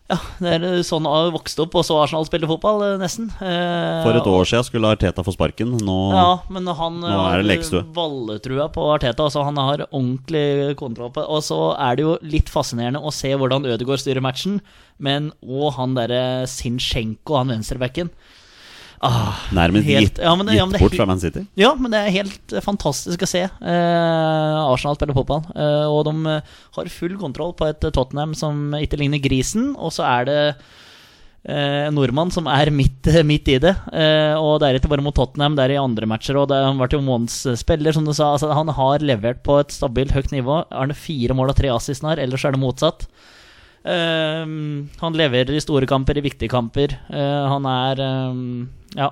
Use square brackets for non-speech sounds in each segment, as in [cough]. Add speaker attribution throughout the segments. Speaker 1: Ja, det er sånn jeg vokste opp og så Arsenal spille fotball, eh, nesten.
Speaker 2: For et år siden skulle Arteta få sparken. Nå
Speaker 1: Ja, men han
Speaker 2: er
Speaker 1: har
Speaker 2: det lekestue.
Speaker 1: valletrua på Arteta. Altså han har ordentlig kontroll på Og så er det jo litt fascinerende å se hvordan Ødegaard styrer matchen, men òg han derre Sinchenko, han venstrebacken. Ah,
Speaker 2: nærmest
Speaker 1: Helt-
Speaker 2: gitt,
Speaker 1: ja, men det- ja,
Speaker 2: gitt
Speaker 1: men det er
Speaker 2: bort
Speaker 1: helt-
Speaker 2: fra Man City.
Speaker 1: Ja, men det er helt fantastisk å se. Eh, Arsenal spiller fotball, eh, og de eh, har full kontroll på et eh, Tottenham som ikke ligner grisen. Og så er det eh, en nordmann som er midt, [laughs] midt i det. Eh, og det er ikke bare mot Tottenham, det er i andre matcher òg. Han ble jo månedens eh, spiller, som du sa. Altså, han har levert på et stabilt høyt nivå. Er det fire mål og tre assist her, ellers er det motsatt. Eh, han leverer i store kamper, i viktige kamper. Eh, han er eh, ja,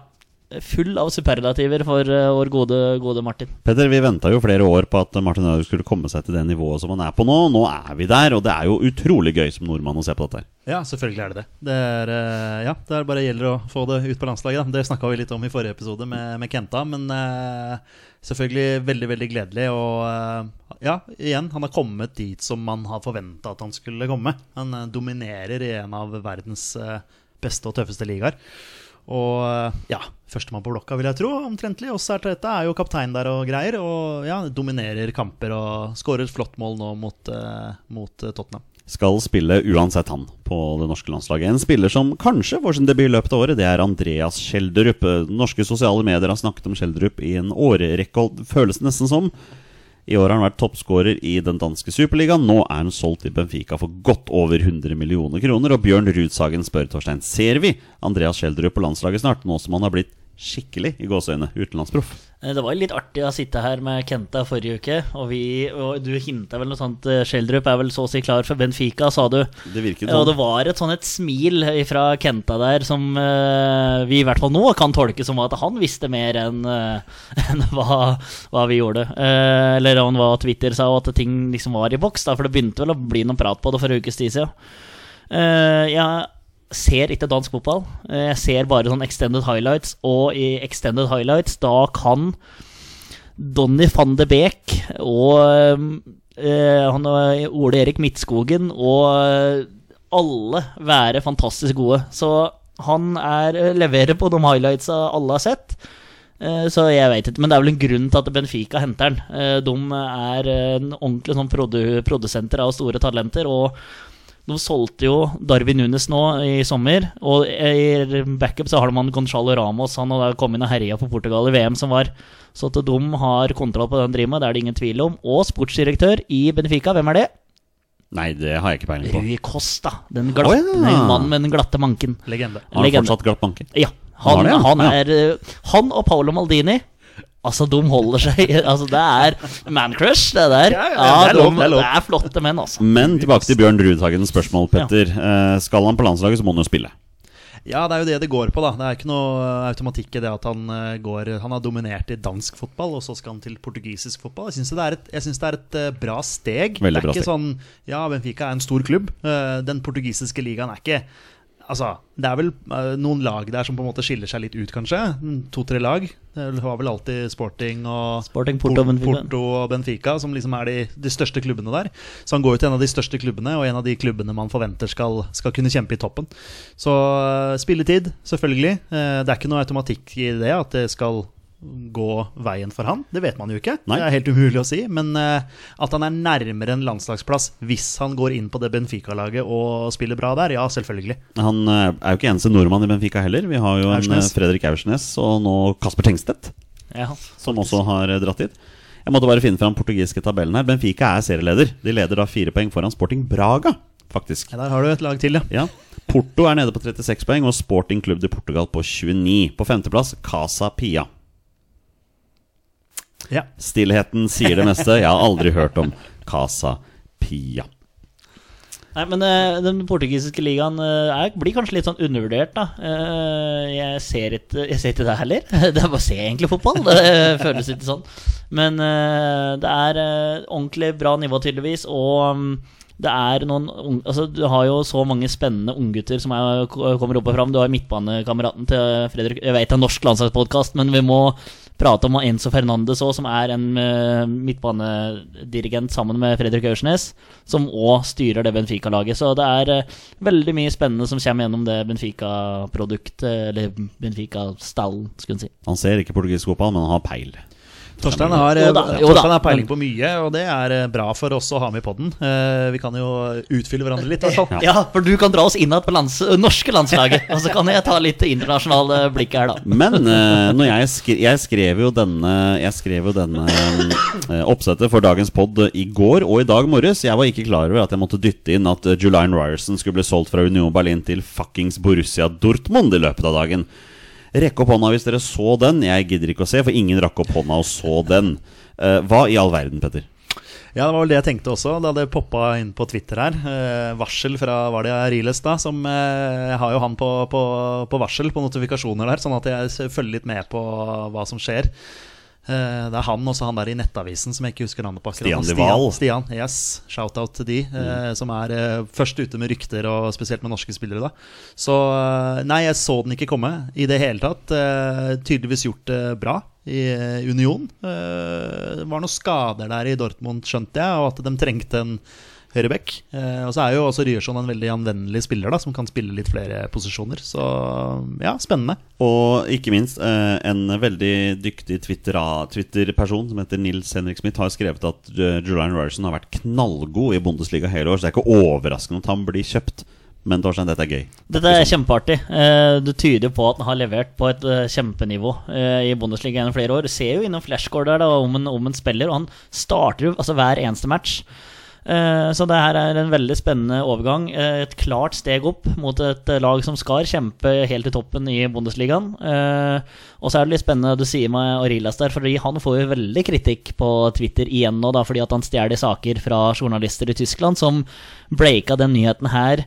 Speaker 1: full av superlativer for eh, vår gode, gode Martin.
Speaker 2: Petter, vi venta jo flere år på at Martin Ødegaard skulle komme seg til det nivået som han er på nå. Nå er vi der, og det er jo utrolig gøy som nordmann å se på dette. her.
Speaker 3: Ja, selvfølgelig er det det. Det er, eh, ja, det er bare gjelder å få det ut på landslaget. Da. Det snakka vi litt om i forrige episode med, med Kenta, men eh, selvfølgelig veldig, veldig gledelig. Og eh, ja, igjen, han har kommet dit som man har forventa at han skulle komme. Han eh, dominerer i en av verdens eh, beste og tøffeste ligaer. Og eh, ja, førstemann på blokka, vil jeg tro. Omtrentlig. Også Arteta er jo kaptein der og greier. Og ja, dominerer kamper og skårer et flott mål nå mot, eh, mot eh, Tottenham.
Speaker 2: Skal spille uansett han på det norske landslaget. En spiller som kanskje får sin debut i løpet av året, det er Andreas Schjelderup. Norske sosiale medier har snakket om Schjelderup i en årrekke, og det føles nesten som. I år har han vært toppskårer i den danske superligaen. Nå er han solgt til Benfica for godt over 100 millioner kroner. Og Bjørn Rudsagen spør Torstein ser vi Andreas Schjelderup på landslaget snart, nå som han har blitt skikkelig i gåseøyne utenlandsproff.
Speaker 1: Eh, Det var jo litt artig å sitte her med Kenta forrige uke, og, vi, og du hinta vel noe sånt eh, Schjelderup er vel så å si klar for Benfica, sa du.
Speaker 2: Det virket
Speaker 1: Ja, og det
Speaker 2: sånn.
Speaker 1: var et sånn et smil fra Kenta der som eh, vi i hvert fall nå kan tolke som at han visste mer enn eh, [laughs] enn hva, hva vi gjorde. Eh, eller om det var Twitter sa, og at ting liksom var i boks, da, for det begynte vel å bli noe prat på det for en ukes tid siden. Eh, jeg ser ikke dansk fotball. Eh, jeg ser bare sånn extended highlights, og i extended highlights da kan Donny van de Beek og eh, han, og Ole Erik Midtskogen og eh, alle være fantastisk gode. Så han er, eh, leverer på de highlightsa alle har sett. Eh, Så jeg vet ikke, men det er vel en grunn til at Benfica henter den. Eh, De er eh, en ordentlig sånn produ produsenter av store talenter, og de solgte jo Darwin Nunes nå i sommer. Og i backup så har man Gonzalo Ramos, han har da kommet inn og herja for Portugal i VM som var. Så at de har kontroll på den driven, det er det ingen tvil om. Og sportsdirektør i Benfica, hvem er det?
Speaker 2: Nei, det har jeg ikke peiling på.
Speaker 1: Rui Costa. Den glatte,
Speaker 2: Å, ja.
Speaker 1: mannen med den glatte manken.
Speaker 3: Legende.
Speaker 2: Har han
Speaker 1: legende.
Speaker 2: fortsatt glatt banke?
Speaker 1: Ja.
Speaker 2: Han har
Speaker 1: Han,
Speaker 2: det, ja.
Speaker 1: han,
Speaker 2: Ja.
Speaker 1: er, eh, han og Paolo Maldini Altså, de holder seg [laughs] altså, Det er man-crush, det der.
Speaker 3: Ja, ja, det er lov,
Speaker 1: de-
Speaker 3: det er lov.
Speaker 1: det er flotte menn, altså.
Speaker 2: Men tilbake til Bjørn Rudhagens spørsmål, Petter. Eh, skal han på landslaget, så må han jo spille.
Speaker 3: Ja, det er jo det det går på, da. Det er ikke noe eh, automatikk i det at han eh, går Han har dominert i dansk fotball, og så skal han til portugisisk fotball. Jeg syns det, er et- jeg synes det er et eh, bra steg.
Speaker 2: Veldig
Speaker 3: det er
Speaker 2: bra steg.
Speaker 3: ikke sånn Ja, Benfica er en stor klubb. Eh, Den portugisiske ligaen er ikke Altså, det er vel eh, noen lag der som på en måte skiller seg litt ut, kanskje. Mm, To-tre lag. Det var vel alltid sporting og
Speaker 1: Sporting, Porto og Benfica.
Speaker 3: Porto og Benfica, som liksom er de, de største klubbene der. Så han går jo til en av de største klubbene, og en av de klubbene man forventer skal, skal kunne kjempe i toppen. Så eh, spilletid, selvfølgelig. Eh, Det er ikke noe automatikk i det at det skal gå veien for han. Det vet man jo ikke.
Speaker 2: Nei.
Speaker 3: Det er helt umulig å si. Men eh, at han er nærmere en landslagsplass hvis han går inn på det Benfica-laget og spiller bra der, ja, selvfølgelig.
Speaker 2: Han eh, er jo ikke eneste nordmann i Benfica heller. Vi har jo en eh,
Speaker 3: Aursnes.
Speaker 2: Fredrik Aursnes og nå Kasper Tengstedt,
Speaker 1: Ja.
Speaker 2: som også har eh, dratt dit. Jeg måtte bare finne fram portugiske tabellen her. Benfica er serieleder. De leder da fire poeng foran Sporting Braga, faktisk.
Speaker 3: Ja, der har du et lag til, ja.
Speaker 2: Ja. Porto er nede på 36 poeng, og Sporting Club de Portugal på 29. På femteplass Casa Pia.
Speaker 3: ja.
Speaker 2: Stillheten sier det meste. Jeg har aldri hørt om Casa Pia.
Speaker 1: Nei, men eh, den portugisiske ligaen eh, er, blir kanskje litt sånn undervurdert, da. Eh, jeg, ser ikke, jeg ser ikke det heller. [laughs] Det er bare å se egentlig fotball. Det eh, føles ikke sånn. Men eh, det er eh, ordentlig bra nivå, tydeligvis. Og mm, det er noen ung, altså, Du har jo så mange spennende unggutter som er, kommer opp og fram. Du har midtbanekameraten til Fredrik Jeg vet det er en norsk landslagspodkast, men vi må prate om Enzo Fernandes òg, som er en eh, midtbanedirigent sammen med Fredrik Aursnes, som òg styrer det Benfica-laget. Så det er eh, veldig mye spennende som kommer gjennom det Benfica-produktet, eller Benfica-stallen, skulle en si.
Speaker 2: Han ser ikke portugisisk fotball, men han har peil.
Speaker 3: Torstein har, eh,
Speaker 1: Jo da, jo da,
Speaker 3: Torstein har peiling
Speaker 1: men-
Speaker 3: på mye, og det er eh, bra for oss å ha med i poden. Vi kan jo utfylle hverandre litt. i hvert fall.
Speaker 1: Ja, for du kan dra oss innad på lands norske landslaget, og så kan jeg ta litt internasjonale blikk her, da.
Speaker 2: Men eh, når jeg, skre, jeg skrev jo denne, jeg skrev jo denne eh, oppsettet for dagens pod i går og i dag morges. Jeg var ikke klar over at jeg måtte dytte inn at eh, Julian Ryerson skulle bli solgt fra Union Berlin til fuckings Borussia Dortmund i løpet av dagen. Rekk opp hånda hvis dere så den. Jeg gidder ikke å se, for ingen rakk opp hånda og så den. Eh, hva i all verden, Petter?
Speaker 3: Ja, det var vel det jeg tenkte også da det poppa inn på Twitter her. Eh, varsel fra var det Riles, da, som eh, Jeg har jo han på, på, på varsel, på notifikasjoner der, sånn at jeg s- følger litt med på hva som skjer. Eh, det er han også han der i Nettavisen som jeg ikke husker navnet på. akkurat nå.
Speaker 2: Stian Duval.
Speaker 3: Stian, yes. Shout-out til de eh, som er eh, først ute med rykter, og spesielt med norske spillere. da. Så eh, nei, jeg så den ikke komme i det hele tatt. Eh, tydeligvis gjort det bra i eh, Union. Eh, det var noen skader der i Dortmund, skjønte jeg, og at de trengte en høyreback. Eh, og så er jo også Ryerson en veldig anvendelig spiller, da, som kan spille litt flere posisjoner. Så ja, spennende.
Speaker 2: Og ikke minst, eh, en veldig dyktig Twittera- Twitter-person som heter Nils Henrik Smith, har skrevet at eh, Julian Ryerson har vært knallgod i Bundesliga hele år, så det er ikke overraskende at han blir kjøpt. Men Torstein, dette er gøy.
Speaker 1: Dette er kjempeartig. Eh, Det tyder jo på at han har levert på et eh, kjempenivå eh, i Bundesliga gjennom flere år. Ser jo innom flashcore der da, om en, om en spiller, og han starter jo altså, hver eneste match. Eh, Så det her er en veldig spennende overgang. Eh, Et klart steg opp mot et eh, lag som skal kjempe helt i toppen i Bundesligaen. Eh, Og så er det litt spennende du sier med Aurilas der, fordi han får jo veldig kritikk på Twitter igjen nå, da, fordi at han stjeler saker fra journalister i Tyskland som breika den nyheten her.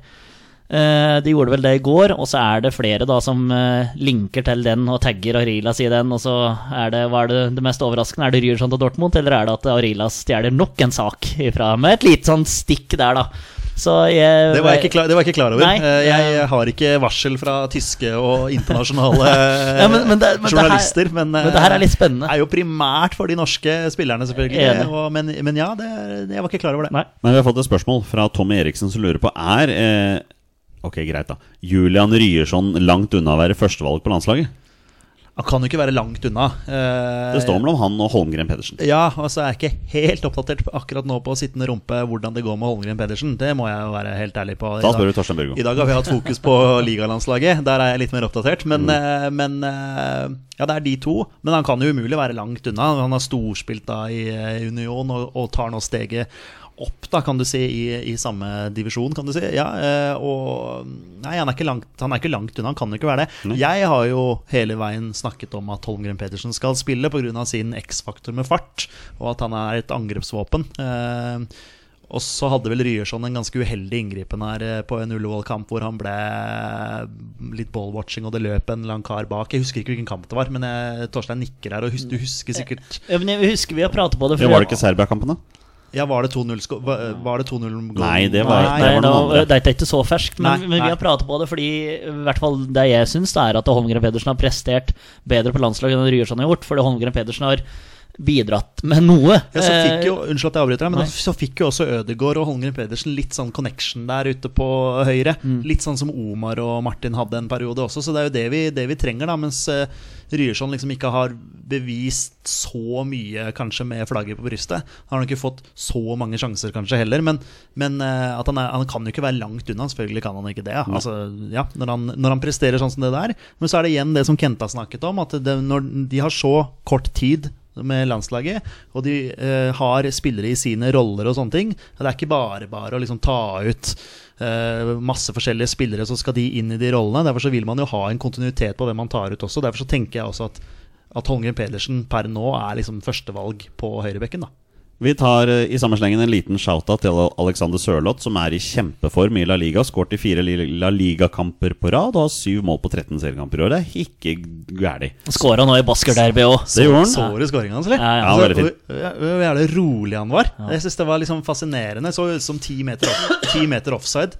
Speaker 1: Eh, de gjorde vel det i går, og så er det flere da som eh, linker til den og tagger Arilas i den. Og så er det, hva er det, det mest overraskende? Er det Ryerson til Dortmund, eller er det at Arilas stjeler nok en sak ifra med et lite sånn stikk der, da? Så jeg,
Speaker 3: Det var jeg ikke klar, det var jeg ikke klar over.
Speaker 1: Nei,
Speaker 3: Eh, jeg
Speaker 1: eh,
Speaker 3: har ikke varsel fra tyske og internasjonale
Speaker 1: [laughs] Ja, men- men det- men det her-
Speaker 3: journalister. Men,
Speaker 1: men det her er litt spennende.
Speaker 3: Det er jo primært for de norske spillerne, selvfølgelig.
Speaker 1: Enig.
Speaker 3: Og, men, men ja, det, er- jeg var ikke klar over det.
Speaker 1: Nei.
Speaker 2: Men vi har fått et spørsmål fra Tommy Eriksen som lurer på er eh, Ok, greit, da. Julian Ryerson langt unna å være førstevalg på landslaget?
Speaker 3: Han kan jo ikke være langt unna. eh,
Speaker 2: Det står mellom han og Holmgren Pedersen.
Speaker 3: Ja, og så er jeg ikke helt oppdatert på- akkurat nå på sittende rumpe hvordan det går med Holmgren Pedersen. Det må jeg jo være helt ærlig på. i
Speaker 2: Da
Speaker 3: dag.
Speaker 2: spør du Torstein Børgo.
Speaker 3: I dag har vi hatt fokus på ligalandslaget. Der er jeg litt mer oppdatert. Men, eh, men eh, ja, det er de to. Men han kan jo umulig være langt unna. Han har storspilt da i eh, Union og, og tar nå steget opp, da, kan du si, i, i samme divisjon, kan du si. Ja, eh, og Nei, han er ikke langt, han er ikke langt unna, han kan jo ikke være det.
Speaker 2: Nei.
Speaker 3: Jeg har jo hele veien snakket om at Holmgren Pedersen skal spille pga. sin X-faktor med fart, og at han er et angrepsvåpen. Eh, og så hadde vel Ryerson en ganske uheldig inngripen her eh, på en Ullevål-kamp hvor han ble litt ballwatching, og det løp en eller annen kar bak. Jeg husker ikke hvilken kamp det var, men eh, Torstein nikker her, og hus du husker sikkert
Speaker 1: Ja, men jeg husker vi har pratet på det
Speaker 2: Ja, var det ikke Serbia-kampen, da?
Speaker 3: Ja, var det 2-0 sko- va- eh, Var det 2-0 -mål?
Speaker 2: Nei, det var-
Speaker 1: Nei,
Speaker 2: det
Speaker 1: nei,
Speaker 2: var noen
Speaker 1: da-
Speaker 2: andre.
Speaker 1: det er ikke så ferskt, men,
Speaker 3: Nei,
Speaker 1: men vi
Speaker 3: nei.
Speaker 1: har pratet på det fordi i hvert fall det jeg syns, det er at Holmgren Pedersen har prestert bedre på landslaget enn Ryerson har gjort, fordi Holmgren Pedersen har bidratt med noe.
Speaker 3: Ja, så fikk jo, unnskyld at jeg avbryter deg, men
Speaker 1: nei.
Speaker 3: da f- så fikk jo også Ødegaard og Holmgren Pedersen litt sånn connection der ute på høyre. Litt sånn som Omar og Martin hadde en periode også, så det er jo det vi, det vi trenger, da. Mens eh, Ryerson liksom ikke har bevist så mye, kanskje, med flagget på brystet. Han har ikke fått så mange sjanser, kanskje, heller, men, men eh, at han, er, han kan jo ikke være langt unna. Selvfølgelig kan han ikke det. Ja. Altså, ja, når, han, når han presterer sånn som det der. Men så er det igjen det som Kenta snakket om, at det, når de har så kort tid med landslaget, og de eh, har spillere i sine roller og sånne ting. Det er ikke bare bare å liksom ta ut eh, masse forskjellige spillere, så skal de inn i de rollene. Derfor så vil man jo ha en kontinuitet på hvem man tar ut også. Derfor så tenker jeg også at, at Holmgren Pedersen per nå er liksom førstevalg på høyrebekken, da.
Speaker 2: Vi tar eh, i samme slengen en liten shout-out til Alexander Sørloth, som er i kjempeform i La Liga. har Skåret i fire Li- La Liga-kamper på rad og har syv mål på 13 seriekamper i år. Det er ikke gæli.
Speaker 1: Skåra nå i basketderby òg.
Speaker 2: Det gjorde han.
Speaker 3: Så du skåringa hans, eller? Altså,
Speaker 1: Ja, ja.
Speaker 2: Ja, veldig fin.
Speaker 3: hvor, ja, hvor jævlig rolig han var. Jeg synes det var liksom fascinerende. Så ut som ti meter, off, ti meter offside.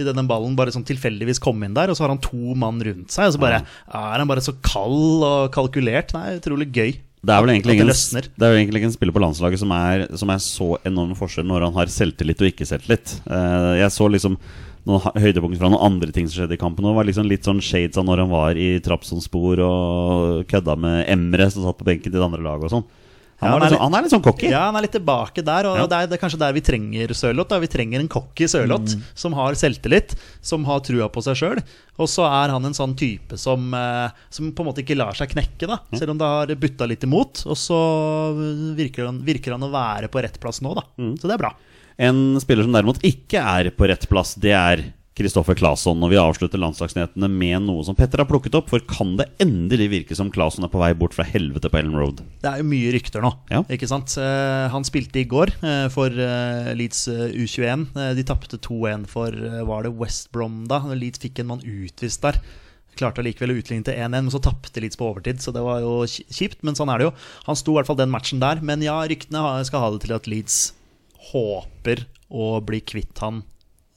Speaker 3: I denne ballen bare sånn tilfeldigvis kom inn der, og så har han to mann rundt seg. Og så bare er han bare så kald og kalkulert. Nei, utrolig gøy.
Speaker 2: Det er vel egentlig ingen,
Speaker 3: At det løsner.
Speaker 2: det er vel egentlig ingen spiller på landslaget som er, som er så enorm forskjell når han har selvtillit og ikke selvtillit. Eh, jeg så liksom noen ha- høydepunkter fra noen andre ting som skjedde i kampen. Og var liksom litt sånn shades av når han var i Trabzonspor og kødda med Emre, som satt på benken til det andre laget og sånn. Han,
Speaker 3: Ja,
Speaker 2: var
Speaker 3: han er
Speaker 2: litt sånn- han er litt sånn cocky.
Speaker 3: Ja, han er litt tilbake der, og
Speaker 2: Ja.
Speaker 3: det, er, det er kanskje der vi trenger Sørloth. da. Vi trenger en cocky Sørloth som har selvtillit, som har trua på seg sjøl. Og så er han en sånn type som, eh, som på en måte ikke lar seg knekke, da. Selv om det har butta litt imot. Og så virker han, virker han å være på rett plass nå, da. Så det er bra.
Speaker 2: En spiller som derimot ikke er på rett plass, det er Kristoffer Claesson. Og vi avslutter landslagsnyhetene med noe som Petter har plukket opp, for kan det endelig virke som Claesson er på vei bort fra helvete på Ellen Road?
Speaker 3: Det er jo mye rykter nå,
Speaker 2: Ja.
Speaker 3: ikke sant. Eh, han spilte i går eh, for eh, Leeds eh, U21. Eh, de tapte 2-1 for eh, var det West Brom da? Leeds fikk en mann utvist der. Klarte allikevel å utligne til 1-1, men så tapte Leeds på overtid. Så det var jo ki- kjipt, men sånn er det jo. Han sto i hvert fall den matchen der. Men ja, ryktene har- skal ha det til at Leeds håper å bli kvitt han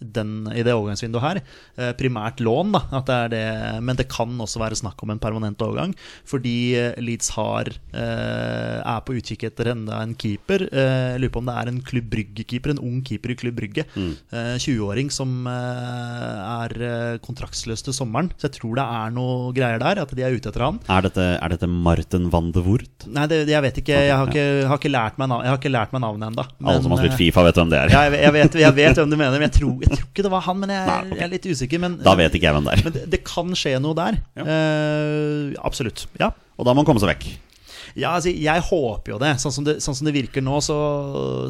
Speaker 3: den, i det overgangsvinduet her. Eh, primært lån, da. At det er det, men det kan også være snakk om en permanent overgang. Fordi eh, Leeds har eh, er på utkikk etter enda en keeper. Eh, jeg lurer på om det er en Klubb Brygge-keeper, en ung keeper i Klubb Brygge.
Speaker 2: Mm.
Speaker 3: Eh, 20-åring som eh, er eh, kontraktsløs til sommeren. Så jeg tror det er noe greier der, at de er ute etter han.
Speaker 2: Er dette, er dette Martin van de Wurt?
Speaker 3: Nei, det, jeg vet ikke. Jeg har ikke, har ikke lært meg nav- jeg har ikke lært meg navnet eh, ennå.
Speaker 2: Alle som har spilt Fifa, vet hvem det er.
Speaker 3: Ja, jeg, jeg, vet, jeg vet hvem du mener, men jeg tror, jeg tror ikke det var han. Men jeg,
Speaker 2: Nei, ok.
Speaker 3: jeg er litt usikker. Men,
Speaker 2: Da vet ikke jeg hvem det er.
Speaker 3: men det, det kan skje noe der.
Speaker 2: Ja.
Speaker 3: Eh, absolutt. Ja.
Speaker 2: Og da må han komme seg vekk.
Speaker 3: ja, altså, jeg håper jo det. Sånn som det, sånn som det virker nå, så,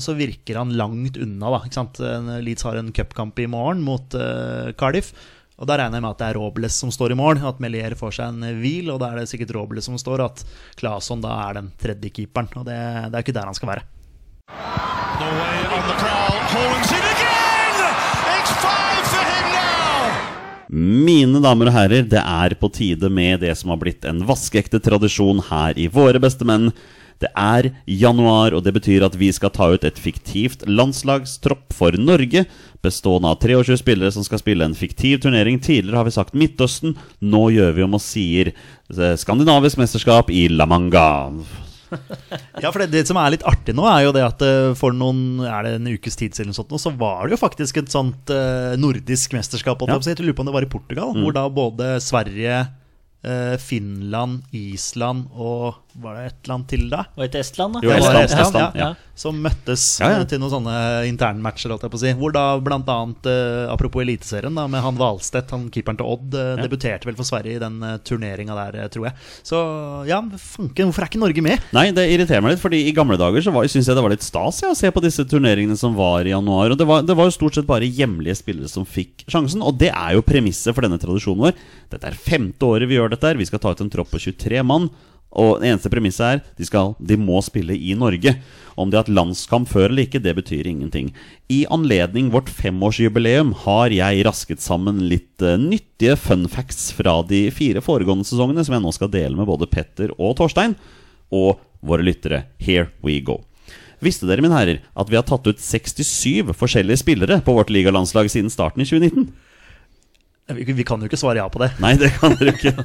Speaker 3: så virker han langt unna. Da, ikke sant? En- Leeds har en cupkamp i morgen mot eh, Cardiff. Og Da regner jeg med at det er Robles som står i mål, at Melier får seg en hvil. Og da er det sikkert Robles som står, og at Claesson da er den tredje keeperen. Og det, det er ikke der han skal være.
Speaker 4: Norway on the prowl. Holland's in again! It's five for him now!
Speaker 2: Mine damer og herrer, det er på tide med det som har blitt en vaskeekte tradisjon her i Våre beste menn. Det er januar, og det betyr at vi skal ta ut et fiktivt landslagstropp for Norge, bestående av 23 spillere som skal spille en fiktiv turnering. Tidligere har vi sagt Midtøsten, nå gjør vi om og sier eh, skandinavisk mesterskap i La Manga.
Speaker 3: Ja, for det, det som er litt artig nå, er jo det at eh, for noen er det en ukes tid siden, eller sånt, nå, så var det jo faktisk et sånt eh, nordisk mesterskap. holdt
Speaker 2: Ja. Mm.
Speaker 3: Jeg på å si. Jeg lurer på om det var i Portugal, hvor da både Sverige, eh, Finland, Island og Var det et land til da?
Speaker 1: Var det til Estland, da?
Speaker 2: Jo,
Speaker 3: Det var
Speaker 2: Estland,
Speaker 3: Estland,
Speaker 2: Estland, ja.
Speaker 3: Som møttes
Speaker 2: Ja, ja.
Speaker 3: eh, til noen sånne internmatcher, holdt jeg på å si. Hvor da bl.a. Eh, apropos Eliteserien, da, med han Hvalstedt, han keeperen til Odd, eh,
Speaker 2: Ja.
Speaker 3: debuterte vel for Sverige i den eh, turneringa der, eh, tror jeg. Så ja, fanken, hvorfor er ikke Norge med?
Speaker 2: Nei, det irriterer meg litt, fordi i gamle dager så var- syntes jeg det var litt stas ja, å se på disse turneringene som var i januar. Og det var, det var jo stort sett bare hjemlige spillere som fikk sjansen, og det er jo premisset for denne tradisjonen vår. Dette er femte året vi gjør dette her. Vi skal ta ut en tropp på 23 mann. Og det eneste premisset er de, skal, de må spille i Norge. Om de har hatt landskamp før eller ikke, det betyr ingenting. I anledning vårt femårsjubileum har jeg rasket sammen litt eh, nyttige fun facts fra de fire foregående sesongene, som jeg nå skal dele med både Petter og Torstein og våre lyttere. Here we go. Visste dere, mine herrer, at vi har tatt ut 67 forskjellige spillere på vårt ligalandslag siden starten i 2019?
Speaker 3: Vi, vi kan jo ikke svare ja på det.
Speaker 2: Nei, det kan dere ikke.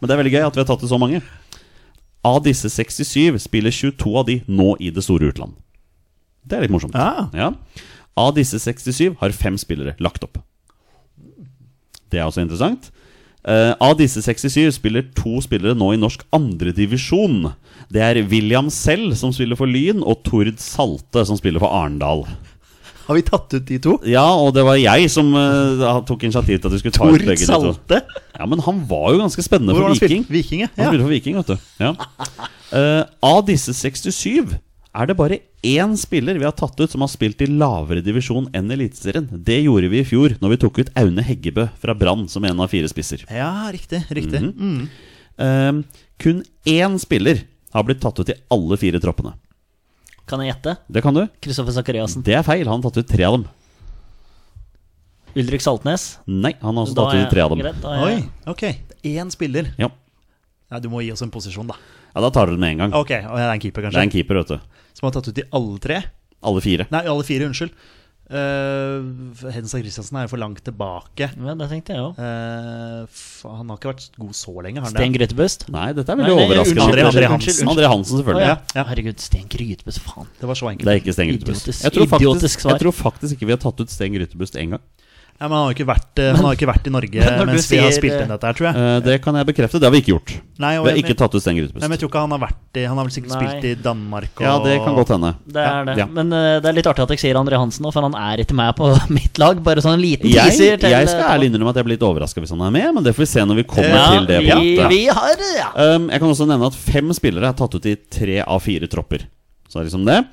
Speaker 2: Men det er veldig gøy at vi har tatt ut så mange. Av disse 67 spiller 22 av de nå i det store utland. Det er litt morsomt.
Speaker 3: Ah.
Speaker 2: Ja. Av disse 67 har fem spillere lagt opp. Det er også interessant. Eh, av disse 67 spiller to spillere nå i norsk andredivisjon. Det er William selv, som spiller for Lyn, og Tord Salte, som spiller for Arendal.
Speaker 3: Har vi tatt ut de to?
Speaker 2: Ja, og det var jeg som eh, tok initiativ til at vi skulle ta ut
Speaker 3: Tord
Speaker 2: begge de to.
Speaker 3: Salte?
Speaker 2: Ja, men han var jo ganske spennende
Speaker 3: Hvor
Speaker 2: for
Speaker 3: var han
Speaker 2: Viking.
Speaker 3: spilt? Viking,
Speaker 2: Han
Speaker 3: ja.
Speaker 2: spilte for Viking, vet du. Ja. Eh, av disse 67 er det bare én spiller vi har tatt ut som har spilt i lavere divisjon enn Eliteserien. Det gjorde vi i fjor når vi tok ut Aune Heggebø fra Brann som en av fire spisser.
Speaker 3: Ja, riktig. riktig
Speaker 2: Mhm.
Speaker 3: mm.
Speaker 2: Eh, kun én spiller har blitt tatt ut i alle fire troppene.
Speaker 1: Kan jeg gjette?
Speaker 2: Det kan du.
Speaker 1: Kristoffer Sakariassen.
Speaker 2: Det er feil. Han har tatt ut tre av dem.
Speaker 1: Ulrik Saltnes.
Speaker 2: Nei, han har også
Speaker 1: Da
Speaker 2: tatt
Speaker 1: er
Speaker 2: ut tre av dem.
Speaker 1: greit, da er
Speaker 3: Oi,
Speaker 1: jeg-
Speaker 3: ok. Én spiller.
Speaker 2: Ja.
Speaker 3: Ja, du må gi oss en posisjon, da.
Speaker 2: ja, da tar dere det med en gang.
Speaker 3: Ok, og Det er en keeper,
Speaker 2: Det er
Speaker 3: kanskje?
Speaker 2: en keeper, vet du.
Speaker 3: Som har tatt ut de alle tre?
Speaker 2: Alle fire.
Speaker 3: Nei, alle fire, unnskyld. Uh, Hensa Christiansen er jo for langt tilbake.
Speaker 1: Ja, det tenkte jeg òg.
Speaker 3: Eh, fa- han har ikke vært god så lenge, har han
Speaker 1: Sten
Speaker 3: det?
Speaker 1: Grytebust.
Speaker 2: Nei, dette er
Speaker 1: Nei,
Speaker 2: veldig
Speaker 1: nei,
Speaker 2: overraskende.
Speaker 1: unnskyld,
Speaker 2: Andre
Speaker 3: unnskyld,
Speaker 2: Hansen,
Speaker 3: unnskyld.
Speaker 2: Andre Hansen
Speaker 1: Å,
Speaker 2: selvfølgelig.
Speaker 1: ja.
Speaker 3: Ja, ja.
Speaker 1: Herregud, Sten Grytebust, faen.
Speaker 3: Det var så enkelt.
Speaker 2: Det er ikke Sten Grytebust.
Speaker 1: Idiotisk-
Speaker 2: Jeg tror,
Speaker 1: idiotisk
Speaker 2: faktisk,
Speaker 1: svar.
Speaker 2: jeg tror faktisk ikke vi har tatt ut Sten Grytebust én gang.
Speaker 3: Ja, men han har jo ikke vært, eh, han har jo ikke vært i
Speaker 2: [laughs]
Speaker 3: Norge
Speaker 1: Men når du
Speaker 3: mens vi har
Speaker 1: sier,
Speaker 3: spilt
Speaker 1: eh,
Speaker 3: inn dette her, tror jeg.
Speaker 2: Eh, det kan jeg bekrefte. Det har vi ikke gjort.
Speaker 3: Nei, og
Speaker 2: Vi har
Speaker 3: jeg-
Speaker 2: ikke tatt ut Sten
Speaker 3: Nei, men jeg
Speaker 2: Grytebust.
Speaker 3: tror ikke han har vært i Han har vel sikkert
Speaker 1: Nei.
Speaker 3: spilt i Danmark og
Speaker 2: Ja, det kan godt hende.
Speaker 1: Det er det.
Speaker 2: Ja.
Speaker 1: Men eh, det er litt artig at jeg sier André Hansen nå, for han er ikke med på [laughs] mitt lag. Bare sånn en liten
Speaker 2: Jeg,
Speaker 1: teaser. til- eh,
Speaker 2: jeg skal ærlig innrømme at jeg blir litt overraska hvis han er med, men det får vi se når vi kommer
Speaker 1: ja,
Speaker 2: til det
Speaker 1: vi,
Speaker 2: punktet.
Speaker 1: vi har ja.
Speaker 2: Um, jeg kan også nevne at fem spillere er tatt ut i tre av fire tropper. Så er det liksom det.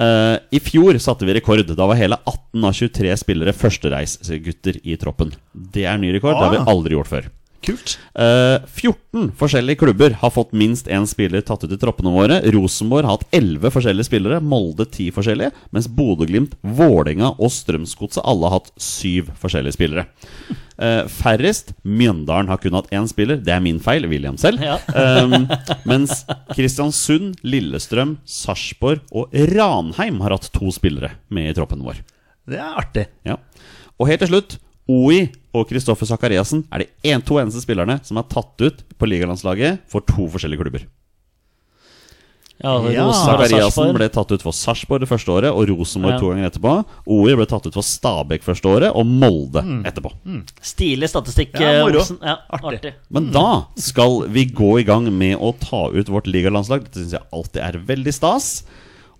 Speaker 2: Eh, I fjor satte vi rekord. Da var hele 18 av 23 spillere førstereisgutter i troppen. Det er ny rekord. Det har vi
Speaker 3: Ah.
Speaker 2: aldri gjort før.
Speaker 3: Kult.
Speaker 2: Eh, 14 forskjellige klubber har fått minst én spiller tatt ut i troppene våre. Rosenborg har hatt 11 forskjellige spillere, Molde 10 forskjellige, mens Bodø-Glimt, Vålerenga og Strømsgodset alle har hatt 7 forskjellige spillere. Eh, færrest Mjøndalen har kun hatt én spiller. Det er min feil, William selv.
Speaker 1: Ja.
Speaker 2: Um, mens Kristiansund, Lillestrøm, Sarpsborg og Ranheim har hatt to spillere med i troppen vår.
Speaker 3: Det er artig.
Speaker 2: Ja. Og helt til slutt, OI og Kristoffer Sakariassen er de en, to eneste spillerne som er tatt ut på ligalandslaget for to forskjellige klubber.
Speaker 1: ja, Ah, det er
Speaker 3: Ja.
Speaker 1: Rosenborg og
Speaker 2: Sakariassen
Speaker 1: Sarpsborg.
Speaker 2: ble tatt ut for Sarpsborg det første året, og Rosenborg
Speaker 1: Ja.
Speaker 2: to ganger etterpå. OI ble tatt ut for Stabæk første året, og Molde
Speaker 1: Mm.
Speaker 2: etterpå.
Speaker 1: Stilig statistikk,
Speaker 3: Ja,
Speaker 1: eh,
Speaker 3: moro.
Speaker 1: Olsen. Ja,
Speaker 3: Artig.
Speaker 1: artig.
Speaker 2: Men da skal vi gå i gang med å ta ut vårt ligalandslag. Dette syns jeg alltid er veldig stas.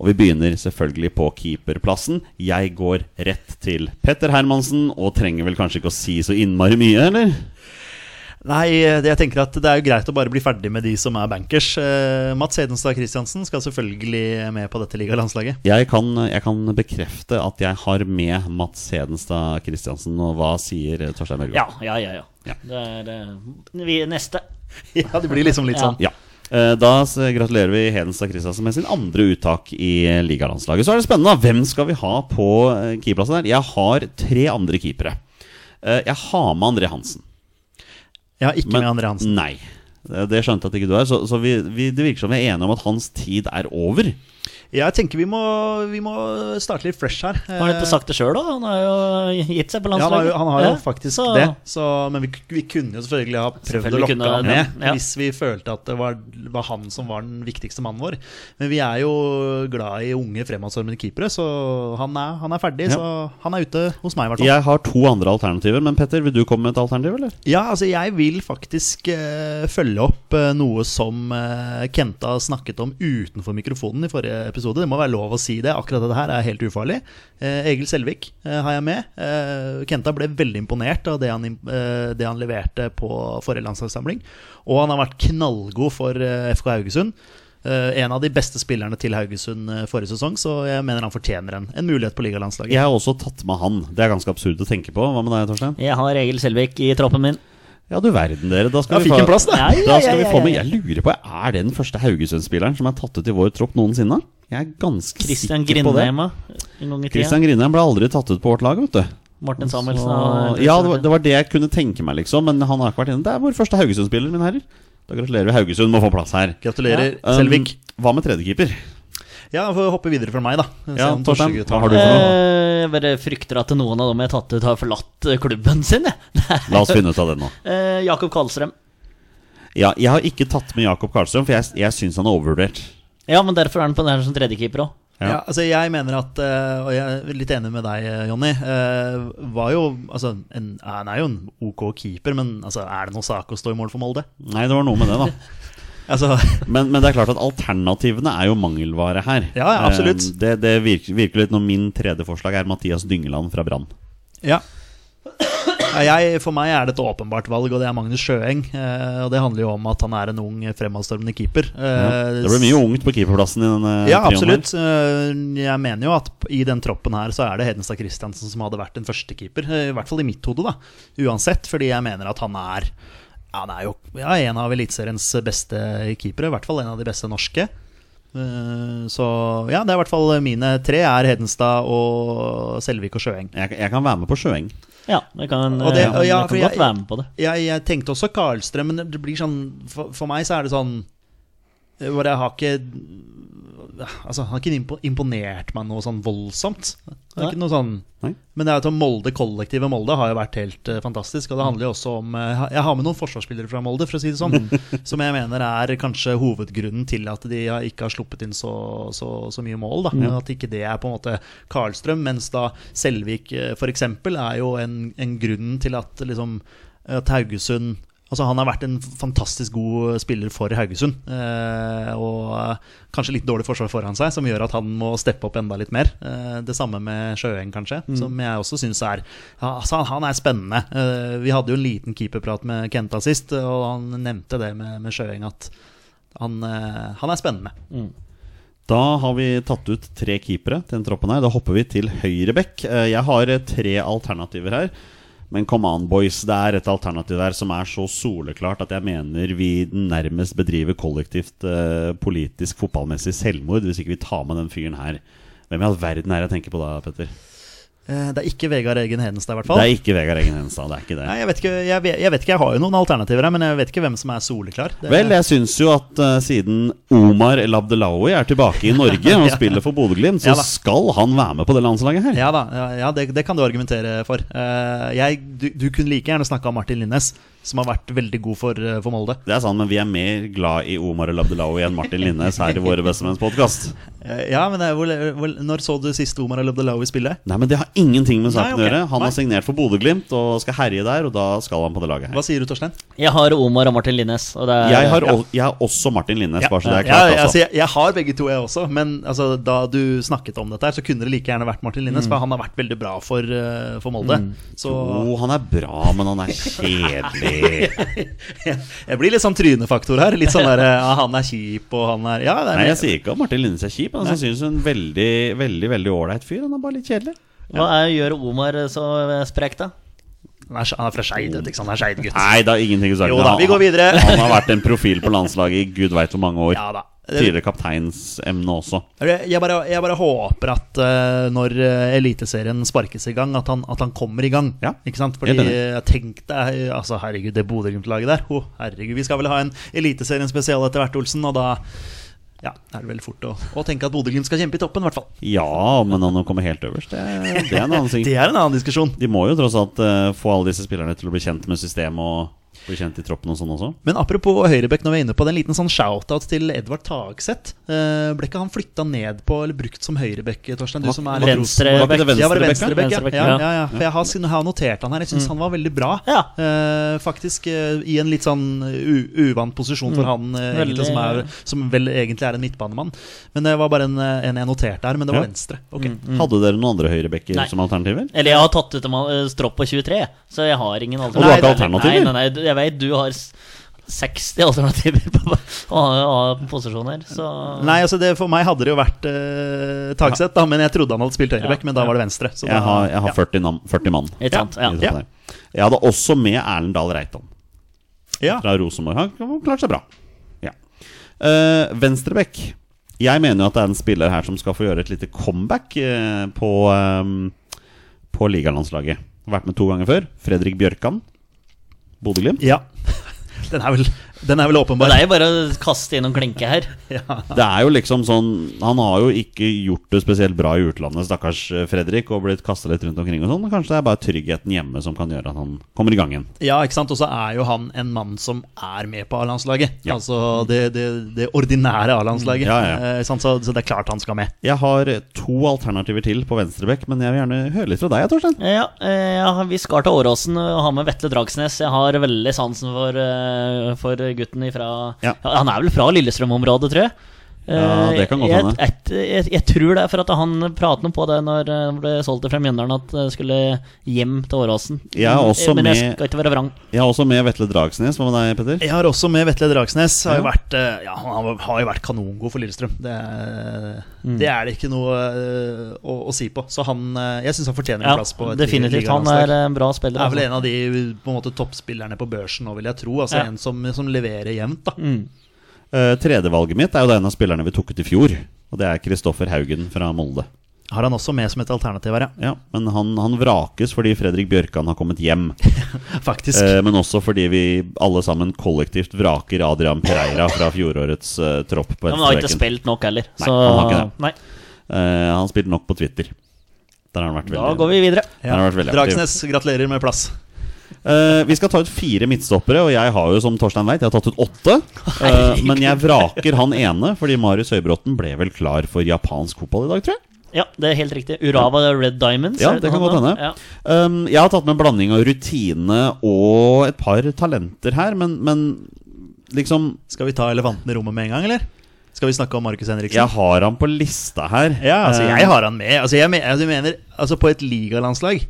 Speaker 2: Og vi begynner selvfølgelig på keeperplassen. Jeg går rett til Petter Hermansen, og trenger vel kanskje ikke å si så innmari mye, eller?
Speaker 3: Nei, det, jeg tenker at det er jo greit å bare bli ferdig med de som er bankers. Eh, Mats Hedenstad Christiansen skal selvfølgelig med på dette ligalandslaget.
Speaker 2: Jeg kan, jeg kan bekrefte at jeg har med Mats Hedenstad Christiansen. Og hva sier Torstein Mørgaard?
Speaker 1: Ja, ja, ja. ja.
Speaker 2: Ja.
Speaker 1: Det er eh, vi, neste.
Speaker 3: [laughs] Ja, det blir liksom litt
Speaker 1: Ja.
Speaker 3: sånn.
Speaker 2: Ja. Eh, Da s- gratulerer vi Hedenstad Christiansen med sin andre uttak i ligalandslaget. Så er det spennende. da. Hvem skal vi ha på eh, keeperplassen der? Jeg har tre andre keepere. Eh, Jeg har med André Hansen.
Speaker 3: Ja, ikke
Speaker 2: men-
Speaker 3: med André Hansen.
Speaker 2: Nei. Eh, Det skjønte jeg at ikke du er. Så, så vi, vi, det virker som vi er enige om at hans tid er over.
Speaker 3: Jeg tenker vi må, vi må starte litt fresh her. Eh,
Speaker 1: Har han ikke sagt det sjøl, da? Han har jo gitt seg på
Speaker 3: Ja, han har
Speaker 1: landslaget.
Speaker 3: jo, han har jo
Speaker 1: Ja,
Speaker 3: faktisk
Speaker 1: så-
Speaker 3: det, så, men vi, vi kunne jo selvfølgelig ha prøvd å
Speaker 1: Selvfølgelig
Speaker 3: lokke
Speaker 1: kunne
Speaker 3: han
Speaker 1: det,
Speaker 3: med
Speaker 1: ja.
Speaker 3: hvis vi følte at det var, var han som var den viktigste mannen vår. Men vi er jo glad i unge fremadstormende keepere, så han er, han er ferdig.
Speaker 2: Ja.
Speaker 3: Så han er ute hos meg, i hvert fall.
Speaker 2: Jeg har to andre alternativer, men Petter, vil du komme med et alternativ, eller?
Speaker 3: Ja, altså jeg vil faktisk eh, følge opp eh, noe som eh, Kenta snakket om utenfor mikrofonen i forrige episode. Det må være lov å si det. Akkurat det her er helt ufarlig. Eh, Egil Selvik eh, har jeg med. Eh, Kenta ble veldig imponert av det han, im- eh, det han leverte på forrige landslagssamling. Og han har vært knallgod for eh, FK Haugesund. Eh, en av de beste spillerne til Haugesund eh, forrige sesong, så jeg mener han fortjener en, en mulighet på ligalandslaget.
Speaker 2: Jeg har også tatt med han. Det er ganske absurd å tenke på. Hva med deg, Torstein?
Speaker 1: Jeg har Egil Selvik i troppen min.
Speaker 2: Ja, du verden, dere. Da skal
Speaker 3: Ja,
Speaker 2: vi
Speaker 3: fikk
Speaker 2: få-
Speaker 3: en plass, da.
Speaker 1: Ja, ja,
Speaker 2: Da skal
Speaker 1: ja,
Speaker 2: vi
Speaker 1: ja,
Speaker 2: få med
Speaker 1: ja.
Speaker 2: Jeg lurer på, er det den første Haugesund-spilleren som er tatt ut i vår tropp noensinne? Jeg er ganske
Speaker 1: Christian
Speaker 2: sikker på det.
Speaker 1: Grindheima en gang i tida.
Speaker 2: Christian Grindheim ble aldri tatt ut på vårt lag, vet du.
Speaker 1: Martin Samuelsen.
Speaker 2: Så,
Speaker 1: har-
Speaker 2: ja, det var, det var det jeg kunne tenke meg, liksom. Men han har ikke vært inne. Det er vår første Haugesund-spiller, mine herrer. Da gratulerer vi Haugesund med å få plass her.
Speaker 3: Gratulerer,
Speaker 2: Um,
Speaker 3: Selvik.
Speaker 2: hva med tredjekeeper?
Speaker 3: Ja, får hoppe videre fra meg, da. Se
Speaker 2: Ja,
Speaker 3: om
Speaker 2: Torstein,
Speaker 3: Torsjegud
Speaker 2: hva
Speaker 3: tar
Speaker 2: har du
Speaker 3: den.
Speaker 2: for noe?
Speaker 1: Eh, Jeg bare frykter at noen av dem jeg har tatt ut, har forlatt eh, klubben sin. jeg. Det
Speaker 2: La oss finne ut av det nå.
Speaker 1: er, eh, Jakob Karlstrøm.
Speaker 2: Ja, jeg har ikke tatt med Jakob Karlstrøm, for jeg, jeg syns han er overvurdert.
Speaker 1: Ja, men derfor er han på den her som tredjekeeper òg.
Speaker 2: Ja.
Speaker 3: Ja. altså jeg mener at eh, Og jeg er litt enig med deg, eh, Jonny. eh, Var jo Altså, en, han er jo en OK keeper, men altså, er det noe sak å stå i mål for Molde?
Speaker 2: Nei, det var noe med det, da.
Speaker 3: Altså, [laughs]
Speaker 2: Men, men det er klart at alternativene er jo mangelvare her.
Speaker 3: Ja, ja, absolutt.
Speaker 2: Eh, Det, det virker, virker litt når min tredje forslag er Mathias Dyngeland fra Brann.
Speaker 3: ja. Ja, Jeg, for meg er det et åpenbart valg, og det er Magnus Sjøeng. eh, Og det handler jo om at han er en ung, fremadstormende keeper.
Speaker 2: Ja.
Speaker 3: Eh,
Speaker 2: Det ble mye ungt på keeperplassen i denne
Speaker 3: Ja,
Speaker 2: trioen her.
Speaker 3: absolutt. Eh, Jeg mener jo at i den troppen her så er det Hedenstad Christiansen som hadde vært en førstekeeper. eh, I hvert fall i mitt hode, da. Uansett, fordi jeg mener at han er ja, Han er jo ja, en av eliteseriens beste keepere. I hvert fall en av de beste norske. Eh, Så ja, det er i hvert fall mine tre. er Hedenstad og Selvik og Sjøeng.
Speaker 2: Jeg, jeg kan være med på Sjøeng.
Speaker 1: Ja, det kan,
Speaker 3: Og det-
Speaker 1: eh,
Speaker 3: og ja,
Speaker 1: jeg
Speaker 3: for
Speaker 1: kan
Speaker 3: jeg-
Speaker 1: godt være med på det.
Speaker 3: Jeg, jeg tenkte også Karlstrøm, men det blir sånn For, for meg så er det sånn eh, hvor jeg har ikke Altså, han har ikke impo- imponert meg noe sånn voldsomt. Det er ikke noe sånn
Speaker 2: Nei.
Speaker 3: Men det er at Molde, kollektivet Molde har jo vært helt eh, fantastisk. Og det handler jo også om eh, Jeg har med noen forsvarsspillere fra Molde, for å si det sånn. som jeg mener er kanskje hovedgrunnen til at de har- ikke har sluppet inn så, så, så mye mål. Da. At ikke det er på en måte Karlstrøm. Mens da Selvik f.eks. er jo en, en grunn til at liksom at Haugesund Altså Han har vært en fantastisk god spiller for Haugesund. Eh, og eh, kanskje litt dårlig forsvar foran seg, som gjør at han må steppe opp enda litt mer. Eh, det samme med Sjøeng, kanskje, som jeg også syns er ja, altså, Han er spennende. Eh, vi hadde jo en liten keeperprat med Kenta sist, og han nevnte det med, med Sjøeng, at han, eh, han er spennende.
Speaker 2: Da har vi tatt ut tre keepere til den troppen her. Da hopper vi til høyre bekk. Eh, Jeg har eh, tre alternativer her. Men come on, boys. Det er et alternativ der som er så soleklart at jeg mener vi nærmest bedriver kollektivt eh, politisk fotballmessig selvmord hvis ikke vi tar med den fyren her. Hvem i all verden er det jeg tenker på da, Petter?
Speaker 3: Eh, det er ikke Vegard Egen Hedenstad, i hvert
Speaker 2: Det
Speaker 3: fall.
Speaker 2: er ikke Vegard Eggen Henstad. Det er ikke det.
Speaker 3: Nei, jeg, vet ikke, jeg, vet, jeg vet ikke, jeg har jo noen alternativer her, men jeg vet ikke hvem som er soleklar. Det,
Speaker 2: Vel, jeg syns jo at eh, siden Omar El Abdelawi er tilbake i Norge
Speaker 3: [laughs]
Speaker 2: og spiller for Bodø-Glimt, så
Speaker 3: Ja da.
Speaker 2: skal han være med på det landslaget her.
Speaker 3: Ja da, ja, ja det, det kan du argumentere for. Eh, jeg, du, du kunne like gjerne snakka om Martin Linnes, som har vært veldig god for, eh, for Molde.
Speaker 2: Det er sant, men vi er mer glad i Omar El Abdelawi enn Martin Linnes her i Våre bestemenns podkast.
Speaker 3: Eh, ja, men eh, hvor, hvor, Når så du sist Omar Al-Abdelawi spille?
Speaker 2: Nei, men det har ingenting med saken
Speaker 3: Nei, ok.
Speaker 2: å gjøre. Han
Speaker 3: Nei.
Speaker 2: har signert for Bodø-Glimt og skal herje der, og da skal han på det laget her.
Speaker 3: Hva sier du, Torstein?
Speaker 1: Jeg har Omar og Martin Linnes. Og det er,
Speaker 2: Jeg har, al- jeg har også Martin Linnes, bare så det er
Speaker 3: Ja,
Speaker 2: klart,
Speaker 3: ja, altså,
Speaker 2: altså.
Speaker 3: jeg, jeg har begge to, jeg også. Men altså, da du snakket om dette, her så kunne det like gjerne vært Martin
Speaker 2: Mm.
Speaker 3: Linnes. For han har vært veldig bra for, eh, for Molde. Så [laughs]
Speaker 2: Jo, han er bra, men han er [laughs] kjedelig.
Speaker 3: jeg blir litt sånn trynefaktor her. Litt sånn der eh, ah, Han er kjip, og han er Ja, det er
Speaker 2: Nei, jeg sier ikke at Martin Linnes er kjip. men Han synes hun er en veldig, veldig veldig ålreit fyr. Han er bare litt kjedelig.
Speaker 1: Hva er, gjør Omar så eh, sprek, da?
Speaker 3: han er, han er fra Skeid, vet du, ikke sant. Han er Skeid-gutt.
Speaker 2: Nei, det har ingenting å si.
Speaker 3: Jo da, vi går videre.
Speaker 2: Han, han har vært en profil på landslaget i gud veit hvor mange år.
Speaker 3: Ja da.
Speaker 2: Tidligere kapteinsemne også.
Speaker 3: Jeg jeg bare, jeg bare håper at eh, når eh, Eliteserien sparkes i gang, at han, at han kommer i gang.
Speaker 2: Ja,
Speaker 3: Ikke sant? Fordi
Speaker 2: helt enig.
Speaker 3: jeg tenkte eh, altså, Herregud, det Bodø-Glimt-laget der. Å, herregud, Vi skal vel ha en Eliteserien spesial etter hvert, Olsen. Og da Ja, da er det veldig fort å, å tenke at Bodø-Glimt skal kjempe i toppen, i hvert fall.
Speaker 1: Mm.
Speaker 2: Ja, men han å komme helt øverst, det, det er en annen ting.
Speaker 3: [laughs] Det er en annen diskusjon.
Speaker 2: De må jo tross alt eh, få alle disse spillerne til å bli kjent med systemet og bli kjent i troppen og sånn også.
Speaker 3: Men apropos Høyrebekk, når vi er inne på det, en liten sånn shout-out til Edvard Tagseth. Eh, ble ikke han flytta ned på, eller brukt som høyrebekk, Torstein? Du som er litt
Speaker 1: Venstre-
Speaker 3: Rosenborg-
Speaker 2: Var ikke det
Speaker 3: Ja, var det
Speaker 2: venstrebekk,
Speaker 3: venstrebekk,
Speaker 1: Venstrebekk,
Speaker 3: ja. ja,
Speaker 1: ja. Mm.
Speaker 3: ja, ja. For jeg har, syn- har notert han her. Jeg syns han var veldig bra.
Speaker 1: Ja.
Speaker 3: Eh, faktisk eh, i en litt sånn u uvant posisjon
Speaker 2: Mm.
Speaker 3: for han, eh,
Speaker 1: Veldig-
Speaker 3: egentlig, som, er, som vel egentlig er en midtbanemann. Men det var bare en, eh, en jeg noterte her, men det var
Speaker 2: Ja. Mm.
Speaker 3: venstre. Ok.
Speaker 2: Hadde dere noen andre høyrebekker
Speaker 1: Nei.
Speaker 2: som alternativer?
Speaker 1: Eller jeg har tatt ut en eh, stropp på 23, så jeg har ingen
Speaker 2: du har ikke alternativer?
Speaker 1: Nei, nei, nei, jeg vet du har s- 60 alternativer på, på, [laughs] på posisjoner, så
Speaker 3: Nei, altså det, For meg hadde det jo vært uh, Tagseth, da, men jeg trodde han hadde spilt høyrebekk.
Speaker 1: Ja.
Speaker 3: Men da var det venstre. Så da,
Speaker 2: Jeg har, jeg har 40, nam, 40 mann.
Speaker 1: Ikke sant? Ja.
Speaker 2: Ikke sant der. Jeg hadde også med Erlend Dahl Reitan
Speaker 3: ja.
Speaker 2: fra Rosenborg. Han klarte seg bra. Ja. Eh, Venstrebekk. Jeg mener jo at det er en spiller her som skal få gjøre et lite comeback eh, på, eh, på ligalandslaget. Vært med to ganger før. Fredrik Bjørkan. Bodø-Glimt.
Speaker 3: Ja. [laughs] Den er vel, den er vel åpenbar.
Speaker 1: Men det er jo bare å kaste inn noen klinker her.
Speaker 2: Det er jo liksom sånn Han har jo ikke gjort det spesielt bra i utlandet, stakkars eh, Fredrik, og blitt kasta litt rundt omkring og sånn. Kanskje det er bare tryggheten hjemme som kan gjøre at han kommer i gang igjen.
Speaker 3: Ja, ikke sant? Og så er jo han en mann som er med på A-landslaget.
Speaker 2: Ja. Mm.
Speaker 3: Altså det, det, det ordinære A-landslaget.
Speaker 2: Ja, ja.
Speaker 3: Eh, sant? så, så det er klart han skal med.
Speaker 2: Jeg har to alternativer til på venstrebekk, men jeg vil gjerne høre litt fra deg, Torstein.
Speaker 1: Ja, eh, jeg har- vi skal til Åråsen og har med Vetle Dragsnes. Jeg har veldig sansen for, eh, for gutten ifra
Speaker 2: Ja.
Speaker 1: ja, Han er vel fra Lillestrøm-området, tror jeg. Eh,
Speaker 2: Ja, det kan godt
Speaker 1: jeg,
Speaker 2: hende.
Speaker 1: et- jeg, jeg tror det, for at han pratet noe på det når eh, han ble solgt til Mjøndalen, at det skulle hjem til Åråsen.
Speaker 2: Jeg er også
Speaker 1: Men jeg
Speaker 2: med-
Speaker 1: skal ikke være vrang.
Speaker 2: Jeg har også med Vetle Dragsnes. Hva med deg, Petter?
Speaker 3: Jeg har også med Vetle Dragsnes. Har jo
Speaker 2: Ja.
Speaker 3: vært, eh, ja, han har- har jo vært kanongod for Lillestrøm. Det, er-
Speaker 1: Mm.
Speaker 3: det er det ikke noe eh, å, å si på. Så han, eh, jeg syns han fortjener en
Speaker 1: Ja,
Speaker 3: plass på et
Speaker 1: definitivt. Han
Speaker 3: ligalandslag.
Speaker 1: er en bra spiller.
Speaker 3: Det er vel
Speaker 1: altså.
Speaker 3: en av de på en måte, toppspillerne på børsen nå, vil jeg tro. Altså
Speaker 1: Ja. Mm.
Speaker 3: En som, som leverer jevnt. da
Speaker 2: Eh, Tredjevalget mitt er jo da en av spillerne vi tok ut i fjor. Og det er Kristoffer Haugen fra Molde.
Speaker 3: Har han også med som et alternativ her,
Speaker 2: Ja, Men han, han vrakes fordi Fredrik Bjørkan har kommet hjem.
Speaker 3: ja. Faktisk.
Speaker 2: Eh, men også fordi vi alle sammen kollektivt vraker Adrian Pereira fra fjorårets eh, tropp på
Speaker 1: ja, men han har ikke
Speaker 2: venstrebekken.
Speaker 1: spilt nok heller.
Speaker 2: Nei,
Speaker 1: så
Speaker 2: han har ikke det.
Speaker 1: Nei,
Speaker 2: Eh, han spilte nok på Twitter. Der har han vært veldig
Speaker 1: da går vi videre.
Speaker 2: der har han vært veldig aktiv.
Speaker 3: Dragsnes, gratulerer med plass.
Speaker 2: Eh, vi skal ta ut fire midtstoppere, og jeg har jo, som Torstein veit, jeg har tatt ut åtte. Eh, men jeg vraker han ene, fordi Marius Høybråten ble vel klar for japansk fotball i dag, tror jeg.
Speaker 1: Ja, det er helt riktig. Urava Red Diamonds.
Speaker 2: Ja,
Speaker 1: er
Speaker 2: det kan
Speaker 1: han
Speaker 2: godt
Speaker 1: da?
Speaker 2: hende.
Speaker 1: Ja.
Speaker 2: Um, jeg har tatt med en blanding av rutine og et par talenter her, men, men liksom
Speaker 3: Skal vi ta elefanten i rommet med en gang, eller? Skal vi snakke om Markus Henriksen?
Speaker 2: Jeg har han på lista her.
Speaker 3: Ja, altså
Speaker 2: Eh,
Speaker 3: jeg har han med. Altså jeg, men- jeg mener, altså på et ligalandslag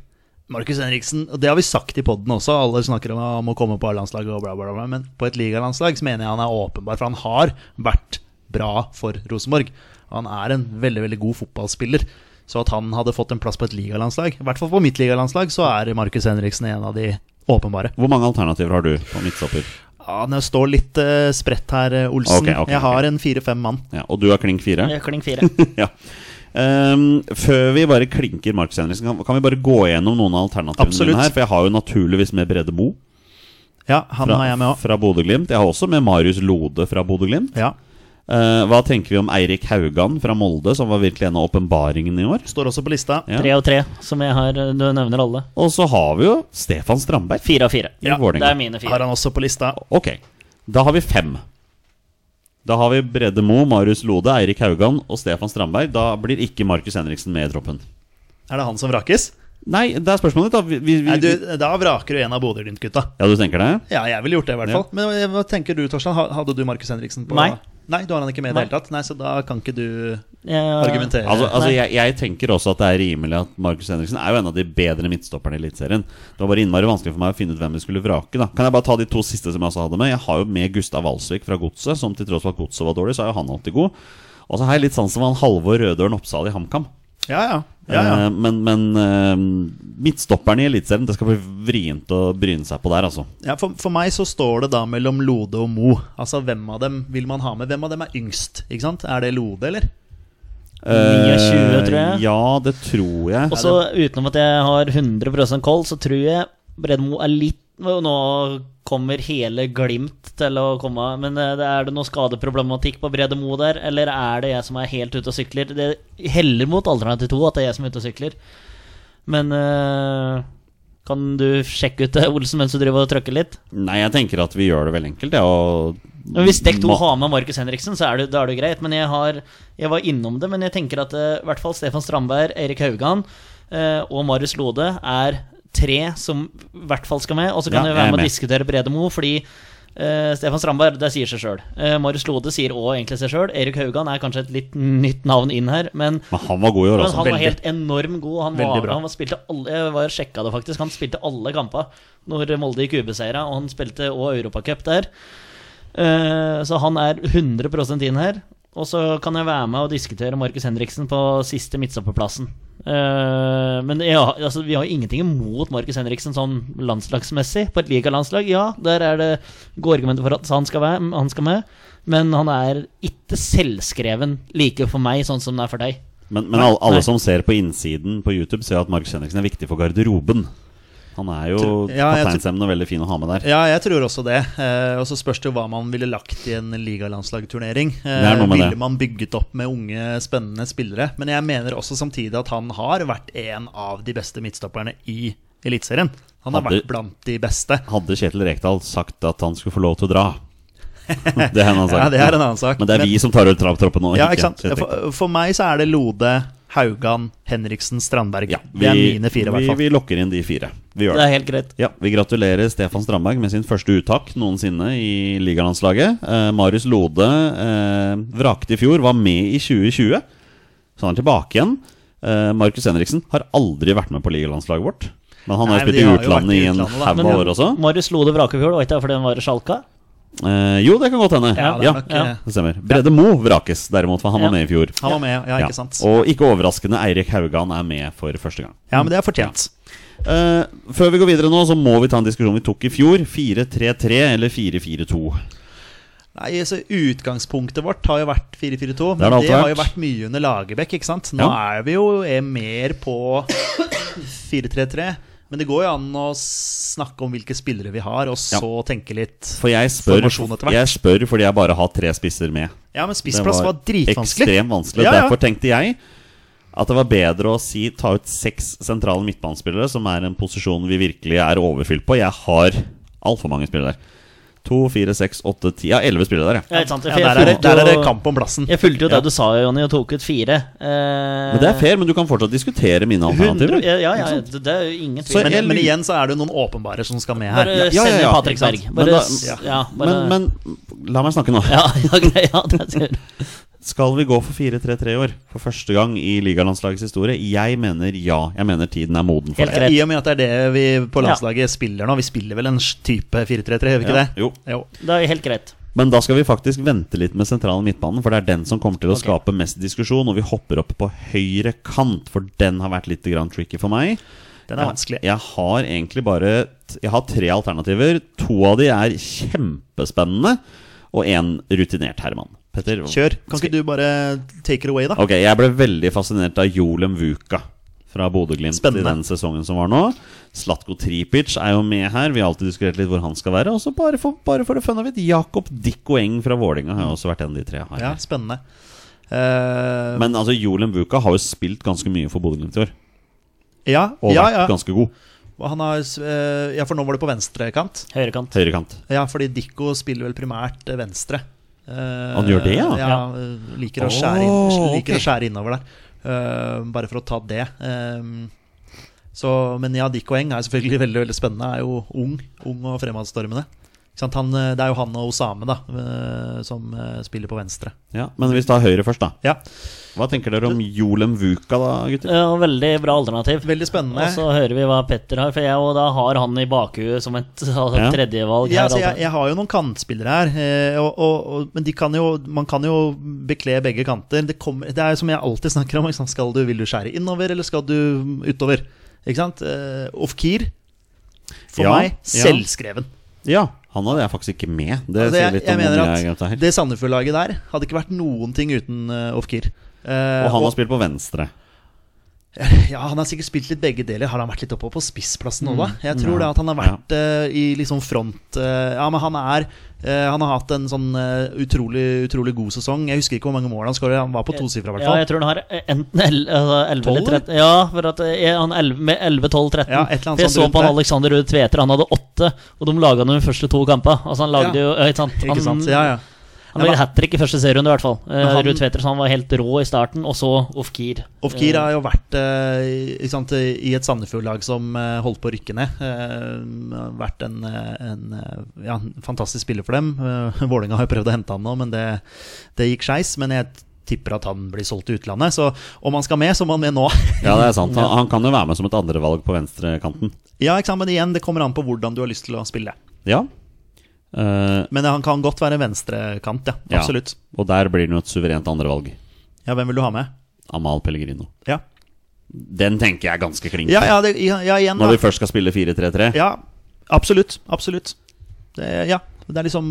Speaker 3: Markus Henriksen, og det har vi sagt i poden også, alle snakker om, om å komme på A-landslaget og bla, bla, bla, men på et ligalandslag så mener jeg han er åpenbar, for han har vært bra for Rosenborg. Han er en veldig, veldig god fotballspiller. Så at han hadde fått en plass på et ligalandslag, i hvert fall på mitt ligalandslag, så er Markus Henriksen en av de åpenbare.
Speaker 2: Eh, Hvor mange alternativer har du på midtstopper?
Speaker 3: Ja, det står litt eh, spredt her, eh, Olsen.
Speaker 2: Ok, ok,
Speaker 3: jeg
Speaker 2: ok.
Speaker 3: har en fire-fem mann.
Speaker 2: Ja, og du har klink fire?
Speaker 1: Det er eh, Kling fire.
Speaker 2: [laughs] ja. Ehm, før vi bare klinker Markus Henriksen, kan, kan vi bare gå gjennom noen av alternativene
Speaker 3: Absolutt.
Speaker 2: dine her? For jeg har jo naturligvis med Brede Mo
Speaker 3: Ja, han
Speaker 2: fra,
Speaker 3: har jeg med òg.
Speaker 2: fra Bodø-Glimt. Jeg har også med Marius Lode fra Bodø-Glimt.
Speaker 3: Ja.
Speaker 2: Eh, hva tenker vi om Eirik Haugan fra Molde, som var virkelig en av åpenbaringene i år?
Speaker 3: Står også på lista.
Speaker 2: Ja.
Speaker 1: Tre av tre, som jeg har Du nevner alle.
Speaker 2: Og så har vi jo Stefan Strandberg.
Speaker 1: Fire av fire.
Speaker 2: Ja,
Speaker 1: det er mine
Speaker 3: Har
Speaker 1: fire.
Speaker 3: han også på lista.
Speaker 2: Ok, da har vi fem. Da har vi Brede Mo, Marius Lode, Eirik Haugan og Stefan Strandberg. Da blir ikke Markus Henriksen med i troppen.
Speaker 3: Er det han som vrakes?
Speaker 2: Nei, det er spørsmålet ditt, da. Vi, vi, vi,
Speaker 3: Nei, du, da vraker du en av Bodø-Glimt-gutta.
Speaker 2: Ja, du tenker det?
Speaker 3: Ja, jeg ville gjort det, i hvert
Speaker 2: Ja.
Speaker 3: fall. Men eh, hva tenker du, Torstein? Ha- Hadde du Markus Henriksen på
Speaker 1: Nei.
Speaker 3: Nei, du har han ikke med i
Speaker 1: Nei.
Speaker 3: det hele tatt? Nei, så da kan ikke du
Speaker 1: Jeg-
Speaker 3: argumentere.
Speaker 2: Altså, altså
Speaker 1: Nei.
Speaker 2: jeg, jeg tenker også at det er rimelig at Markus Henriksen er jo en av de bedre midtstopperne i Eliteserien. Det var bare innmari vanskelig for meg å finne ut hvem vi skulle vrake. da Kan jeg bare ta de to siste som jeg også hadde med? Jeg har jo med Gustav Walsvik fra Godset, som til tross for at Godset var dårlig, så er jo han alltid god. Og så har jeg litt sansen for han Halvor Rødøren Oppsal i HamKam.
Speaker 3: ja, ja. ja, ja.
Speaker 2: Eh, Men, men eh, midtstopperne i Eliteserien, det skal bli vrient å bryne seg på der, altså.
Speaker 3: ja for, for meg så står det da mellom Lode og Mo. Altså, hvem av dem vil man ha med? Hvem av dem er yngst? Ikke sant? Er det Lode, eller?
Speaker 1: 29, tror jeg.
Speaker 2: Eh, Ja, det tror jeg.
Speaker 1: Og så utenom at jeg har 100 koll, så tror jeg Bredmo er litt Nå nå kommer hele Glimt til å komme, men eh, det- er det noe skadeproblematikk på Brede Mo der, eller er det jeg som er helt ute og sykler? Det heller mot alternativ to at det er jeg som er ute og sykler. Men eh, kan du sjekke ut det, Olsen, mens du driver og trykker litt?
Speaker 2: Nei, jeg tenker at vi gjør det veldig enkelt, ja, og
Speaker 1: Men Hvis dekk to
Speaker 2: Ma-
Speaker 1: har med Markus Henriksen, så er det, da er det greit. Men jeg, har, jeg var innom det, men jeg tenker at eh, i hvert fall Stefan Strandberg, Erik Haugan eh, og Marius Lode er tre som i hvert fall skal med. Og så kan
Speaker 2: Ja,
Speaker 1: jeg
Speaker 2: jeg er
Speaker 1: være med å
Speaker 2: med.
Speaker 1: diskutere Bredemo, fordi eh, Stefan Strandberg, det sier seg sjøl. Marius Lode sier òg egentlig seg sjøl. Erik Haugan er kanskje et litt nytt navn inn her, men
Speaker 2: Men han var god i år altså.
Speaker 1: men
Speaker 2: også.
Speaker 1: han var
Speaker 3: Veldig.
Speaker 1: helt enorm god. Han,
Speaker 3: Veldig
Speaker 1: var,
Speaker 3: bra.
Speaker 1: han var spilte alle Jeg var og sjekka det, faktisk. Han spilte alle kamper når Molde gikk ubeseira, og han spilte òg Europacup der. Eh, så han er 100 inn her. Og så kan jeg være med og diskutere Markus Henriksen på siste midtstopperplassen. Eh, men jeg, har- altså, vi har jo ingenting imot Markus Henriksen sånn landslagsmessig. På et ligalandslag, ja, der er det gode argumenter for at han skal, være, han skal med. Men han er ikke selvskreven like for meg sånn som han er for deg.
Speaker 2: Men, men alle, alle
Speaker 1: Nei.
Speaker 2: som ser på innsiden på YouTube, ser at Markus Henriksen er viktig for garderoben. Han er jo
Speaker 3: Ja, jeg tror-
Speaker 2: kapteinsemne og veldig fin å ha med der.
Speaker 3: Ja, jeg tror også det. Eh, og så spørs det jo hva man ville lagt i en ligalandslagturnering. Eh,
Speaker 2: Det er noe med
Speaker 3: ville
Speaker 2: det.
Speaker 3: man bygget opp med unge, spennende spillere? Men jeg mener også samtidig at han har vært en av de beste midtstopperne i Eliteserien. Han har
Speaker 2: Hadde-
Speaker 3: vært blant de beste.
Speaker 2: Hadde Kjetil Rekdal sagt at han skulle få lov til å dra
Speaker 3: [laughs]
Speaker 2: Det er en annen sak.
Speaker 3: Ja, det er en annen sak.
Speaker 2: Men det er vi som tar ut tra- troppen nå.
Speaker 3: Ja, ikke sant?
Speaker 2: Kjetil Rekdal.
Speaker 3: For, for meg så er det Lode, Haugan, Henriksen, Strandberg.
Speaker 2: Ja,
Speaker 3: det er mine fire, i hvert
Speaker 2: vi,
Speaker 3: fall.
Speaker 2: vi lokker inn de fire. Vi gjør
Speaker 1: Det
Speaker 2: det.
Speaker 1: er helt greit.
Speaker 2: Ja, Vi gratulerer Stefan Strandberg med sin første uttak noensinne i ligalandslaget. Eh, Marius Lode eh, vrakte i fjor, var med i 2020, så han er tilbake igjen. Eh, Markus Henriksen har aldri vært med på ligalandslaget vårt. Men han har jo
Speaker 3: Nei, men
Speaker 2: spilt i
Speaker 3: de har jo vært
Speaker 2: utlandet
Speaker 3: i
Speaker 2: i en
Speaker 3: utlandet, da.
Speaker 2: haug
Speaker 1: Men
Speaker 2: av år også.
Speaker 1: Marius Lode Vrakefjord, var ikke det fordi han var i Sjalka?
Speaker 2: Eh, jo, det kan godt hende.
Speaker 3: Ja, det er
Speaker 2: Ja,
Speaker 3: nok,
Speaker 2: ja,
Speaker 3: eh,
Speaker 2: det stemmer. Brede Mo vrakes derimot, for han
Speaker 1: Ja.
Speaker 2: var med i fjor.
Speaker 3: Han var med, ja,
Speaker 2: Ja.
Speaker 3: ikke sant?
Speaker 2: Og ikke overraskende, Eirik Haugan er med for første gang.
Speaker 3: Ja, men det er fortjent.
Speaker 2: Eh, før vi går videre nå, så må vi ta en diskusjon vi tok i fjor. 4-3-3 eller 4-4-2?
Speaker 3: Nei, så Utgangspunktet vårt har jo vært 4-4-2,
Speaker 2: Det har det
Speaker 3: men det,
Speaker 2: alltid
Speaker 3: har jo
Speaker 2: vært.
Speaker 3: vært mye under Lagerbäck. ikke sant? Nå
Speaker 2: Ja.
Speaker 3: er vi jo er mer på 4-3-3. Men det går jo an å snakke om hvilke spillere vi har, og så tenke litt.
Speaker 2: For jeg spør,
Speaker 3: Formasjon etter hvert.
Speaker 2: jeg spør fordi jeg bare har tre spisser med.
Speaker 3: Ja, men spissplass var, dritvanskelig.
Speaker 2: ekstremt vanskelig.
Speaker 3: Ja, ja.
Speaker 2: Derfor tenkte jeg at det var bedre å si ta ut seks sentrale midtbanespillere, som er en posisjon vi virkelig er overfylt på. Jeg har altfor mange spillere der. To, fire, seks, åtte, ti Ja, elleve spillere der, ja.
Speaker 1: Ja, ikke sant?
Speaker 3: Ja,
Speaker 1: For jeg
Speaker 3: der, er det,
Speaker 1: fulgte
Speaker 3: der er det
Speaker 1: jo-
Speaker 3: kamp om plassen.
Speaker 1: Jeg fulgte jo det
Speaker 2: Ja.
Speaker 1: du sa, Jonny, og tok ut fire. Eh,
Speaker 2: Men det er fair, men du kan fortsatt diskutere mine
Speaker 1: 100,
Speaker 2: alternativer.
Speaker 1: ja, ja, ja, det det er jo ingen
Speaker 3: Så,
Speaker 1: tvil.
Speaker 3: men,
Speaker 2: jeg
Speaker 3: men
Speaker 2: lurer-
Speaker 3: igjen så er det jo noen åpenbare som skal med her.
Speaker 1: bare
Speaker 2: ja, ja,
Speaker 1: send
Speaker 2: ja,
Speaker 1: Patrick
Speaker 2: ikke
Speaker 1: Berg.
Speaker 2: sant?
Speaker 1: Bare,
Speaker 2: Men da-
Speaker 1: s-
Speaker 2: ja.
Speaker 1: ja,
Speaker 2: Men,
Speaker 1: bare,
Speaker 2: men la meg snakke nå.
Speaker 1: [laughs] ja, ja, grei, ja, det er sikkert.
Speaker 2: Skal vi gå for 4-3-3 i år? For første gang i ligalandslagets historie? Jeg mener ja. Jeg mener tiden er moden for
Speaker 1: Helt
Speaker 2: det.
Speaker 1: greit.
Speaker 3: I og med at det er det vi på landslaget spiller nå. Vi spiller vel en type 4-3-3, gjør vi ikke
Speaker 2: Ja,
Speaker 3: det?
Speaker 2: jo.
Speaker 3: jo.
Speaker 1: Det er helt greit.
Speaker 2: Men da skal vi faktisk vente litt med sentralen midtbanen, for det er den som kommer til å skape mest diskusjon. Og vi hopper opp på høyre kant, for den har vært litt grann tricky for meg.
Speaker 3: Den er vanskelig.
Speaker 2: Jeg har egentlig bare t- Jeg har tre alternativer. To av de er kjempespennende, og én rutinert herremann. Petter?
Speaker 3: Kjør. Kan ikke du bare take it away, da?
Speaker 2: Ok, jeg ble veldig fascinert av Jolem Vuka fra Bodø-Glimt i
Speaker 3: Spennende.
Speaker 2: den sesongen som var nå. Slatko Tripic er jo med her. Vi har alltid diskutert litt hvor han skal være. Og så bare for, bare for det fun of it, Jakob Dikkoeng fra Vålinga har jo også vært en av de tre jeg har.
Speaker 3: Ja, spennende. Eh,
Speaker 2: Men altså, Jolem Vuka har jo spilt ganske mye for Bodø-Glimt i år.
Speaker 3: ja,
Speaker 2: Og
Speaker 3: ja,
Speaker 2: vært
Speaker 3: ja.
Speaker 2: ganske god.
Speaker 3: Han har, eh, ja, for nå var det på venstrekant.
Speaker 1: Høyrekant.
Speaker 2: Høyrekant.
Speaker 3: Ja, fordi Dikko spiller vel primært eh, venstre. Eh,
Speaker 2: Han gjør det, ja?
Speaker 3: ja eh, liker, å skjære, inn,
Speaker 2: Åh,
Speaker 3: liker
Speaker 2: ok.
Speaker 3: å skjære innover der. Eh, bare for å ta det. Eh, så, men ja, Dikko Eng er selvfølgelig [laughs] veldig veldig spennende. Er jo ung ung og fremadstormende. Ikke sant? Han, eh, det er jo han og Osame da, eh, som eh, spiller på venstre.
Speaker 2: Ja, men vi tar høyre først, da.
Speaker 3: Ja,
Speaker 2: Hva tenker dere om Jolem Vuka, da, gutter?
Speaker 1: Ja, veldig bra alternativ.
Speaker 3: Veldig spennende.
Speaker 1: Og så hører vi hva Petter har, for jeg og da har han i bakhuet som et
Speaker 2: Ja.
Speaker 1: tredjevalg.
Speaker 3: Ja,
Speaker 1: her,
Speaker 3: altså, jeg,
Speaker 1: altså.
Speaker 3: jeg har jo noen kantspillere her, eh, og, og, og, men de kan jo, man kan jo bekle begge kanter. Det, kommer, det er jo som jeg alltid snakker om. Ikke sant? Skal du, vil du skjære innover, eller skal du utover? Ikke sant? Eh, Ofkir, for
Speaker 2: Ja,
Speaker 3: meg,
Speaker 2: ja.
Speaker 3: selvskreven.
Speaker 2: Ja, han hadde jeg faktisk ikke med. Det
Speaker 3: Altså,
Speaker 2: sier
Speaker 3: jeg,
Speaker 2: litt
Speaker 3: jeg
Speaker 2: om hvor
Speaker 3: mener
Speaker 2: mye jeg
Speaker 3: at
Speaker 2: glemte her.
Speaker 3: det Sandefjord-laget der hadde ikke vært noen ting uten uh, Ofkir. Eh,
Speaker 2: Og han
Speaker 3: og-
Speaker 2: har spilt på venstre.
Speaker 3: Ja, Han har sikkert spilt litt begge deler. Har han vært litt oppe på spissplassen nå, da? Jeg tror det at han har vært eh, i liksom front eh, Ja, men han er eh, Han har hatt en sånn eh, utrolig, utrolig god sesong. Jeg husker ikke hvor mange mål han skåret. Han var på tosifra, i hvert
Speaker 1: Eh, Ja,
Speaker 3: fall.
Speaker 1: jeg tror han har eh, enten 11 altså 11
Speaker 3: 12,
Speaker 1: eller 13 Ja, for at eh, han 11, med 11, 12, 13
Speaker 3: Ja, et eller annet
Speaker 1: For Jeg
Speaker 3: sånt
Speaker 1: så
Speaker 3: rundt
Speaker 1: på han
Speaker 3: der.
Speaker 1: Alexander Ruud Tveter, han hadde 8 Og de laga han de første to kampene Altså han lagde
Speaker 3: Ja.
Speaker 1: jo, ja, ikke sant Han,
Speaker 3: Ikke sant? Ja, ja.
Speaker 1: han lagde hat trick i første serierunde i hvert fall Eh,
Speaker 3: han-
Speaker 1: Ruud Tveter, så han var helt rå i starten Og så Eh, off-gear
Speaker 3: Ofkir har jo vært eh, i- ikke sant, i et Sandefjord-lag som eh, holdt på å rykke ned. Eh, har vært en, eh, en, eh, ja, en fantastisk spiller for dem. Eh, Vålerenga har jo prøvd å hente han nå, men det, det gikk skeis. Men jeg tipper at han blir solgt til utlandet. Så om han skal med, så må han med nå.
Speaker 2: Ja, det er sant. Han, han kan jo være med som et andrevalg på venstrekanten.
Speaker 3: ja, ikke sant, men igjen, det kommer an på hvordan du har lyst til å spille.
Speaker 2: Ja. Eh,
Speaker 3: Men han kan godt være venstrekant, ja.
Speaker 2: Ja.
Speaker 3: Absolutt.
Speaker 2: og der blir det jo et suverent andrevalg.
Speaker 3: Ja, hvem vil du ha med?
Speaker 2: Amal Pellegrino.
Speaker 3: Ja,
Speaker 2: Den tenker jeg er ganske klink.
Speaker 3: ja, ja, det, ja, ja igjen, da.
Speaker 2: Når vi først skal spille 4-3-3.
Speaker 3: Ja, absolutt. Absolutt. Det, ja. Det er liksom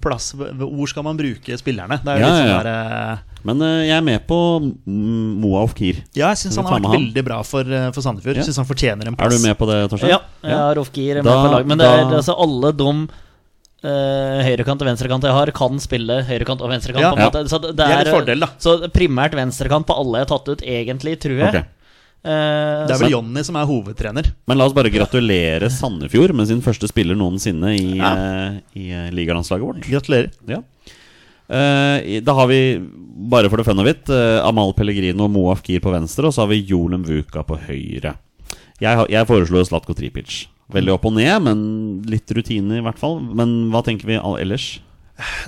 Speaker 3: plass Hvor skal man bruke spillerne? Det er jo
Speaker 2: Ja,
Speaker 3: litt
Speaker 2: ja,
Speaker 3: sånn
Speaker 2: ja.
Speaker 3: der eh,
Speaker 2: Men eh, jeg er med på mm, Moa Ofkir.
Speaker 3: Ja, jeg syns
Speaker 2: Skal vi ta
Speaker 3: han har vært
Speaker 2: med han?
Speaker 3: veldig bra for, eh, for Sandefjord.
Speaker 2: Ja.
Speaker 3: Synes Syns han fortjener en
Speaker 2: Er
Speaker 3: plass.
Speaker 2: du med på det, Torstein?
Speaker 1: Ja, jeg har off-gear med
Speaker 2: Da-
Speaker 1: på lag Men det er
Speaker 2: da-
Speaker 1: altså alle de eh, høyrekant og venstrekant jeg har, kan spille høyrekant og venstrekant.
Speaker 3: Ja.
Speaker 1: på en
Speaker 2: Ja.
Speaker 1: måte Så det,
Speaker 3: Det er litt fordel, da.
Speaker 1: Så primært venstrekant på alle jeg har tatt ut, egentlig, tror jeg.
Speaker 2: Ok.
Speaker 1: Eh,
Speaker 3: Det er
Speaker 1: så-
Speaker 3: vel Jonny som er hovedtrener.
Speaker 2: Men la oss bare gratulere Sandefjord med sin første spiller noensinne i,
Speaker 3: Ja.
Speaker 2: eh, i eh, ligalandslaget vårt.
Speaker 3: Gratulerer.
Speaker 2: Ja. Eh, i- da har vi, bare for det fun of it, eh, Amal Pellegrino og Moa Afkir på venstre, og så har vi Jolem Vuka på høyre. Jeg, har- jeg foreslo Slatko Tripic. Veldig opp og ned, men litt rutine i hvert fall. Men hva tenker vi all- ellers?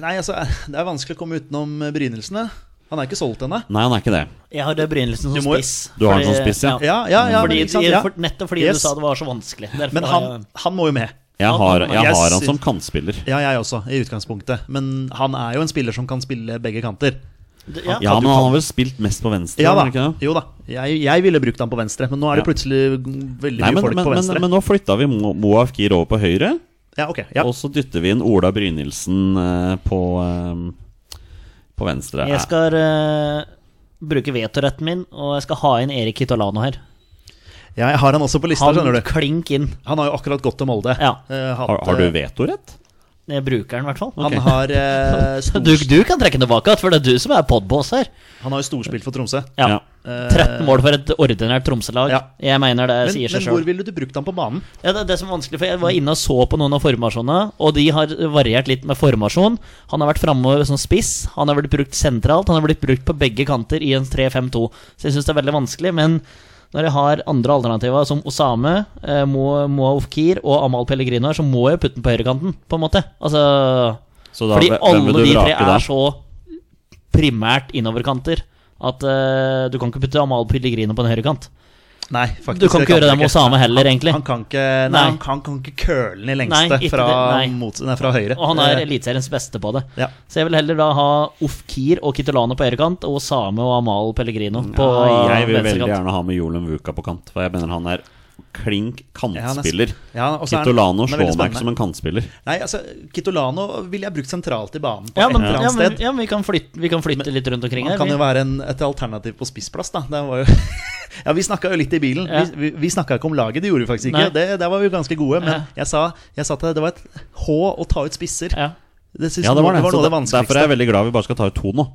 Speaker 3: Nei, altså, det er vanskelig å komme utenom eh, Brynildsen. eh. Han er ikke solgt ennå.
Speaker 2: Nei, han er ikke det.
Speaker 1: Jeg har det Brynildsen
Speaker 3: Du
Speaker 1: som
Speaker 3: må-
Speaker 1: spiss.
Speaker 2: Du har den som spiss, ja.
Speaker 3: Ja, ja, ja,
Speaker 1: fordi,
Speaker 3: men, ikke sant? ja.
Speaker 1: for, nettopp fordi
Speaker 3: Yes.
Speaker 1: du sa det var så vanskelig. Derfor
Speaker 3: men
Speaker 1: har
Speaker 3: han,
Speaker 1: jeg-
Speaker 3: han må jo med.
Speaker 2: Jeg har,
Speaker 1: han-
Speaker 2: jeg
Speaker 3: jeg
Speaker 2: har han
Speaker 3: sy-
Speaker 2: som kantspiller.
Speaker 3: Ja, jeg også, i utgangspunktet. Men han er jo en spiller som kan spille begge kanter.
Speaker 1: d- ja.
Speaker 2: Ja, men han har vel spilt mest på venstre?
Speaker 3: Ja
Speaker 2: har
Speaker 3: da.
Speaker 2: han ikke det?
Speaker 3: Jo da. Jeg, jeg ville brukt han på venstre, men nå er det
Speaker 2: Ja.
Speaker 3: plutselig veldig
Speaker 2: Nei,
Speaker 3: mye
Speaker 2: men,
Speaker 3: folk
Speaker 2: men,
Speaker 3: på
Speaker 2: men,
Speaker 3: venstre.
Speaker 2: men nå flytta vi Mo- Moa Afkir over på høyre.
Speaker 3: ja, ok. Ja.
Speaker 2: Og så dytter vi inn Ola Brynildsen eh, på, eh, på venstre.
Speaker 1: Jeg skal eh, bruke vetoretten min, og jeg skal ha inn Erik Kitolano her.
Speaker 3: ja, jeg har han også på lista,
Speaker 1: Han
Speaker 3: skjønner du.
Speaker 1: klink inn.
Speaker 3: Han har jo akkurat gått til Molde.
Speaker 1: Ja.
Speaker 3: Eh, hatt,
Speaker 2: har, har du
Speaker 3: eh,
Speaker 2: vetorett?
Speaker 1: Jeg bruker den, i hvert fall.
Speaker 2: Ok.
Speaker 3: Han har,
Speaker 1: [laughs]
Speaker 3: eh, stor,
Speaker 1: Du, du kan trekke den tilbake, for det er du som er podboss her.
Speaker 3: han har jo storspilt for Tromsø.
Speaker 1: Ja.
Speaker 2: Ja.
Speaker 1: 13 mål for et ordinært Tromsø-lag.
Speaker 3: Ja.
Speaker 1: Jeg mener det
Speaker 3: Men,
Speaker 1: sier
Speaker 3: men
Speaker 1: seg
Speaker 3: hvor
Speaker 1: sjøl.
Speaker 3: ville du brukt han på banen?
Speaker 1: Ja, det er det som er vanskelig, for jeg var inne og så på noen av formasjonene, og de har variert litt med formasjon. Han har vært framme som spiss, han har blitt brukt sentralt, han har blitt brukt på begge kanter i en 3-5-2. Så jeg syns det er veldig vanskelig, men når jeg har andre alternativer, som Osame, eh, Mo- Moa Ofkir og Amal Pellegrino her, så må jeg putte den på høyrekanten, på en måte. Altså
Speaker 2: Så da,
Speaker 1: Fordi
Speaker 2: hvem- hvem vil du
Speaker 1: alle de tre
Speaker 2: vrake da?
Speaker 1: er så primært innoverkanter at eh, du kan ikke putte Amal Pellegrino på en høyrekant.
Speaker 3: Nei, faktisk.
Speaker 1: Du kan ikke gjøre det med
Speaker 3: ikke.
Speaker 1: Osame heller, egentlig.
Speaker 3: Han kan ikke, nei,
Speaker 1: Nei.
Speaker 3: Han kan, kan ikke køle den i
Speaker 1: Nei,
Speaker 3: lengste
Speaker 1: ikke
Speaker 3: fra,
Speaker 1: det, nei.
Speaker 3: mot, nei, fra
Speaker 1: [laughs]
Speaker 3: høyre.
Speaker 1: Og han er
Speaker 3: Eh,
Speaker 1: eliteseriens beste på det.
Speaker 3: ja.
Speaker 1: Så jeg vil heller da ha Ofkir og Kitolano på høyrekant og Osame og Amal Pellegrino på
Speaker 2: Ja, jeg vil veldig
Speaker 1: venstrekant.
Speaker 2: gjerne ha med Jolum Vuka på kant, for jeg mener han er klink
Speaker 3: Ja, han er-
Speaker 2: kantspiller.
Speaker 3: Ja, og så er han-
Speaker 2: Kitolano
Speaker 3: han er veldig
Speaker 2: slår meg
Speaker 3: spennende.
Speaker 2: ikke som en kantspiller.
Speaker 3: Nei, altså, Kitolano ville jeg brukt sentralt i banen på
Speaker 1: Ja,
Speaker 3: et
Speaker 1: men,
Speaker 3: eller
Speaker 1: ja,
Speaker 3: annet
Speaker 1: men,
Speaker 3: sted.
Speaker 1: ja, men vi kan flytte, vi kan flytte litt rundt omkring
Speaker 3: Han
Speaker 1: her.
Speaker 3: kan jo
Speaker 1: Vi.
Speaker 3: være en, et alternativ på spissplass, da. Det var jo [laughs] ja, vi snakka jo litt i bilen.
Speaker 1: Ja.
Speaker 3: Vi, vi, vi snakka ikke om laget, det gjorde vi faktisk
Speaker 1: Nei.
Speaker 3: ikke. Det, der var vi jo ganske gode, men
Speaker 1: Ja.
Speaker 3: jeg, sa, jeg sa at det var et H å ta ut spisser.
Speaker 1: Ja.
Speaker 3: Det, synes,
Speaker 2: Ja, det var det.
Speaker 3: noe
Speaker 2: Så
Speaker 3: av
Speaker 2: der-
Speaker 3: det
Speaker 2: derfor
Speaker 3: vanskeligste.
Speaker 2: er jeg veldig glad vi bare skal ta ut to nå.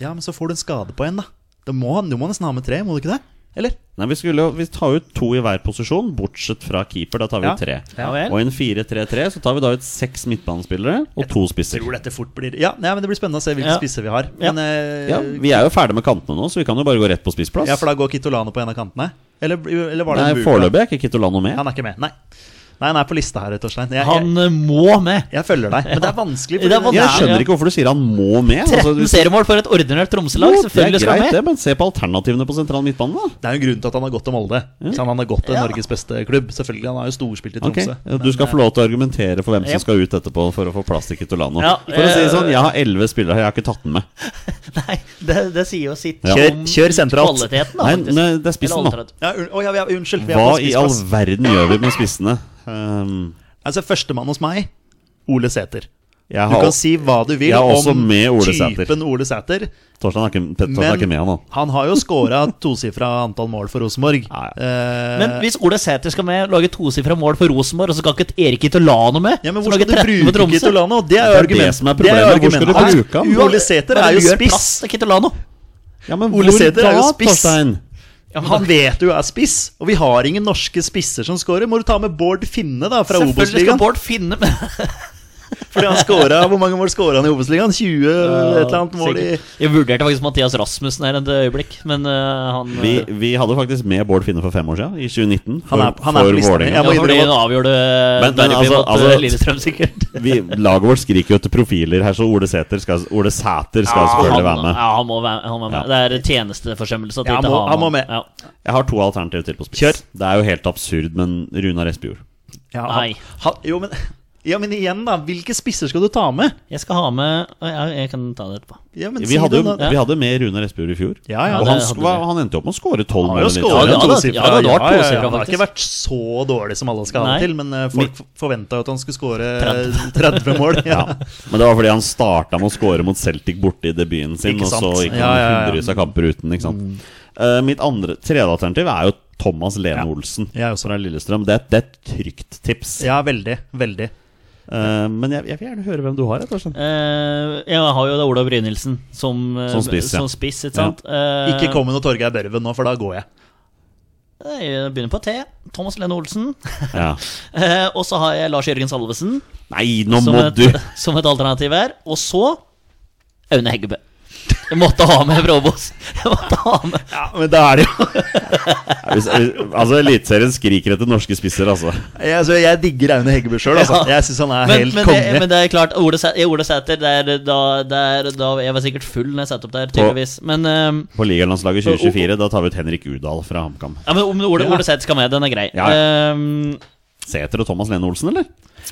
Speaker 3: Ja, men så får du en skade på en, da. Du må, du må nesten ha med tre, må du ikke det? Eller?
Speaker 2: Nei, Vi skulle jo vi tar ut to i hver posisjon, bortsett fra keeper. Da tar vi
Speaker 3: Ja.
Speaker 2: ut tre.
Speaker 1: Ja
Speaker 2: Og
Speaker 1: vel.
Speaker 2: i en 4-3-3 så tar vi da ut seks midtbanespillere og to spisser.
Speaker 3: Tror dette fort blir Ja, nei, men det blir spennende å se hvilke
Speaker 1: Ja.
Speaker 3: spisser vi har.
Speaker 1: Ja.
Speaker 3: Men, eh,
Speaker 2: Ja, Vi er jo ferdig med kantene nå, så vi kan jo bare gå rett på spissplass.
Speaker 3: ja, for da går Kitolano på en av kantene? Eller, eller var det
Speaker 2: Nei,
Speaker 3: Buka?
Speaker 2: Foreløpig er ikke Kitolano med.
Speaker 3: Han er ikke med. Nei. Nei, han er på lista her, rett og slett. Jeg, jeg,
Speaker 1: Han eh, må med!
Speaker 3: jeg følger deg, men det er vanskelig.
Speaker 1: Det er vanskelig.
Speaker 2: Jeg
Speaker 1: Ja,
Speaker 2: skjønner
Speaker 1: ja.
Speaker 2: ikke hvorfor du sier han må med. Altså,
Speaker 1: 13
Speaker 2: hvis-
Speaker 1: seriemål for et ordinært Tromsø-lag,
Speaker 2: Jo,
Speaker 1: selvfølgelig
Speaker 2: det er
Speaker 1: skal
Speaker 2: greit,
Speaker 1: han med!
Speaker 2: det, men se på alternativene på sentral midtbane, da.
Speaker 3: Det er jo en grunn til at han har gått til Molde. Ikke sant? Han har gått til
Speaker 1: Ja.
Speaker 3: Norges beste klubb. Selvfølgelig, Han har jo storspilt i
Speaker 2: Ok,
Speaker 3: Tromsø.
Speaker 2: Du skal få lov til å argumentere for hvem
Speaker 1: Jep.
Speaker 2: som skal ut etterpå for å få plass til Kitolano.
Speaker 1: Ja,
Speaker 2: for å si det
Speaker 1: eh,
Speaker 2: sånn, jeg har elleve spillere, jeg har ikke tatt den med.
Speaker 1: Nei, det, det sier jo sitt
Speaker 2: Ja.
Speaker 1: om
Speaker 3: Kjør- kjør sentralt.
Speaker 1: kvaliteten. Da,
Speaker 2: Nei,
Speaker 1: faktisk.
Speaker 2: nei, det er spissen,
Speaker 1: Eller
Speaker 2: da.
Speaker 1: alternativ.
Speaker 3: Ja, un å, ja, ja, unnskyld. Vi er
Speaker 2: Hva i
Speaker 3: på
Speaker 2: all
Speaker 3: spissplass.
Speaker 2: verden gjør vi med spissene? Um,
Speaker 3: Altså, Førstemann hos meg Ole Sæter.
Speaker 2: Jeg
Speaker 3: Du
Speaker 2: har,
Speaker 3: kan si hva du vil
Speaker 2: jeg er også
Speaker 3: om
Speaker 2: med Ole Sæter.
Speaker 3: typen Ole Sæter.
Speaker 2: Torstein er ikke, Pet- Torstein er
Speaker 3: Men-
Speaker 2: ikke med, han nå.
Speaker 3: Han har jo scora tosifra antall mål for Rosenborg.
Speaker 2: Nei.
Speaker 3: Eh,
Speaker 1: Men hvis Ole Sæter skal med lage tosifra mål for Rosenborg, og så skal ikke Erik Itolano med
Speaker 3: ja, men
Speaker 1: så
Speaker 3: hvor skal
Speaker 1: lager
Speaker 3: du
Speaker 1: 13 for
Speaker 3: bruke
Speaker 1: Tromsø?
Speaker 3: Kitolano? Det
Speaker 2: Det
Speaker 3: er jo
Speaker 2: er
Speaker 3: argument-
Speaker 2: det som er
Speaker 3: jo
Speaker 2: problemet. Hvor skal du
Speaker 3: argumentet.
Speaker 2: bruke ham?
Speaker 3: Ole Sæter
Speaker 1: Bare
Speaker 3: er jo
Speaker 1: gjør
Speaker 3: spiss.
Speaker 1: plass til Kitolano.
Speaker 2: Ja, men
Speaker 3: Ole Sæter er jo spiss.
Speaker 2: Torstein?
Speaker 1: Ja, men
Speaker 3: Han
Speaker 1: da-
Speaker 3: vet du er spiss, og vi har ingen norske spisser som scorer. Må du ta med Bård Finne da, fra
Speaker 1: Selvfølgelig skal
Speaker 3: Obos-ligaen?
Speaker 1: Bård finne med
Speaker 3: Fordi han scoret, Hvor mange mål skåra han i Obos-ligaen? 20 et eller annet mål i
Speaker 1: Sikkert. Jeg vurderte faktisk Mathias Rasmussen her et øyeblikk, men eh, han
Speaker 2: Vi, vi hadde faktisk med Bård Finne for fem år siden, i 2019. For,
Speaker 3: Han er- han er på
Speaker 2: for
Speaker 3: lista mi.
Speaker 2: Vålerenga.
Speaker 1: ja,
Speaker 3: Jeg må
Speaker 1: fordi
Speaker 3: innrømme
Speaker 1: hun avgjorde
Speaker 2: Men- men
Speaker 1: derby
Speaker 2: altså-
Speaker 1: mot eh,
Speaker 2: altså-
Speaker 1: Lillestrøm, sikkert.
Speaker 2: Vi, laget vårt skriker jo etter profiler her, så Ole Sæter skal, Ole Sæter skal
Speaker 1: han,
Speaker 2: selvfølgelig
Speaker 1: ja,
Speaker 2: være med.
Speaker 1: han må være han må være med.
Speaker 2: Ja.
Speaker 1: Det er tjenesteforsømmelse at
Speaker 3: Ja,
Speaker 1: de
Speaker 3: han
Speaker 1: ikke
Speaker 3: må-
Speaker 1: har
Speaker 3: han må
Speaker 1: han.
Speaker 3: med.
Speaker 1: Ja.
Speaker 2: Jeg har to alternativer til på spiss.
Speaker 3: Kjør.
Speaker 2: Det er jo helt absurd, men Runar Espejord.
Speaker 3: ja,
Speaker 1: Nei.
Speaker 3: han, han, jo, men, ja, men igjen, da. Hvilke spisser skal du ta med?
Speaker 1: Jeg skal ha med ja, Jeg kan ta det etterpå.
Speaker 3: Ja, men
Speaker 2: Vi, hadde jo-
Speaker 3: det, da.
Speaker 1: da.
Speaker 2: vi hadde med Runar Espejord i fjor.
Speaker 3: Ja, ja,
Speaker 2: og
Speaker 1: det
Speaker 2: han,
Speaker 1: hadde
Speaker 2: sk- hva- han endte jo opp med å skåre tolv
Speaker 3: Han har jo
Speaker 2: mål. i
Speaker 1: Ja,
Speaker 3: skåret
Speaker 1: det
Speaker 2: Nittedal.
Speaker 1: hadde-
Speaker 3: tosifra.
Speaker 1: ja, det hadde vært tosifra,
Speaker 3: Han har
Speaker 1: faktisk.
Speaker 3: ikke vært så dårlig som alle skal ha
Speaker 1: Nei.
Speaker 3: han til, men eh, folk forventa jo at han skulle skåre
Speaker 1: 30.
Speaker 3: [laughs] 30 mål.
Speaker 1: [laughs]
Speaker 2: Ja.
Speaker 3: Ja.
Speaker 2: Men det var fordi han starta med å skåre mot Celtic borte i debuten sin,
Speaker 3: Ikke
Speaker 2: og så
Speaker 3: sant?
Speaker 2: gikk han
Speaker 3: Ja, ja, Mm. ja.
Speaker 2: hundrevis av kamper uten. Ikke sant? Eh, mitt andre, tredje alternativ er jo Thomas Lene
Speaker 3: Ja.
Speaker 2: Olsen
Speaker 3: Jeg også.
Speaker 2: fra Lillestrøm. Det, er- det er et trygt tips.
Speaker 3: ja, veldig. Veldig.
Speaker 2: Eh, men jeg, jeg vil gjerne høre hvem du har. jeg, Torstein.
Speaker 1: Eh, jeg har jo da Olav Brynildsen som, eh,
Speaker 2: Som spiss, ja.
Speaker 1: som spiss, ikke sant? Eh,
Speaker 3: Ikke kom med noe Torgeir Børven nå, for da går jeg.
Speaker 1: Jeg begynner på T. Thomas Lene Olsen. [laughs]
Speaker 2: Ja.
Speaker 1: Eh, og så har jeg Lars Jørgen Salvesen
Speaker 2: Nei, nå
Speaker 1: som
Speaker 2: må
Speaker 1: et,
Speaker 2: du!
Speaker 1: [laughs] som et alternativ her. Og så Aune Heggebø. Jeg måtte ha med Bråbos. [laughs] Jeg måtte ha med
Speaker 3: Ja, men da er det
Speaker 2: [laughs]
Speaker 3: jo
Speaker 2: Hvis, hvis, altså, Eliteserien skriker etter norske spisser, altså.
Speaker 3: Jeg, så jeg digger Aune Heggebø sjøl, altså.
Speaker 1: Ja.
Speaker 3: Jeg syns han er
Speaker 1: men,
Speaker 3: helt
Speaker 1: men,
Speaker 3: konge.
Speaker 1: det, men det er klart, Ole Sæ- i Ole Sæter det er da, det er da Jeg var sikkert full når jeg satte opp der, tydeligvis. Men, eh,
Speaker 2: På ligalandslaget 2024 da tar vi ut Henrik Udal fra HamKam.
Speaker 1: ja, men om Ole, Ole Sæter skal med. Den er grei.
Speaker 2: Ja,
Speaker 1: Eh,
Speaker 2: Sæter og Thomas Lene Olsen, eller?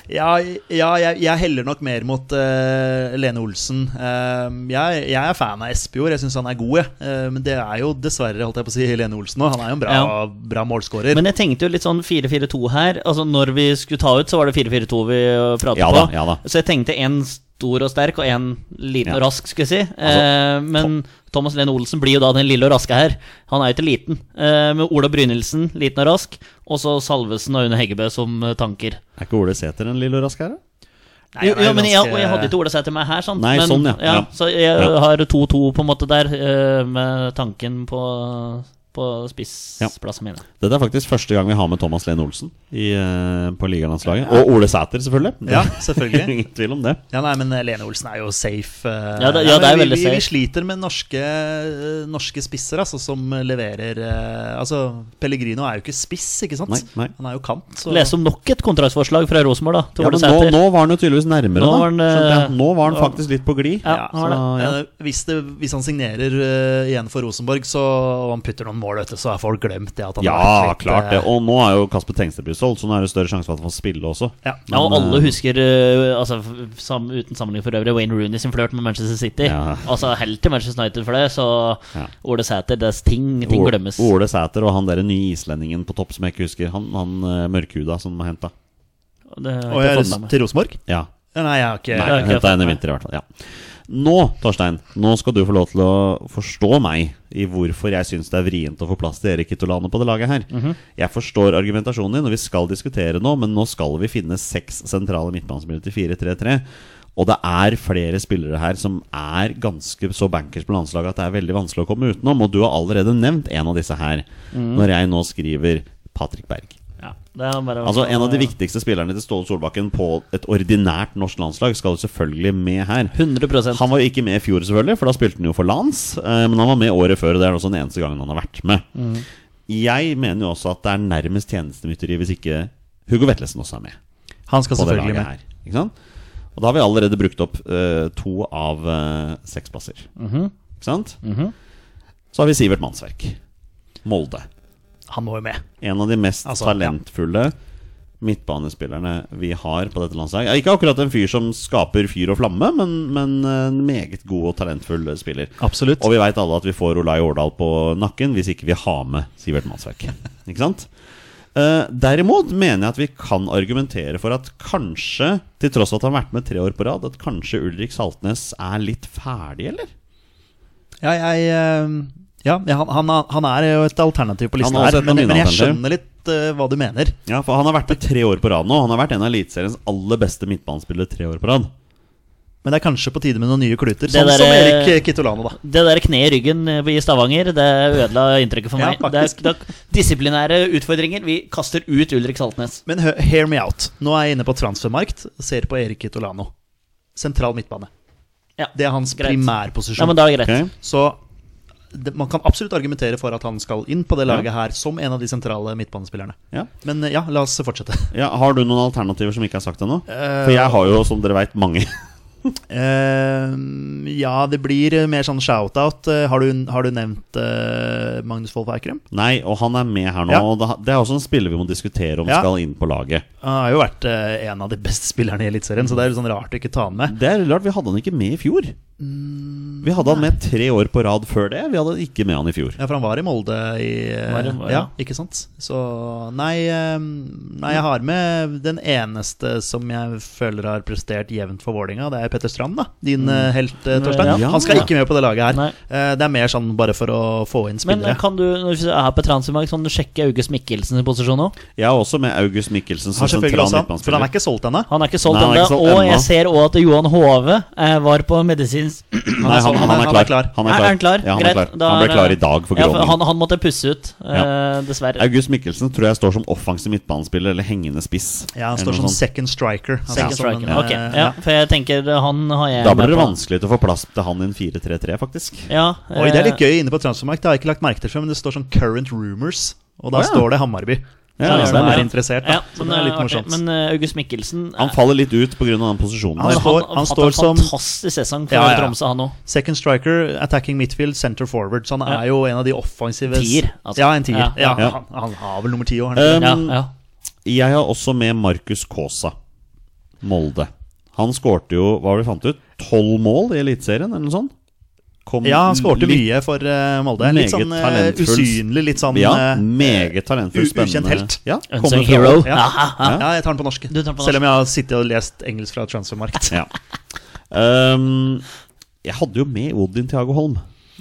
Speaker 3: Ja, ja jeg, jeg heller nok mer mot eh, Lene Olsen. Eh, jeg, jeg er fan av Espejord, jeg syns han er god, jeg. Eh, men det er jo dessverre, holdt jeg på å si, Lene Olsen òg. Han er jo en bra,
Speaker 1: Ja.
Speaker 3: bra målskårer.
Speaker 1: Men jeg tenkte jo litt sånn 4-4-2 her. Altså Når vi skulle ta ut, så var det 4-4-2 vi øh, pratet
Speaker 2: Ja
Speaker 1: på.
Speaker 2: da, ja da.
Speaker 1: Så jeg tenkte én stor og sterk og én liten
Speaker 2: Ja. Altså,
Speaker 1: og rask, skulle jeg si. eh, men Thomas Lene Olsen blir jo da den lille og raske her. Han er jo ikke liten. Eh, med Ola Brynildsen, liten og rask, og så Salvesen og Aune Heggebø som eh, tanker.
Speaker 2: Er ikke Ole Sæter en lille og rask her, da?
Speaker 3: Nei,
Speaker 1: jo,
Speaker 3: han er
Speaker 1: jo, men jeg,
Speaker 3: ganske-
Speaker 1: og jeg hadde ikke Ola seg til meg her, sant?
Speaker 2: Nei,
Speaker 1: men,
Speaker 2: sånn, ja. Ja.
Speaker 1: Så jeg
Speaker 2: Ja.
Speaker 1: har 2-2 på en måte der, eh, med tanken på, på spissplassen min.
Speaker 2: Dette er faktisk første gang vi har med Thomas Lene Olsen i, eh, på ligalandslaget. Og Ole Sæter, selvfølgelig. Det- [laughs]
Speaker 3: Ja, selvfølgelig.
Speaker 2: Ingen tvil om det.
Speaker 3: Ja, nei, men eh, Lene Olsen er jo safe. eh,
Speaker 1: Ja, det- ja,
Speaker 3: men
Speaker 1: det er
Speaker 3: vi,
Speaker 1: veldig
Speaker 3: vi,
Speaker 1: safe.
Speaker 3: Vi sliter med norske, eh, norske spisser, altså, som leverer eh, Altså, Pellegrino er jo ikke spiss, ikke sant?
Speaker 2: Nei, nei.
Speaker 3: Han er jo kant. Så
Speaker 1: Lese om nok et kontraktsforslag fra Rosenborg, da. Til
Speaker 2: Ja,
Speaker 1: Ole
Speaker 2: men nå,
Speaker 1: Sæter.
Speaker 2: nå var han jo tydeligvis nærmere,
Speaker 1: Nå
Speaker 2: da.
Speaker 1: var han, eh,
Speaker 2: Skjønte jeg. Nå var han faktisk litt på glid.
Speaker 1: Ja, han var det.
Speaker 2: Så, ja.
Speaker 3: Eh, hvis, det, hvis han signerer eh, igjen for Rosenborg så, og han putter noen mål, vet du, så har folk glemt det. At han har vært
Speaker 2: Ja,
Speaker 3: litt,
Speaker 2: klart det.
Speaker 3: eh,
Speaker 2: Og nå er jo Kasper Tengstedt blitt solgt, så nå er det større sjanse for at han får spille også.
Speaker 3: ja.
Speaker 1: Ja, og
Speaker 2: Men,
Speaker 1: alle
Speaker 2: eh,
Speaker 1: husker, eh, altså, f- sam, uten sammenligning for øvrig, Wayne Rooney sin flørt med Manchester City.
Speaker 2: Ja.
Speaker 1: Altså helt til Manchester United for det, så
Speaker 2: Ja.
Speaker 1: Ole Sæter, det er ting, ting
Speaker 2: Ole-
Speaker 1: glemmes.
Speaker 2: Ole Sæter og han derre nye islendingen på topp som jeg ikke husker. Han, han eh, mørkhuda som er henta.
Speaker 1: Det har jeg
Speaker 3: Og
Speaker 1: ikke
Speaker 3: jeg
Speaker 1: fått med meg.
Speaker 3: til Rosenborg?
Speaker 2: Ja.
Speaker 3: eh, Ja, Nei, jeg har ikke
Speaker 2: Nei,
Speaker 1: ikke jeg
Speaker 2: henta
Speaker 1: fått
Speaker 2: en i
Speaker 1: med.
Speaker 2: vinter, i hvert fall. Ja. Nå, Torstein, nå skal du få lov til å forstå meg i hvorfor jeg syns det er vrient å få plass til Erik Ittolano på det laget her. Jeg forstår argumentasjonen din, og vi skal diskutere nå, men nå skal vi finne seks sentrale midtbanespillere til 4-3-3. Og det er flere spillere her som er ganske så bankers på landslaget at det er veldig vanskelig å komme utenom, og du har allerede nevnt en av disse her, når jeg nå skriver Patrick Berg.
Speaker 1: Ja, det er bare,
Speaker 2: Altså En av de viktigste spillerne til Ståle Solbakken på et ordinært norsk landslag skal jo selvfølgelig med her.
Speaker 1: 100
Speaker 2: Han var jo ikke med i fjor, selvfølgelig, for da spilte han jo for Lans. eh, Men han var med året før, og det er også den eneste gangen han har vært med.
Speaker 3: Mm.
Speaker 2: Jeg mener jo også at det er nærmest tjenestemytteri hvis ikke Hugo Vetlesen også er med.
Speaker 3: Han skal
Speaker 2: På det
Speaker 3: selvfølgelig
Speaker 2: laget
Speaker 3: med.
Speaker 2: her ikke sant? Og da har vi allerede brukt opp eh, to av eh, seks plasser.
Speaker 3: Mhm.
Speaker 2: Ikke sant? Så har vi Sivert Mannsverk. Molde.
Speaker 3: Han må jo med.
Speaker 2: En av de mest
Speaker 3: Altså, ja.
Speaker 2: talentfulle midtbanespillerne vi har på dette landslaget. Ja, Ikke akkurat en fyr som skaper fyr og flamme, men, men en meget god og talentfull spiller.
Speaker 3: Absolutt.
Speaker 2: Og vi [laughs] veit alle at vi får Olai Årdal på nakken hvis ikke vi har med Sivert Mannsverk. Ikke sant? Eh, derimot mener jeg at vi kan argumentere for at kanskje, til tross for at han har vært med tre år på rad, at kanskje Ulrik Saltnes er litt ferdig, eller?
Speaker 3: Ja, jeg, eh, ja ja, han, han, er- han er jo et alternativ på listen
Speaker 2: Han er også et
Speaker 3: her,
Speaker 2: av
Speaker 3: men,
Speaker 2: mine
Speaker 3: men jeg
Speaker 2: alternativer.
Speaker 3: skjønner litt eh, hva du mener.
Speaker 2: Ja, for han har vært med tre år på rad nå. Han har vært en av eliteseriens aller beste midtbanespillere tre år på rad.
Speaker 3: Men det er kanskje på tide med noen nye kluter,
Speaker 1: Det
Speaker 3: sånn
Speaker 1: der
Speaker 3: som
Speaker 1: er-
Speaker 3: Erik Kittolano, da.
Speaker 1: Det der kneet i ryggen eh, i Stavanger Det ødela inntrykket for
Speaker 3: Ja,
Speaker 1: meg. det er, det er disiplinære utfordringer. Vi kaster ut Ulrik Saltnes.
Speaker 3: Men hø- hear me out. Nå er jeg inne på transfermarkt og ser på Erik Kitolano. Sentral midtbane.
Speaker 1: Ja,
Speaker 3: Det er hans
Speaker 1: greit. Ja,
Speaker 3: primærposisjon.
Speaker 1: men da er det greit.
Speaker 2: Ok?
Speaker 3: Så det, man kan absolutt argumentere for at han skal inn på det laget her som en av de sentrale midtbanespillerne.
Speaker 2: Ja.
Speaker 3: Men eh, ja, la oss fortsette.
Speaker 2: Ja, har du noen alternativer som ikke er sagt ennå? For jeg har jo, som dere veit, mange.
Speaker 3: [laughs]
Speaker 2: [laughs]
Speaker 3: Eh, ja, det blir eh, mer sånn shout-out. Eh, har, du- har du nevnt eh, Magnus Wolff Eikrem?
Speaker 2: Nei, og han er med her nå.
Speaker 3: Ja.
Speaker 2: Og da- det er også en spiller vi må diskutere om
Speaker 3: Ja.
Speaker 2: skal inn på laget.
Speaker 3: Han har jo vært eh, en av de beste spillerne i Eliteserien, så det er litt sånn rart å ikke ta han med.
Speaker 2: Det er rart, vi hadde han ikke med i fjor.
Speaker 3: Mm,
Speaker 2: Vi hadde han med tre år på rad før det. Vi hadde ikke med han i fjor.
Speaker 3: Ja, for han var i Molde i eh,
Speaker 1: Var i Molde,
Speaker 3: ja.
Speaker 1: ja.
Speaker 3: ikke sant? Så nei, eh, nei, jeg har med den eneste som jeg føler har prestert jevnt for Vålinga. Det er Petter Strand, da. Din eh, helt, eh, Torstein.
Speaker 2: Ja.
Speaker 3: Han skal ikke med på det laget her.
Speaker 1: Mm. Nei.
Speaker 3: Eh, det er mer sånn bare for å få inn
Speaker 1: Men eh,
Speaker 3: spillere.
Speaker 1: kan du når du er på transfermarkt, kan du sjekke August Mikkelsens posisjon nå?
Speaker 2: Jeg er også med August Mikkelsen som
Speaker 3: har selvfølgelig
Speaker 2: sentral
Speaker 3: også han, for han
Speaker 2: midtbanespiller.
Speaker 3: er ikke solgt ennå.
Speaker 1: Han er ikke solgt
Speaker 2: Nei, han er
Speaker 1: ennå.
Speaker 2: ikke solgt
Speaker 1: Og
Speaker 2: ennå.
Speaker 1: jeg ser òg at Johan Hove eh, var på medisinsk [clears throat]
Speaker 2: Nei, han, han, er klar. Han
Speaker 1: Er han klar?
Speaker 2: Ja, han,
Speaker 1: Greit,
Speaker 2: er klar.
Speaker 1: da
Speaker 2: han ble
Speaker 1: er-
Speaker 2: klar i dag for
Speaker 1: ja, for
Speaker 2: Groningen.
Speaker 1: han, han måtte pusse ut, eh, dessverre.
Speaker 2: August Mikkelsen tror jeg står som offensiv midtbanespiller eller hengende spiss.
Speaker 3: Ja, han
Speaker 2: Eller noe
Speaker 3: står som
Speaker 2: sånt.
Speaker 3: second striker. Altså,
Speaker 1: Second
Speaker 3: som en,
Speaker 1: striker. Ok,
Speaker 3: eh,
Speaker 1: ja, for jeg tenker eh, han har jeg
Speaker 2: Da blir det
Speaker 1: med på.
Speaker 2: vanskelig til å få plass til han i en 4-3-3, faktisk.
Speaker 1: Ja,
Speaker 3: Oi, det er litt
Speaker 1: eh,
Speaker 3: gøy inne på Transfermarkt. Det har jeg ikke lagt merke til før, men det står sånn Current Rumors, og da
Speaker 2: Å, ja.
Speaker 3: står det Hammarby.
Speaker 2: Ja,
Speaker 3: Så
Speaker 2: ja,
Speaker 3: de som
Speaker 2: det er
Speaker 3: er
Speaker 2: det.
Speaker 3: interessert, da.
Speaker 1: Ja,
Speaker 3: så
Speaker 1: men,
Speaker 3: det er litt
Speaker 1: eh, artig.
Speaker 3: morsomt.
Speaker 1: Men eh, August Mikkelsen eh,
Speaker 2: Han faller litt ut pga. den posisjonen
Speaker 3: Han
Speaker 2: der.
Speaker 1: han,
Speaker 3: står-
Speaker 1: har
Speaker 3: han
Speaker 1: hatt
Speaker 3: står
Speaker 1: en
Speaker 3: som-
Speaker 1: fantastisk sesong for
Speaker 3: Ja, ja.
Speaker 1: Tromsø, han òg.
Speaker 3: Second striker, attacking midfield, center forward. Så han
Speaker 1: Ja.
Speaker 3: er jo en av de offensive
Speaker 1: Tier, altså.
Speaker 3: Ja, en tier.
Speaker 1: Ja,
Speaker 3: Ja,
Speaker 1: ja.
Speaker 3: Han, han har vel nummer ti òg, har han ikke?
Speaker 2: Um,
Speaker 1: Ja, ja.
Speaker 2: Jeg har også med Markus Kaasa, Molde. Han skårte jo, hva var det vi fant ut, tolv mål i Eliteserien, eller noe sånt? Kom
Speaker 3: Ja, han skårte
Speaker 2: litt-
Speaker 3: mye for eh, Molde.
Speaker 2: meget
Speaker 3: Litt sånn eh,
Speaker 2: talentfull.
Speaker 3: usynlig, litt sånn
Speaker 2: Ja,
Speaker 3: eh,
Speaker 2: meget talentfull,
Speaker 3: u- ukjent
Speaker 2: spennende
Speaker 3: helt.
Speaker 2: Ja,
Speaker 1: Unsung
Speaker 2: kommer fra-
Speaker 1: hero.
Speaker 3: ja.
Speaker 1: Ja.
Speaker 3: ja, jeg tar den på norsk.
Speaker 1: Du tar den på norsk.
Speaker 3: Selv om jeg har sittet og lest engelsk fra Transfermarkt.
Speaker 1: [laughs]
Speaker 2: Ja. Ehm, jeg hadde jo med Odin Tiago Holm,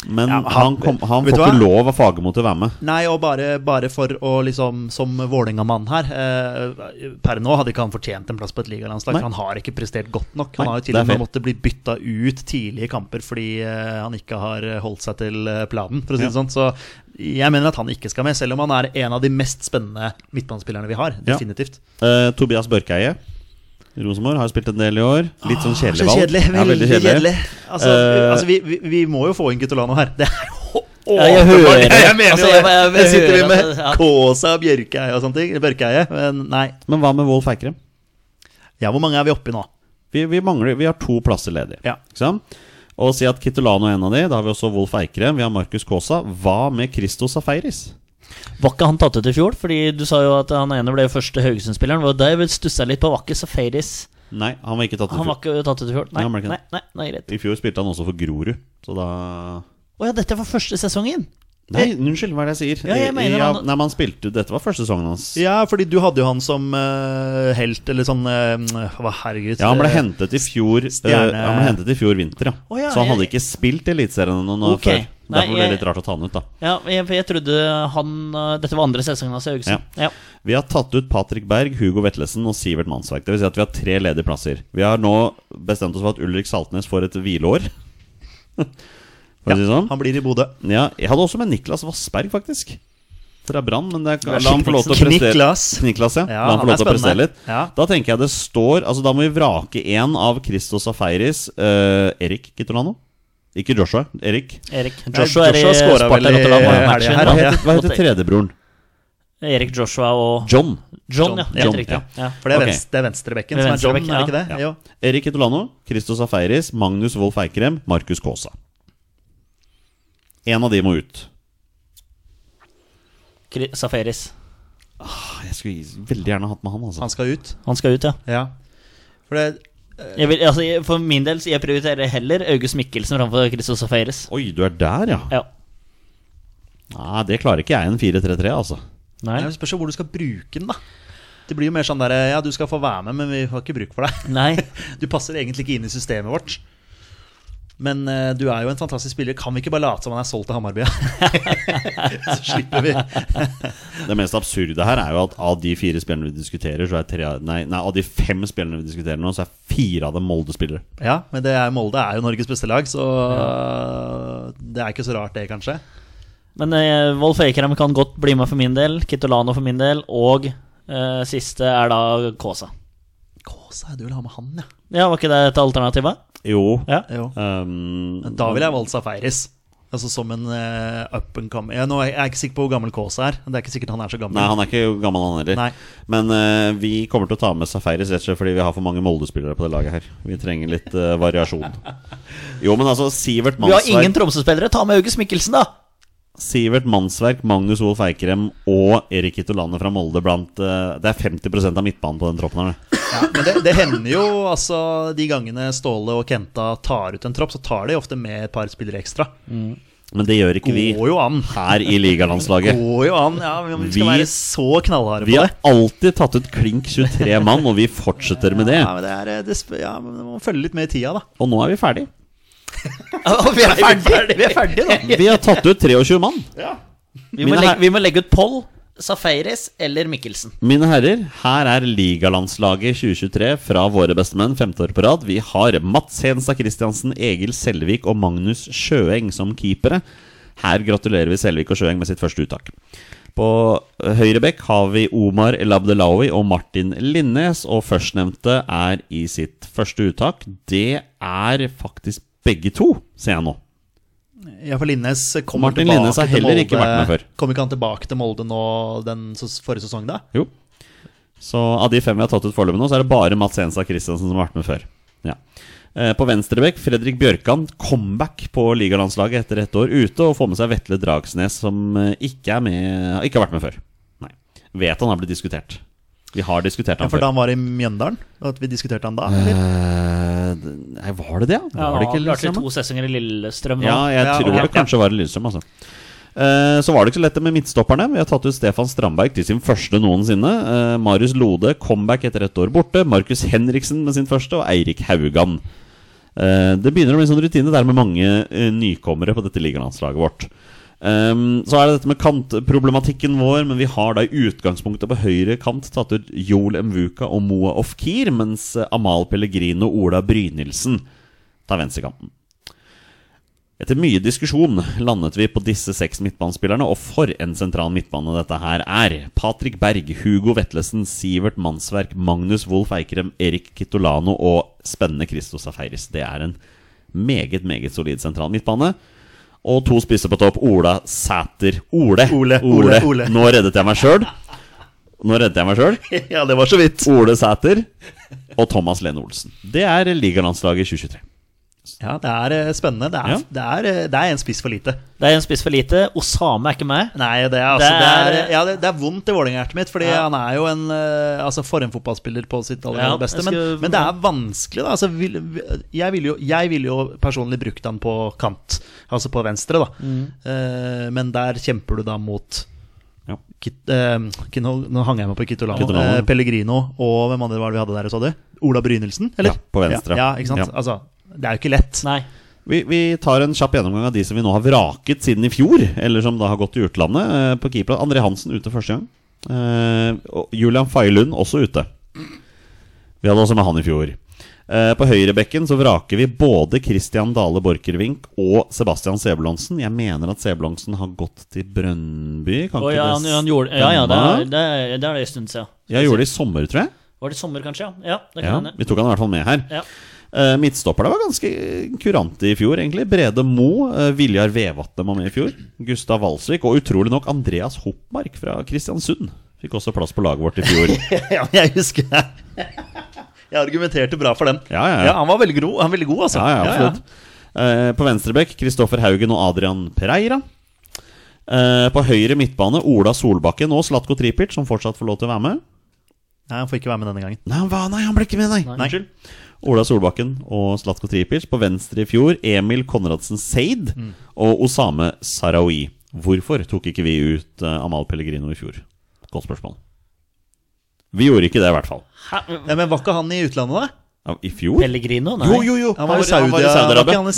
Speaker 2: men
Speaker 3: Ja, men
Speaker 2: han,
Speaker 3: han-
Speaker 2: kom, han
Speaker 3: vet
Speaker 2: får
Speaker 3: du
Speaker 2: ikke
Speaker 3: hva?
Speaker 2: lov av Fagermo til å være med.
Speaker 3: Nei, og bare, bare for å liksom Som Vålerenga-mann her eh, Per nå hadde ikke han fortjent en plass på et ligalandslag.
Speaker 2: Nei.
Speaker 3: For han har ikke prestert godt nok. Han
Speaker 2: Nei,
Speaker 3: har jo til
Speaker 2: det er
Speaker 3: og med
Speaker 2: fair.
Speaker 3: måttet bli bytta ut tidlig i kamper fordi eh, han ikke har eh, holdt seg til eh, planen, for å si det
Speaker 2: Ja.
Speaker 3: sånn. Så jeg mener at han ikke skal med, selv om han er en av de mest spennende midtbanespillerne vi har.
Speaker 2: Ja.
Speaker 3: Definitivt.
Speaker 2: Eh, Tobias Børkeie, Rosenborg, har jo spilt en del i år. Litt sånn kjedelig
Speaker 3: Ah, Så
Speaker 2: valg.
Speaker 3: kjedelig.
Speaker 2: Ja,
Speaker 3: Veldig kjedelig. Altså,
Speaker 2: Eh,
Speaker 3: altså vi, vi, vi må jo få inn Guttolano her. Det er jo
Speaker 1: Ja, jeg hører det.
Speaker 3: Jeg mener
Speaker 1: Altså,
Speaker 3: jo
Speaker 1: jeg-
Speaker 3: det.
Speaker 1: jeg- jeg
Speaker 3: Her [laughs] sitter vi
Speaker 1: hører at
Speaker 3: med
Speaker 1: det- Altså, ja.
Speaker 3: Kaasa og Bjørkeie og sånne ting. Bjørkeie. Men nei.
Speaker 2: Men hva med Wolf Eikrem?
Speaker 3: Ja, hvor mange er vi oppe i nå?
Speaker 2: Vi, vi mangler, vi har to plasser ledig.
Speaker 3: Ja.
Speaker 2: Ikke sant? Og si at Kitolano er en av de. Da har vi også Wolf Eikrem. Vi har Markus Kaasa. Hva med Christo Safaris?
Speaker 1: Var ikke han tatt ut i fjor? Fordi du sa jo at han ene ble første Haugesund-spilleren. Og der stussa jeg litt på. Var ikke Safaris
Speaker 2: Nei, han var ikke tatt ut. i
Speaker 1: Han var
Speaker 2: fjor.
Speaker 1: ikke tatt ut i fjor? Nei,
Speaker 2: Nei, han ble ikke
Speaker 1: nei,
Speaker 2: det.
Speaker 1: nei, nei greit.
Speaker 2: I fjor spilte han også for Grorud, så da
Speaker 1: Å ja, dette var første sesongen!
Speaker 2: Nei, unnskyld, hva er det jeg sier?
Speaker 1: Eh, Ja, jeg mener han-
Speaker 2: Nei, men han spilte jo Dette var første sesongen hans.
Speaker 3: Ja, fordi du hadde jo han som eh, helt, eller sånn eh, Hva herregud
Speaker 2: Ja, han ble
Speaker 3: eh,
Speaker 2: hentet i fjor eh,
Speaker 3: Stjerne-
Speaker 2: Han ble hentet i fjor vinter, ja.
Speaker 1: Å, ja,
Speaker 2: så han hadde
Speaker 1: jeg-
Speaker 2: ikke spilt Eliteserien noen år
Speaker 1: Ok.
Speaker 2: før.
Speaker 1: Nei,
Speaker 2: Derfor ble det
Speaker 1: jeg-
Speaker 2: litt rart å ta han ut, da.
Speaker 1: Ja, jeg, for jeg trodde han eh, Dette var andre sesongen hans i Haugesund. Ja.
Speaker 2: Vi har tatt ut Patrick Berg, Hugo Vetlesen og Sivert Mannsverk. Det vil si at vi har tre ledige plasser. Vi har nå bestemt oss for at Ulrik Saltnes får et hvileår. [laughs] For å si det sånn.
Speaker 3: Han blir i Bodø.
Speaker 2: Ja, jeg hadde også med Niklas Vassberg, faktisk. Fra Brann, men det er,
Speaker 1: er
Speaker 2: la han få lov til å
Speaker 3: Kniklas.
Speaker 2: prestere.
Speaker 3: Kniklas.
Speaker 2: Kniklas, ja.
Speaker 3: Ja,
Speaker 2: La han få
Speaker 3: han er
Speaker 2: lov til å prestere
Speaker 3: spennende.
Speaker 2: litt.
Speaker 3: Ja.
Speaker 2: Da tenker jeg det står Altså, da må vi vrake én av Christos Afeiris, eh, Erik Kitolano. Ikke Joshua. Erik.
Speaker 1: Erik
Speaker 3: Nei,
Speaker 1: Joshua er i
Speaker 3: Joshua scoret
Speaker 1: Sparta
Speaker 3: vel i
Speaker 1: Rotterdam.
Speaker 3: helgen
Speaker 1: matchen.
Speaker 3: her,
Speaker 2: Hva
Speaker 3: ja.
Speaker 2: heter, hva heter tredjebroren?
Speaker 1: Erik Joshua og
Speaker 2: John.
Speaker 1: John, ja. Helt
Speaker 2: John,
Speaker 1: riktig. Ja.
Speaker 3: For det er,
Speaker 2: Ok.
Speaker 3: venstre, det er
Speaker 1: Det
Speaker 3: venstrebekken
Speaker 1: er
Speaker 3: som er John,
Speaker 1: venstrebekken,
Speaker 3: er det ikke det?
Speaker 2: ja.
Speaker 3: Jo.
Speaker 2: Erik Kitolano, Christos Afeiris, Magnus Wolff Eikrem, Markus Kaasa. En av de må ut.
Speaker 1: Kri- Safaris.
Speaker 2: Ah, Jeg skulle veldig gjerne hatt med han, altså.
Speaker 3: Han skal ut.
Speaker 1: Han skal ut, ja.
Speaker 3: Ja. For det
Speaker 1: Jeg vil, altså, jeg, for min del så jeg prioriterer heller August Mikkelsen framfor Christo Safaris.
Speaker 2: Oi, du er der, ja.
Speaker 1: Ja.
Speaker 2: Nei, det klarer ikke jeg i en 4-3-3, altså.
Speaker 1: Nei.
Speaker 3: Men Det spørs jo hvor du skal bruke den, da. Det blir jo mer sånn der Ja, du skal få være med, men vi har ikke bruk for deg.
Speaker 1: Nei.
Speaker 3: [laughs] Du passer egentlig ikke inn i systemet vårt. Men eh, du er jo en fantastisk spiller. Kan vi ikke bare late som han er solgt til Hammarby? [laughs] Så slipper vi.
Speaker 2: Det mest absurde her er jo at av de fire spillerne vi diskuterer, så er tre av- Nei, nei av de fem spillerne vi diskuterer nå, så er fire av dem Molde-spillere.
Speaker 3: Ja, men det er, Molde er jo Norges beste lag, så øh, det er ikke så rart, det, kanskje.
Speaker 1: Men eh, Wolf Eikrem kan godt bli med for min del. Kitolano for min del. Og eh, siste er da Kaasa.
Speaker 3: Kåsa, du vil ha med han, ja.
Speaker 1: Ja, var ikke det et alternativ? da?
Speaker 2: Jo.
Speaker 1: Ja.
Speaker 3: Jo.
Speaker 2: ehm,
Speaker 3: Da ville jeg valgt Safaris. Altså som en eh, up and come ja, Nå er jeg jeg er ikke sikker på hvor gammel Kåsa er. Det er ikke sikkert han er så gammel.
Speaker 2: nei, han er ikke gammel, han heller.
Speaker 3: Nei.
Speaker 2: Men eh, vi kommer til å ta med Safaris rett og slett fordi vi har for mange Molde-spillere på det laget her. Vi trenger litt eh,
Speaker 1: [laughs]
Speaker 2: variasjon. Jo, men altså, Sivert
Speaker 1: Vi har ingen
Speaker 2: Mannsverk,
Speaker 1: Tromsø-spillere. Ta med August Mikkelsen, da!
Speaker 2: Sivert Mannsverk Magnus Wolff Eikrem og Erik Itolane fra Molde blant eh, Det er 50 av midtbanen på den troppen her. det.
Speaker 3: Ja, men det, det hender jo altså de gangene Ståle og Kenta tar ut en tropp, så tar de ofte med et par spillere ekstra.
Speaker 2: Men det gjør ikke vi
Speaker 3: Går jo an.
Speaker 2: her i ligalandslaget.
Speaker 3: Går jo an. Ja, men vi skal
Speaker 2: Vi-
Speaker 3: være så knallharde
Speaker 2: Vi
Speaker 3: på
Speaker 2: har
Speaker 3: det.
Speaker 2: alltid tatt ut klink 23 mann, og vi fortsetter med det.
Speaker 3: Ja, men det er, eh, det, sp- ja, men man må følge litt med i tida, da.
Speaker 2: Og nå er vi ferdig.
Speaker 1: vi
Speaker 3: [laughs]
Speaker 1: er ferdige! Vi er ferdige nå.
Speaker 2: Vi har tatt ut 23 mann.
Speaker 1: Vi må,
Speaker 2: Mine
Speaker 1: legge,
Speaker 2: her-
Speaker 1: vi må legge ut Poll, Safaris eller Mikkelsen.
Speaker 2: Mine herrer, her er ligalandslaget 2023 fra våre bestemenn femte år på rad. Vi har Mats Hedenstad Christiansen, Egil Selvik og Magnus Sjøeng som keepere. Her gratulerer vi Selvik og Sjøeng med sitt første uttak. På høyrebekk har vi Omar El Abdelawi og Martin Linnes, og førstnevnte er i sitt første uttak. Det er faktisk begge to, ser jeg nå.
Speaker 3: Ja, for Linnes kommer
Speaker 2: Martin
Speaker 3: tilbake
Speaker 2: Linnes har
Speaker 3: til
Speaker 2: heller ikke
Speaker 3: Molde-
Speaker 2: vært med før.
Speaker 3: Kommer ikke han tilbake til Molde nå den ses- forrige sesong, da?
Speaker 2: Jo. Så av de fem vi har tatt ut foreløpig nå, så er det bare Mats Enstad Christiansen som har vært med før. Ja. Eh, På venstrebekk, Fredrik Bjørkan, comeback på ligalandslaget etter ett år ute, og får med seg Vetle Dragsnes, som eh, ikke, er med, ikke har vært med før. Nei. Vet han har blitt diskutert. Vi har diskutert
Speaker 3: Ja,
Speaker 2: han
Speaker 3: for
Speaker 2: før.
Speaker 3: da han var i Mjøndalen? At vi diskuterte [laughs] han da? Eller?
Speaker 2: Eh, Nei, var det det? ja? Var det ikke liksom-
Speaker 1: klart
Speaker 2: Lillestrøm, da?
Speaker 1: to sesonger i Lillestrøm nå.
Speaker 2: Ja, jeg
Speaker 3: Ja,
Speaker 2: tror
Speaker 3: ja,
Speaker 2: det kanskje var i Lillestrøm, altså. Eh, Så var det ikke så lett det med midtstopperne. Vi har tatt ut Stefan Strandberg til sin første noensinne. Eh, Marius Lode, comeback etter ett år borte. Markus Henriksen med sin første, og Eirik Haugan. Eh, Det begynner å bli sånn rutine der med mange eh, nykommere på dette ligalandslaget vårt. Ehm, så er det dette med kantproblematikken vår, men vi har da i utgangspunktet på høyre kant tatt ut Joel Mvuka og Moa Ofkir, mens eh, Amal Pellegrino og Ola Brynildsen tar venstrekanten. Etter mye diskusjon landet vi på disse seks midtbanespillerne, og for en sentral midtbane dette her er. Patrick Berg, Hugo Vetlesen, Sivert Mannsverk, Magnus Wolff Eikrem, Erik Kitolano og spennende Christo Safaris. Det er en meget, meget solid sentral midtbane. Og to spisser på topp. Ola Sæter Ole.
Speaker 3: Ole,
Speaker 2: Ole.
Speaker 3: Ole, Ole.
Speaker 2: Nå reddet jeg meg sjøl. Nå reddet jeg meg sjøl.
Speaker 3: ja, det var så vidt.
Speaker 2: Ole Sæter og Thomas Lene Olsen. Det er ligalandslaget 2023.
Speaker 3: Ja, det er eh, spennende. Det er,
Speaker 2: Ja.
Speaker 3: det er, eh, det er en spiss for lite.
Speaker 1: Det er en spiss for lite. Osame er ikke med.
Speaker 3: Nei, det er, altså,
Speaker 1: Det
Speaker 3: det er,
Speaker 1: er-
Speaker 3: ja, det, det er vondt i Vålerenga-hjertet mitt, fordi
Speaker 1: Ja.
Speaker 3: han er jo en eh, altså, for en fotballspiller på sitt aller
Speaker 1: Ja,
Speaker 3: aller beste.
Speaker 1: jeg
Speaker 3: Men,
Speaker 1: skulle-
Speaker 3: men det er vanskelig, da. Altså, vil, vil- jeg ville jo, jeg ville jo personlig brukt han på kant, altså på venstre, da.
Speaker 1: Mm.
Speaker 3: Eh, men der kjemper du da mot
Speaker 2: Ja.
Speaker 3: Kit, eh, Kino, nå hang jeg meg på Kitolano.
Speaker 2: Kitolano.
Speaker 3: Eh, Pellegrino og hvem andre var det vi hadde der, sa du? Ola Brynildsen, eller?
Speaker 2: Ja, på venstre.
Speaker 3: Ja, ja ikke sant?
Speaker 2: Ja.
Speaker 3: Altså, det er jo ikke lett.
Speaker 1: Nei.
Speaker 2: Vi, vi tar en kjapp gjennomgang av de som vi nå har vraket siden i fjor, eller som da har gått til utlandet. Eh, på keeper André Hansen ute første gang. Eh, og Julian Faylund også ute. Vi hadde også med han i fjor. Eh, på høyrebekken så vraker vi både Christian Dale Borchgrevink og Sebastian Sebulonsen. Jeg mener at Sebulonsen har gått til Brønnby. Kan
Speaker 1: Å,
Speaker 2: ikke
Speaker 1: ja,
Speaker 2: det
Speaker 1: han, han gjorde, ja, ja, det er
Speaker 2: stemme?
Speaker 1: det, er, det, er det en stund siden.
Speaker 2: Jeg gjorde det i sommer, tror jeg.
Speaker 1: Var det i sommer, kanskje? Ja, ja det
Speaker 2: Ja,
Speaker 1: kan hende.
Speaker 2: vi tok han i hvert fall med her.
Speaker 1: Ja.
Speaker 2: Eh, Midtstopperne var ganske kurante i fjor, egentlig. Brede Mo, eh, Viljar Vevatne var med i fjor. Gustav Walsvik og utrolig nok Andreas Hoppmark fra Kristiansund. Fikk også plass på laget vårt i [laughs] fjor.
Speaker 3: [laughs] Ja, men jeg husker det. Jeg argumenterte bra for den.
Speaker 2: Ja, ja, ja.
Speaker 3: han var veldig god, han var veldig god altså.
Speaker 2: Ja, ja, absolutt. Eh, På venstrebekk Kristoffer Haugen og Adrian Pereira. Eh, På høyre midtbane Ola Solbakken og Slatko Tripic, som fortsatt får lov til å være med.
Speaker 3: Nei, Han får ikke være med denne gangen.
Speaker 2: Nei, han, var, nei, han ble ikke med, nei. nei. Unnskyld. Ola Solbakken og Slatko Tripic på venstre i fjor. Emil Konradsen Seid
Speaker 1: Mm.
Speaker 2: og Osame Sarawi. Hvorfor tok ikke vi ut eh, Amal Pellegrino i fjor? Godt spørsmål. Vi gjorde ikke det, i hvert fall.
Speaker 1: Hæ?
Speaker 3: Ja, men var ikke han i utlandet, da?
Speaker 2: Ja, I fjor?
Speaker 1: Pellegrino? Nei.
Speaker 2: Jo, jo, jo!
Speaker 3: Han var i
Speaker 2: han var i
Speaker 3: Saudi-
Speaker 2: Saudi-Arabia.
Speaker 3: han var ikke han i
Speaker 2: det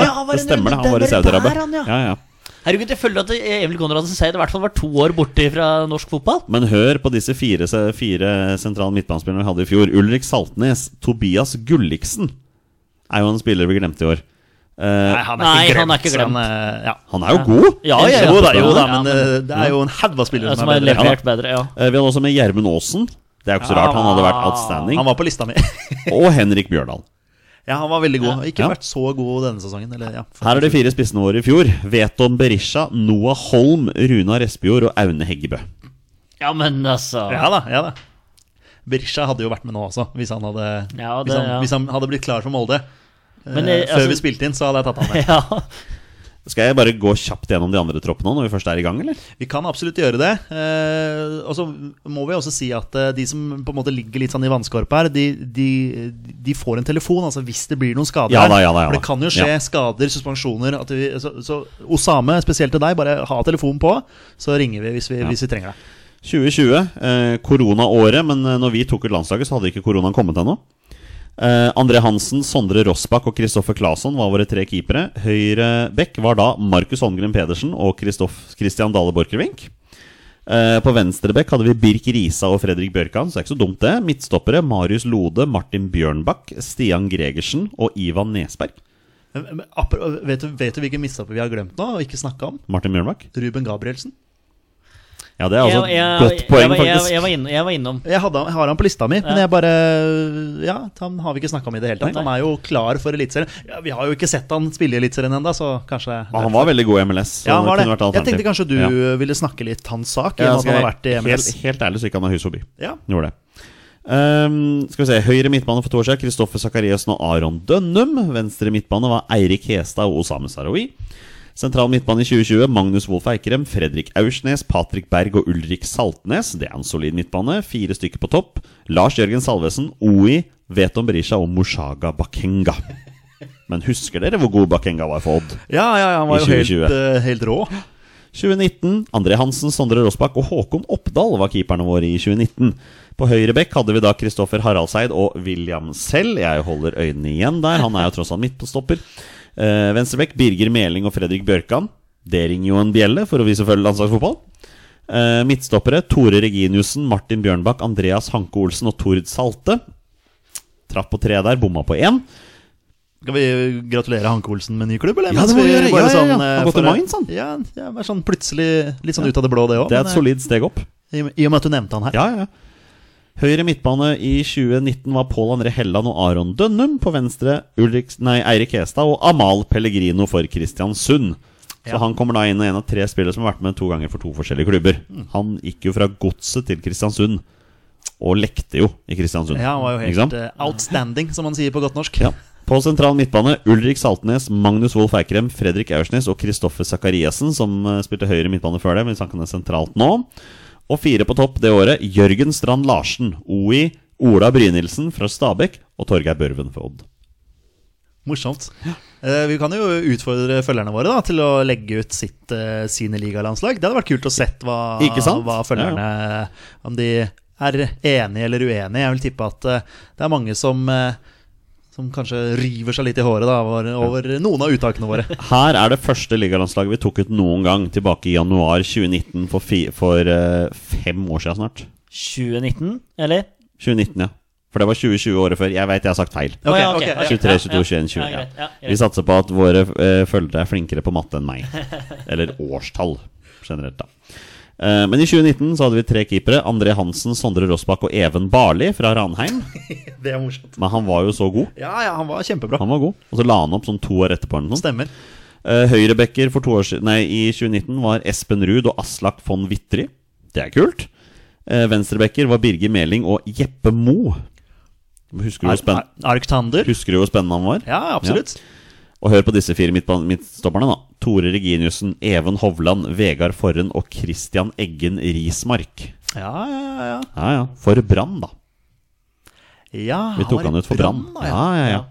Speaker 2: stemmer, det.
Speaker 1: Ja, han var
Speaker 2: det.
Speaker 1: i-
Speaker 2: stemmer det. Han var i
Speaker 1: det var
Speaker 2: Saudi-Arabia.
Speaker 1: der han, ja.
Speaker 2: Ja, ja.
Speaker 1: Herregud, jeg føler at Emil Konradsen Seid i hvert fall var to år borte fra norsk fotball.
Speaker 2: Men hør på disse fire, fire sentrale midtbanespillerne vi hadde i fjor. Ulrik Saltnes, Tobias Gulliksen er jo en spiller vi glemte i år. Eh,
Speaker 3: han
Speaker 1: Nei, han er ikke glemt.
Speaker 3: så han, eh, ja.
Speaker 2: han er jo god!
Speaker 1: Ja, ja, ja.
Speaker 3: Jo da, jo da,
Speaker 1: Ja,
Speaker 3: men
Speaker 1: men-
Speaker 3: eh, det er jo en haug av spillere
Speaker 1: Som
Speaker 3: som er
Speaker 1: har
Speaker 3: bedre.
Speaker 2: Ja,
Speaker 1: levert bedre, ja.
Speaker 2: Eh, vi hadde også med Gjermund Aasen. Det er jo ikke så rart, han hadde vært outstanding.
Speaker 3: Ah. Han var på lista mi. [laughs]
Speaker 2: Og Henrik Bjørdal.
Speaker 3: Ja, han var veldig god. Har Ikke
Speaker 2: Ja.
Speaker 3: vært så god denne sesongen. Eller, ja.
Speaker 2: Her er de fire spissene våre i fjor. Veton Berisha, Noah Holm, Runar Espejord og Aune Heggebø.
Speaker 1: Ja, men altså
Speaker 3: Ja da, ja da. Berisha hadde jo vært med nå også, hvis han hadde,
Speaker 1: Ja, det-
Speaker 3: hvis han,
Speaker 1: ja.
Speaker 3: hvis han hadde blitt klar for Molde. Eh,
Speaker 1: Men, eh, altså-
Speaker 3: Før vi spilte inn, så hadde jeg tatt han
Speaker 1: [laughs]
Speaker 3: med.
Speaker 1: Ja.
Speaker 2: Skal jeg bare gå kjapt gjennom de andre troppene nå, når vi først er i gang, eller?
Speaker 3: Vi kan absolutt gjøre det. Eh, og så må vi også si at eh, de som på en måte ligger litt sånn i vannskorpa her, de, de, de får en telefon altså hvis det blir noen skader.
Speaker 2: Ja da,
Speaker 3: her.
Speaker 2: ja da, ja
Speaker 3: For det
Speaker 2: da.
Speaker 3: kan jo skje
Speaker 2: Ja.
Speaker 3: skader, suspensjoner at vi, så, så Osame, spesielt til deg, bare ha telefonen på, så ringer vi hvis vi, hvis vi trenger deg.
Speaker 2: 2020, eh, koronaåret, men eh, når vi tok ut landslaget, så hadde ikke koronaen kommet ennå. Eh, André Hansen, Sondre Rossbakk og Kristoffer Claesson var våre tre keepere. Høyre bekk var da Markus Holmgren Pedersen og Kristoff- Christian Dale Borchgrevink. Eh, på venstre bekk hadde vi Birk Risa og Fredrik Bjørkan, så det er ikke så dumt, det. Midtstoppere Marius Lode, Martin Bjørnbakk, Stian Gregersen og Ivan Nesberg.
Speaker 3: Men, men, apro- vet, du, vet du hvilke mistapper vi har glemt nå og ikke snakka om?
Speaker 2: Martin Bjørnbakk?
Speaker 3: Ruben Gabrielsen.
Speaker 2: Ja, det er altså
Speaker 1: Jeg- jeg-
Speaker 2: et godt poeng,
Speaker 1: jeg, jeg,
Speaker 2: faktisk.
Speaker 1: jeg, jeg, var innom, jeg var innom.
Speaker 3: Jeg, hadde, han- jeg har han på lista mi, men
Speaker 1: Ja.
Speaker 3: jeg bare Ja, han har vi ikke snakka om i det hele tatt. Han er jo klar for Eliteserien. Ja, vi har jo ikke sett han spille i Eliteserien ennå, så kanskje
Speaker 2: Ja, Han var veldig god i MLS. så
Speaker 3: ja, han var det.
Speaker 2: kunne vært et
Speaker 3: Jeg
Speaker 2: alternativ.
Speaker 3: tenkte kanskje du
Speaker 2: Ja.
Speaker 3: ville snakke litt hans sak.
Speaker 2: Ja,
Speaker 3: Ja,
Speaker 2: skal
Speaker 3: han har
Speaker 2: jeg-
Speaker 3: vært i MLS.
Speaker 2: Helt, helt ærlig så gikk han meg hus forbi.
Speaker 3: Ja.
Speaker 2: Gjorde det. Ehm, skal vi se, Høyre midtbane for to år siden Kristoffer Sakariassen og Aron Dønnum. Venstre midtbane var Eirik Hestad og Osame Sarawi. Sentral midtbane i 2020 Magnus Wolff Eikrem, Fredrik Aursnes, Patrik Berg og Ulrik Saltnes. Det er en solid midtbane. Fire stykker på topp. Lars Jørgen Salvesen, OI, Veton Berisha og Mushaga Bakenga. Men husker dere hvor god Bakenga var for Odd?
Speaker 3: Ja, ja, ja, han
Speaker 2: I
Speaker 3: var jo helt,
Speaker 2: 2020.
Speaker 3: eh, helt rå.
Speaker 2: 2019. André Hansen, Sondre Rossbakk og Håkon Oppdal var keeperne våre i 2019. På høyre bekk hadde vi da Kristoffer Haraldseid og William Sell. Jeg holder øynene igjen der, han er jo tross alt midtstopper. Eh, Venstre bekk, Birger Meling og Fredrik Bjørkan. Det ringer jo en bjelle for å vise følge landslagsfotball. Eh, midtstoppere Tore Reginiussen, Martin Bjørnbakk, Andreas Hanke Olsen og Tord Salte. Traff på tre der, bomma på én.
Speaker 3: Skal vi gratulere Hanke Olsen med ny klubb, eller?
Speaker 2: Ja,
Speaker 3: Mens
Speaker 2: det må vi
Speaker 3: vi
Speaker 2: gjøre.
Speaker 3: bare
Speaker 2: Ja, ja, ja.
Speaker 3: sånn, eh,
Speaker 2: Han har gått til
Speaker 3: for-
Speaker 2: Mainz, han.
Speaker 3: Ja, ja, det er sånn plutselig litt sånn ut av det blå, det òg.
Speaker 2: Det er et solid steg opp.
Speaker 3: I i og med at du nevnte han her.
Speaker 2: Ja, ja, ja. Høyre midtbane i 2019 var Pål André Helland og Aron Dønnum. På venstre Ulrik, nei, Eirik Hestad og Amal Pellegrino for Kristiansund. Så
Speaker 3: Ja.
Speaker 2: han kommer da inn i en av tre spillere som har vært med to ganger for to forskjellige klubber.
Speaker 3: Mm.
Speaker 2: Han gikk jo fra Godset til Kristiansund, og lekte jo i Kristiansund.
Speaker 3: Ja, han var jo
Speaker 2: Ikke sant?
Speaker 3: helt eh, outstanding, som man sier på godt norsk.
Speaker 2: Ja. På sentral midtbane Ulrik Saltnes, Magnus Wolff Eikrem, Fredrik Aursnes og Kristoffer Sakariassen, som eh, spilte høyre midtbane før det, men som kan det sentralt nå. Og fire på topp det året Jørgen Strand Larsen, OI, Ola Brynildsen fra Stabekk og Torgeir Børven for Odd.
Speaker 3: Morsomt. Eh, vi kan jo utfordre følgerne våre da, til å legge ut sitt, eh, sine ligalandslag. Det hadde vært kult å sett hva,
Speaker 2: Ikke sant?
Speaker 3: hva følgerne Om de er enige eller uenige. Jeg vil tippe at eh, det er mange som eh, som kanskje river seg litt i håret da, over, over noen av uttakene
Speaker 2: [laughs]
Speaker 3: våre.
Speaker 2: Her er det første ligalandslaget vi tok ut noen gang, tilbake i januar 2019, for, fi, for eh, fem år siden snart.
Speaker 1: 2019, eller?
Speaker 2: 2019, ja. For det var 2020 året før. Jeg veit jeg har sagt feil.
Speaker 1: Å, ja,
Speaker 3: Ok,
Speaker 1: ok, ok.
Speaker 3: ok,
Speaker 2: 23, 22, 21, 20.
Speaker 1: Ja, ja,
Speaker 2: Ja,
Speaker 1: greit, ja, greit.
Speaker 2: Vi satser på at våre eh, følgere er flinkere på matte enn
Speaker 1: [laughs]
Speaker 2: meg. Eller årstall, generelt, da. Eh, men i 2019 så hadde vi tre keepere. André Hansen, Sondre Rossbakk og Even Barli fra Ranheim.
Speaker 3: Det er morsomt.
Speaker 2: Men han var jo så god.
Speaker 3: Ja, ja, han var kjempebra.
Speaker 2: Han var god. Og så la han opp sånn to år etterpå. eller noe sånt.
Speaker 3: Stemmer.
Speaker 2: Eh, Høyrebacker for to år siden, nei, i 2019 var Espen Ruud og Aslak von Wittry. Det er kult. Eh, Venstrebacker var Birger Meling og Jeppe Mo. Husker du hvor spenn-
Speaker 3: Arktander.
Speaker 2: husker du hvor spennende han var?
Speaker 3: Ja, absolutt.
Speaker 2: Og hør på disse fire midtban- midtstopperne, da. Tore Reginiussen, Even Hovland, Vegard Forren og Christian Eggen Rismark.
Speaker 3: Ja, ja, ja. ja.
Speaker 2: Ja, ja. For Brann, da.
Speaker 3: ja
Speaker 2: Vi tok
Speaker 3: var
Speaker 2: han
Speaker 3: i
Speaker 2: ut for Brann.
Speaker 3: da,
Speaker 2: Ja, ja, ja.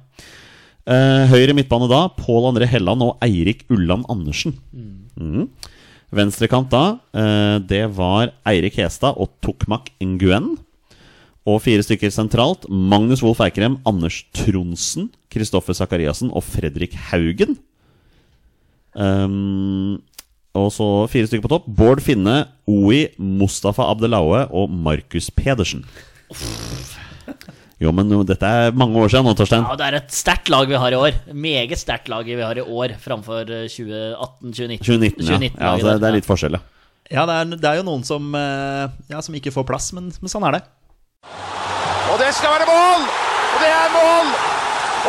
Speaker 2: Mm. Eh, høyre midtbane da, Pål André Helland og Eirik Ulland Andersen. Mhm. Venstrekant da, eh, det var Eirik Hestad og Tokmak Nguyen. Og fire stykker sentralt. Magnus Wolff Eikrem, Anders Tronsen, Kristoffer Sakariassen og Fredrik Haugen. Ehm, og så fire stykker på topp. Bård Finne, Oi, Mustafa Abdelaue og Markus Pedersen. Jo, men nå- dette er mange år siden nå, Torstein.
Speaker 1: Ja, det er et sterkt lag vi har i år. Meget sterkt lag vi har i år framfor eh, 2018-2019.
Speaker 2: 2019, ja. ja så det er litt forskjell, ja.
Speaker 3: Ja, det er, det er jo noen som, eh, ja, som ikke får plass, men, men sånn er det.
Speaker 4: Og det skal være mål! Og det er mål!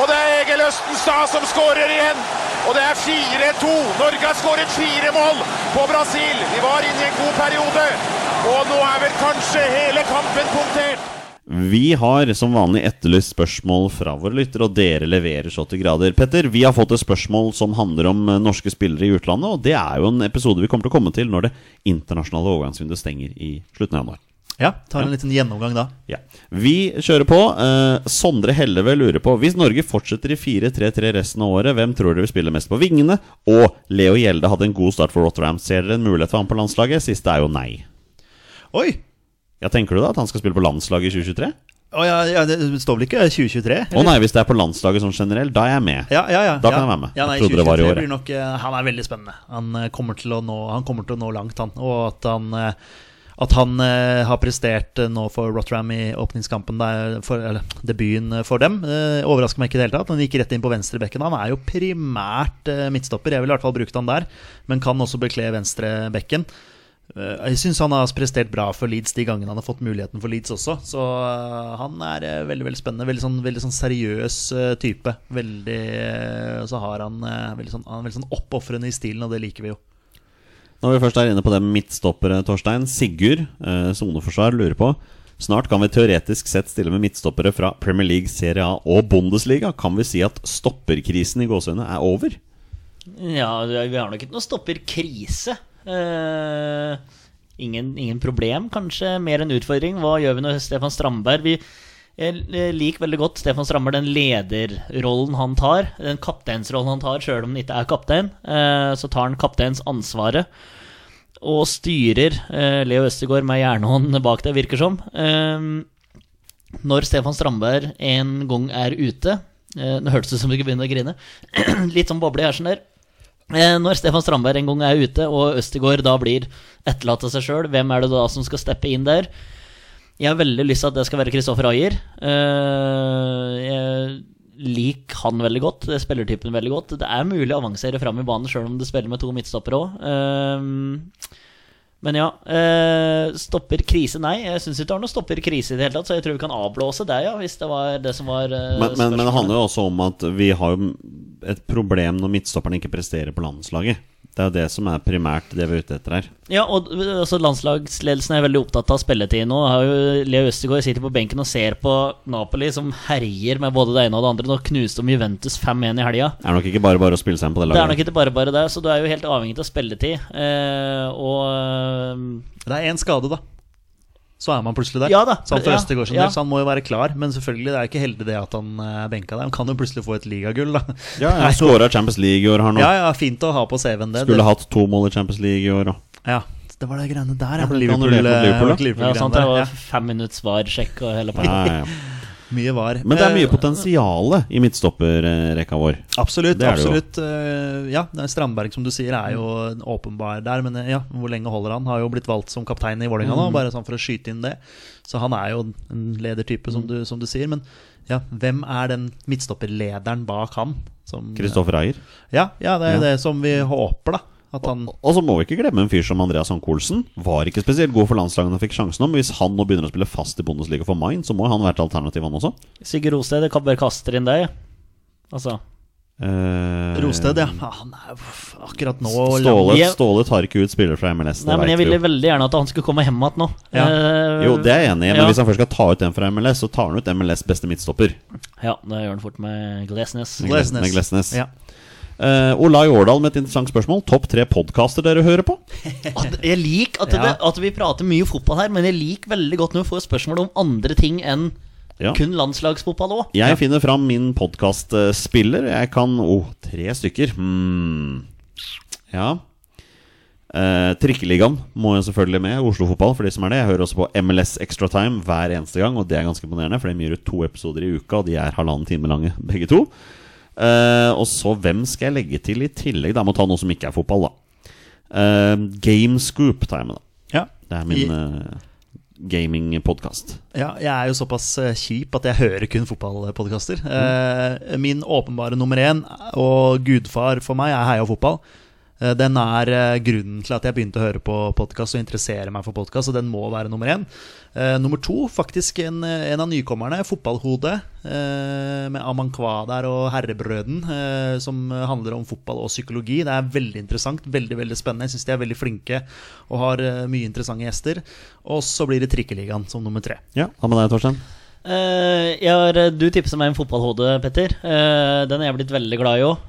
Speaker 4: Og det er Egil Østenstad som skårer igjen. Og det er 4-2. Norge har skåret fire mål på Brasil. Vi var inne i en god periode. Og nå er vel kanskje hele kampen punktert.
Speaker 2: Vi har som vanlig etterlyst spørsmål fra våre lyttere, og dere leverer så til grader. Petter, vi har fått et spørsmål som handler om eh, norske spillere i utlandet, og det er jo en episode vi kommer til å komme til når det internasjonale overgangsvinduet stenger i slutten av januar.
Speaker 3: Ja, tar en liten gjennomgang da.
Speaker 2: Ja. Vi kjører på. Eh, Sondre Helleve lurer på Hvis Norge fortsetter i 4-3-3 resten av året, hvem tror dere vil spille mest på vingene? Og Leo Gjelde hadde en god start for Rotterdam. Ser dere en mulighet for ham på landslaget? Siste er jo nei.
Speaker 3: Oi!
Speaker 2: Ja, Tenker du da at han skal spille på landslaget i 2023?
Speaker 3: Å, ja, ja, det står vel ikke 2023?
Speaker 2: Å nei, hvis det er på landslaget sånn generelt, da er jeg med.
Speaker 3: Ja, ja, ja.
Speaker 2: Da kan
Speaker 3: ja.
Speaker 2: jeg være med.
Speaker 3: Ja, nei,
Speaker 2: Jeg trodde det var i
Speaker 3: 2023
Speaker 2: år,
Speaker 3: Blir nok, eh, han er veldig spennende. Han eh, kommer til å nå, han kommer til å nå langt, han. Og at han, eh, at han eh, har prestert eh, nå for Rotterdam i åpningskampen, der, for, eller debuten eh, for dem, eh, overrasker meg ikke i det hele tatt. Han gikk rett inn på venstrebekken. Han er jo primært eh, midtstopper. Jeg ville i hvert fall brukt han der, men kan også bekle venstrebekken. Eh, Jeg syns han har prestert bra for Leeds de gangene han har fått muligheten for Leeds også. Så eh, han er eh, veldig veldig spennende. Veldig sånn, veldig sånn seriøs eh, type. Veldig eh, Så har han eh, veldig sånn, han er veldig sånn oppofrende i stilen, og det liker vi jo.
Speaker 2: Når vi først er inne på det med midtstoppere, Torstein. Sigurd, eh, soneforsvar, lurer på Snart kan vi teoretisk sett stille med midtstoppere fra Premier League, Serie A og Bundesliga. Kan vi si at stopperkrisen i gåsehudene er over?
Speaker 1: Ja, vi har nok ikke noe stopperkrise. Eh, ingen, ingen problem, kanskje. Mer en utfordring. Hva gjør vi når Stefan Strandberg Vi jeg liker veldig godt Stefan Strandberg, den lederrollen han tar. Den kapteinsrollen han tar, sjøl om han ikke er kaptein. Eh, så tar han kapteinsansvaret. Og styrer eh, Leo Østegård med jernhånd bak deg, virker som. Eh, når Stefan Strandberg en gang er ute eh, Nå hørtes det ut som du ikke begynte å grine. [clears throat] Litt sånn boble i hersen der. Eh, Når Stefan Strandberg en gang er ute, og Østegård da blir etterlatt av seg sjøl, hvem er det da som skal steppe inn der? Jeg har veldig lyst til at det skal være Kristoffer Ayer. Eh, Jeg liker han veldig godt, det er spillertypen veldig godt. Det er mulig å avansere fram i banen sjøl om du spiller med to midtstoppere òg. Men ja, eh, stopper krise? Nei, jeg syns ikke det har noe stopper krise i det hele tatt, så jeg tror vi kan avblåse det, ja, hvis det var det som var eh,
Speaker 2: Men, men, men det
Speaker 1: spørsmålet.
Speaker 2: handler jo også om at vi har jo et problem når midtstopperne ikke presterer på landslaget. Det er jo det som er primært det vi er ute etter her.
Speaker 1: Ja, og d- altså, landslagsledelsen er veldig opptatt av spilletid nå. Har jo Leo Østegård sitter på benken og ser på Napoli, som herjer med både det ene og det andre. Nå knuste de Juventus 5-1 i helga.
Speaker 2: Det er nok ikke bare bare å spille seg inn på det
Speaker 1: Det er nok
Speaker 2: laget.
Speaker 1: ikke bare bare det, så du er jo helt avhengig av spilletid. Eh, og
Speaker 3: Det er én skade, da. Så er man plutselig der.
Speaker 1: Ja da.
Speaker 3: Så han for
Speaker 1: Ja,
Speaker 3: Østegård sin
Speaker 1: ja.
Speaker 3: del, så han må jo være klar. Men selvfølgelig, det er ikke heldig det at han eh, er benka der. Han kan jo plutselig få et ligagull, da.
Speaker 2: Ja, ja, Skåra Champions League i år, har nå.
Speaker 3: Ja, ja, fint å ha på CV-en det.
Speaker 2: Skulle hatt to mål i Champions League i år, og
Speaker 3: det ja, det var det greiene der, ja.
Speaker 2: ble ikke annullert mot Liverpool, da.
Speaker 1: ja, sant, det
Speaker 3: Liverpool-greiene
Speaker 1: var
Speaker 3: der.
Speaker 1: fem minutts varsjekk og hele
Speaker 2: [laughs]
Speaker 1: pakka.
Speaker 2: ja, ja, ja.
Speaker 3: Ja, mye var.
Speaker 2: Men det er
Speaker 3: Eh,
Speaker 2: mye potensiale i midtstopperrekka vår.
Speaker 3: Absolutt.
Speaker 2: Det er det jo.
Speaker 3: absolutt Eh, Ja, det er Strandberg, som du sier, er jo en åpenbar der. Men eh, ja, hvor lenge holder han? Har jo blitt valgt som kaptein i Vålerenga
Speaker 2: Mm.
Speaker 3: nå, bare sånn for å skyte inn det. Så han er jo en ledertype,
Speaker 2: Mm.
Speaker 3: som du, som du sier. Men ja, hvem er den midtstopperlederen bak han? Som,
Speaker 2: Kristoffer Ayer.
Speaker 3: Ja, ja, det er jo
Speaker 2: Ja.
Speaker 3: det som vi håper, da. At han
Speaker 2: Og så må vi ikke glemme en fyr som Andreas Ankolsen. Var ikke spesielt god for landslaget da han fikk sjansen om. Hvis han nå begynner å spille fast i Bundesliga for Main, så må han være et alternativ, han også.
Speaker 1: Sigurd Rosted, jeg kan bare kaster inn deg, jeg. altså.
Speaker 2: Eh,
Speaker 3: Rosted, ja. ja. Han er uff, akkurat nå
Speaker 2: Ståle,
Speaker 1: Jeg-
Speaker 2: Ståle tar ikke ut spillere fra MLS,
Speaker 1: Nei,
Speaker 2: det
Speaker 1: men jeg
Speaker 2: vet vi
Speaker 1: ville
Speaker 2: jo.
Speaker 1: veldig gjerne at han skulle komme hjem igjen nå.
Speaker 3: Ja.
Speaker 1: Eh,
Speaker 2: Jo, det er jeg enig i, men
Speaker 1: ja.
Speaker 2: hvis han først skal ta ut en fra MLS, så tar han ut MLS' beste midtstopper.
Speaker 1: Ja, det gjør han fort med Glesnes.
Speaker 2: Med Glesnes.
Speaker 3: Ja.
Speaker 2: Eh, Olai Årdal med et interessant spørsmål. Topp tre podkaster dere hører på?
Speaker 1: at, jeg liker at, det,
Speaker 3: Ja.
Speaker 1: at vi prater mye fotball her, men jeg liker veldig godt når vi får spørsmål om andre ting enn
Speaker 2: Ja.
Speaker 1: kun landslagsfotball òg.
Speaker 2: Jeg finner fram min podkastspiller. Jeg kan Å, tre stykker. Hmm. Ja. Eh, trikkeligaen må jo selvfølgelig med. Oslo Fotball for de som er det. Jeg hører også på MLS Extra Time hver eneste gang, og det er ganske imponerende. For de gir ut to episoder i uka, og de er halvannen time lange [laughs] begge to. Eh, og så hvem skal jeg legge til i tillegg? Da må ta noe som ikke er fotball, da. Eh, Gamescoop tar jeg med, da.
Speaker 3: Ja.
Speaker 2: Det er min uh, gamingpodkast.
Speaker 3: Ja, jeg er jo såpass eh, kjip at jeg hører kun fotballpodkaster. Eh, min åpenbare nummer én og gudfar for meg er Heia Fotball. Eh, den er eh, grunnen til at jeg begynte å høre på podkast og interessere meg for podkast, og den må være nummer én. Eh, nummer to, faktisk en, eh, en av nykommerne, Fotballhodet, eh, med Amankwa der og Herrebrøden, eh, som handler om fotball og psykologi. Det er veldig interessant, veldig veldig spennende. Jeg syns de er veldig flinke og har eh, mye interessante gjester. Og så blir det Trikkeligaen som nummer tre.
Speaker 2: Ja, Hva med deg, Torstein?
Speaker 1: Eh, jeg har, du tipset meg om fotballhode, Petter. Eh, den er jeg blitt veldig glad i òg.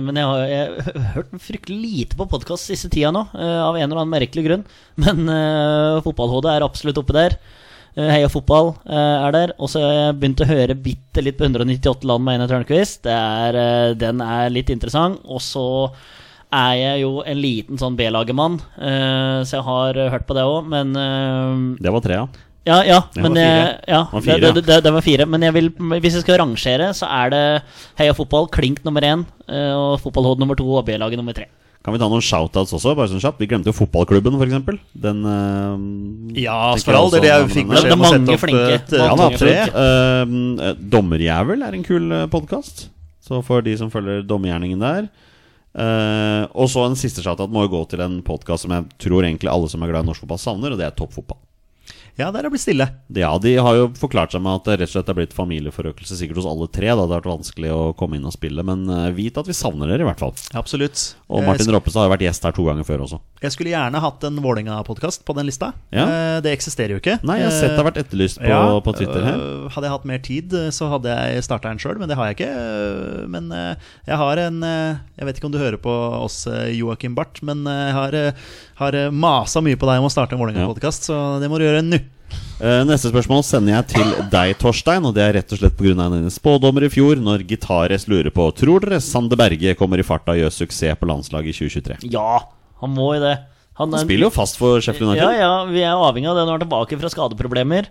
Speaker 1: men jeg har, jeg har hørt fryktelig lite på podkast siste tida nå, eh, av en eller annen merkelig grunn. Men uh, fotballhode er absolutt oppe der. Eh, Heia fotball eh, er der. Og så har jeg begynt å høre bitte litt på 198 land med Einar Tørnquist. Det er, eh, den er litt interessant. Og så er jeg jo en liten sånn B-lagemann, eh, så jeg har eh, hørt på det òg, men eh,
Speaker 2: Det var trea.
Speaker 1: ja, ja,
Speaker 2: Det
Speaker 1: men
Speaker 2: var fire.
Speaker 1: jeg, ja,
Speaker 2: var
Speaker 1: det,
Speaker 2: fire,
Speaker 1: det,
Speaker 2: ja.
Speaker 1: det, det var fire. Men jeg vil, hvis jeg skal rangere, så er det Heia Fotball klink nummer én, eh, og Fotballhode nummer to og B-laget nummer tre.
Speaker 2: Kan vi ta noen shoutouts også? bare sånn kjapt Vi glemte jo fotballklubben, f.eks. Den eh,
Speaker 3: Ja,
Speaker 2: tenker
Speaker 3: for all del.
Speaker 2: også
Speaker 3: Jeg
Speaker 2: om den.
Speaker 3: fikk
Speaker 1: Det- det
Speaker 3: beskjed
Speaker 1: er
Speaker 3: om å
Speaker 1: mange
Speaker 3: sette opp
Speaker 1: flinke.
Speaker 3: et eh,
Speaker 1: Mange
Speaker 2: Ja,
Speaker 3: topp
Speaker 2: da, absolutt.
Speaker 3: tre.
Speaker 2: Eh, Dommerjævel er en kul podkast. Så for de som følger dommergjerningen der. Eh, og så en siste shoutout må jo gå til en podkast som jeg tror egentlig alle som er glad i norsk fotball, savner, og det er Toppfotball.
Speaker 3: Ja, der er det blitt stille.
Speaker 2: Ja, de har jo forklart seg med at det rett og slett er blitt familieforøkelse sikkert hos alle tre. Da. Det har vært vanskelig å komme inn og spille, men eh, vit at vi savner dere i hvert fall.
Speaker 3: Absolutt.
Speaker 2: Og
Speaker 3: Jeg
Speaker 2: Martin Roppestad har jo vært gjest her to ganger før også.
Speaker 3: sk- Jeg skulle gjerne hatt en Vålerenga-podkast på den lista.
Speaker 2: Ja.
Speaker 3: Eh, Det eksisterer jo ikke. Eh,
Speaker 2: Nei, jeg har sett det har vært etterlyst på,
Speaker 3: Ja,
Speaker 2: på Twitter her.
Speaker 3: øh, Hadde jeg hatt mer tid, øh, så hadde jeg starta en sjøl, men det har jeg ikke. øh, Men øh, jeg har en øh, Jeg vet ikke om du hører på oss, øh, Joakim Barth, men øh, jeg har, øh, har øh, masa mye på deg om å starte en Vålerenga-podkast, så det må du gjøre nå.
Speaker 2: Eh, Neste spørsmål sender jeg til deg, Torstein, og det er rett og slett pga. dine spådommer i fjor, når Gitares lurer på Tror dere Sander Berge kommer i farta og gjør suksess på landslaget i 2023?
Speaker 1: Ja, han må jo det. Han,
Speaker 2: Han spiller jo fast for Sheffield
Speaker 1: Ja,
Speaker 2: United.
Speaker 1: ja, vi er avhengig av det når han er tilbake fra skadeproblemer.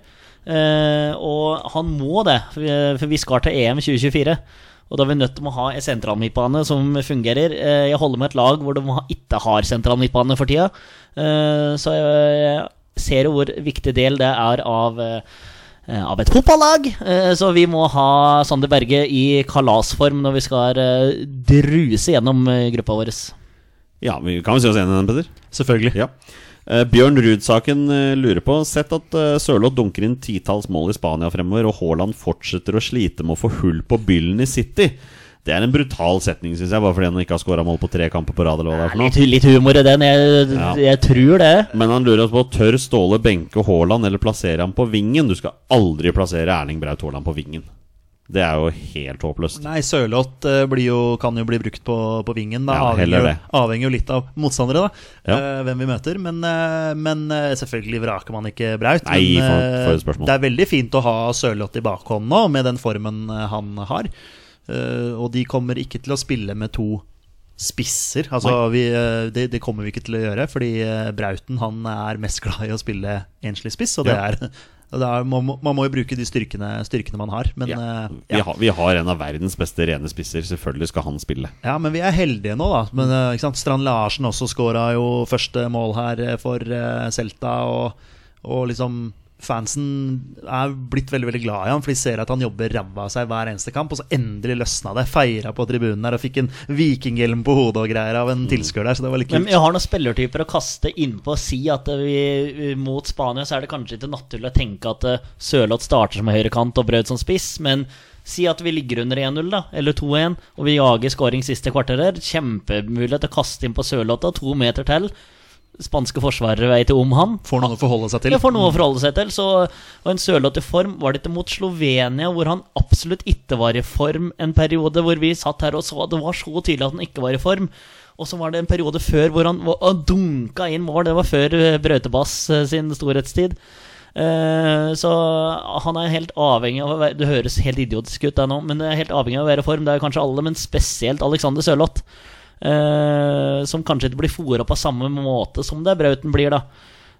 Speaker 1: Eh, og han må det, for vi- for vi skal til EM 2024. Og da er vi nødt til å ha en sentral midtbane som fungerer. Eh, jeg holder med et lag hvor de ha- ikke har sentral midtbane for tida. Eh, så jeg, jeg ser jo hvor viktig del det er av eh, av et fotballag. Eh, Så vi må ha Sander Berge i kalasform når vi skal eh, druse gjennom eh, gruppa vår.
Speaker 2: Ja, vi kan jo si oss enig i den, Peder?
Speaker 3: Selvfølgelig.
Speaker 2: Ja. Eh, Bjørn Ruud-saken eh, lurer på Sett at eh, Sørloth dunker inn titalls mål i Spania fremover, og Haaland fortsetter å slite med å få hull på byllen i City. Det er en brutal setning, syns jeg, bare fordi han ikke har skåra mål på tre kamper på rad. eller hva det er for noe.
Speaker 1: Litt, litt humor i den. Jeg,
Speaker 2: Ja.
Speaker 1: jeg tror det.
Speaker 2: Men han lurer oss på tør Ståle benke Haaland eller plassere ham på vingen. Du skal aldri plassere Erling Braut Haaland på vingen. Det er jo helt håpløst.
Speaker 3: Nei, Sørloth eh, blir jo, kan jo bli brukt på, på vingen. Da.
Speaker 2: Ja, heller
Speaker 3: avhenger,
Speaker 2: det.
Speaker 3: jo- avhenger jo litt av motstandere, da.
Speaker 2: Ja.
Speaker 3: eh, hvem vi møter. Men, eh, men eh, selvfølgelig vraker man ikke Braut.
Speaker 2: Nei,
Speaker 3: men,
Speaker 2: for- for et
Speaker 3: eh,
Speaker 2: spørsmål.
Speaker 3: det er veldig fint å ha Sørloth i bakhånd nå, med den formen eh, han har. Eh, og de kommer ikke til å spille med to spisser. Altså, vi, eh, det, det kommer vi ikke til å gjøre, fordi eh, Brauten han er mest glad i å spille enslig spiss, og det
Speaker 2: Ja.
Speaker 3: er [laughs] og det er, man, må, man må jo bruke de styrkene, styrkene man har, men eh, ja.
Speaker 2: Vi, har, vi har en av verdens beste rene spisser. Selvfølgelig skal han spille.
Speaker 3: Ja, men vi er heldige nå, da. Men, eh, ikke sant? Strand Larsen også skåra jo første mål her eh, for eh, Celta. Og, og liksom fansen er blitt veldig veldig glad i ham, for de ser at han jobber ræva av seg hver eneste kamp. Og så endelig løsna det. Feira på tribunen der og fikk en vikinghjelm på hodet og greier av en tilskuer der, så det var litt
Speaker 1: Men
Speaker 3: kult.
Speaker 1: jeg har noen spillertyper å kaste innpå og si at eh, vi, mot Spania så er det kanskje ikke naturlig å tenke at eh, Sørloth starter som høyrekant og Braut som spiss, men si at vi ligger under 1-0, da, eller 2-1, og vi jager scoring siste kvarter her. Kjempemulighet til å kaste inn på Sørloth, da, to meter til. Spanske forsvarere veit jo om han.
Speaker 3: Får noen å forholde seg til.
Speaker 1: Jeg får noe å forholde seg til. Så, og en sørlåt i form var det ikke mot Slovenia, hvor han absolutt ikke var i form en periode, hvor vi satt her og så at det var så tydelig at han ikke var i form. Og så var det en periode før hvor han var, og dunka inn mål. Det var før eh, Brautebass eh, sin storhetstid. Eh, så han er helt avhengig av å være Det høres helt idiotisk ut, det nå, men det er helt avhengig av å være i form. Det er kanskje alle, men spesielt Alexander Sørloth. eh, som kanskje ikke blir fôra på samme måte som det Brauten blir, da.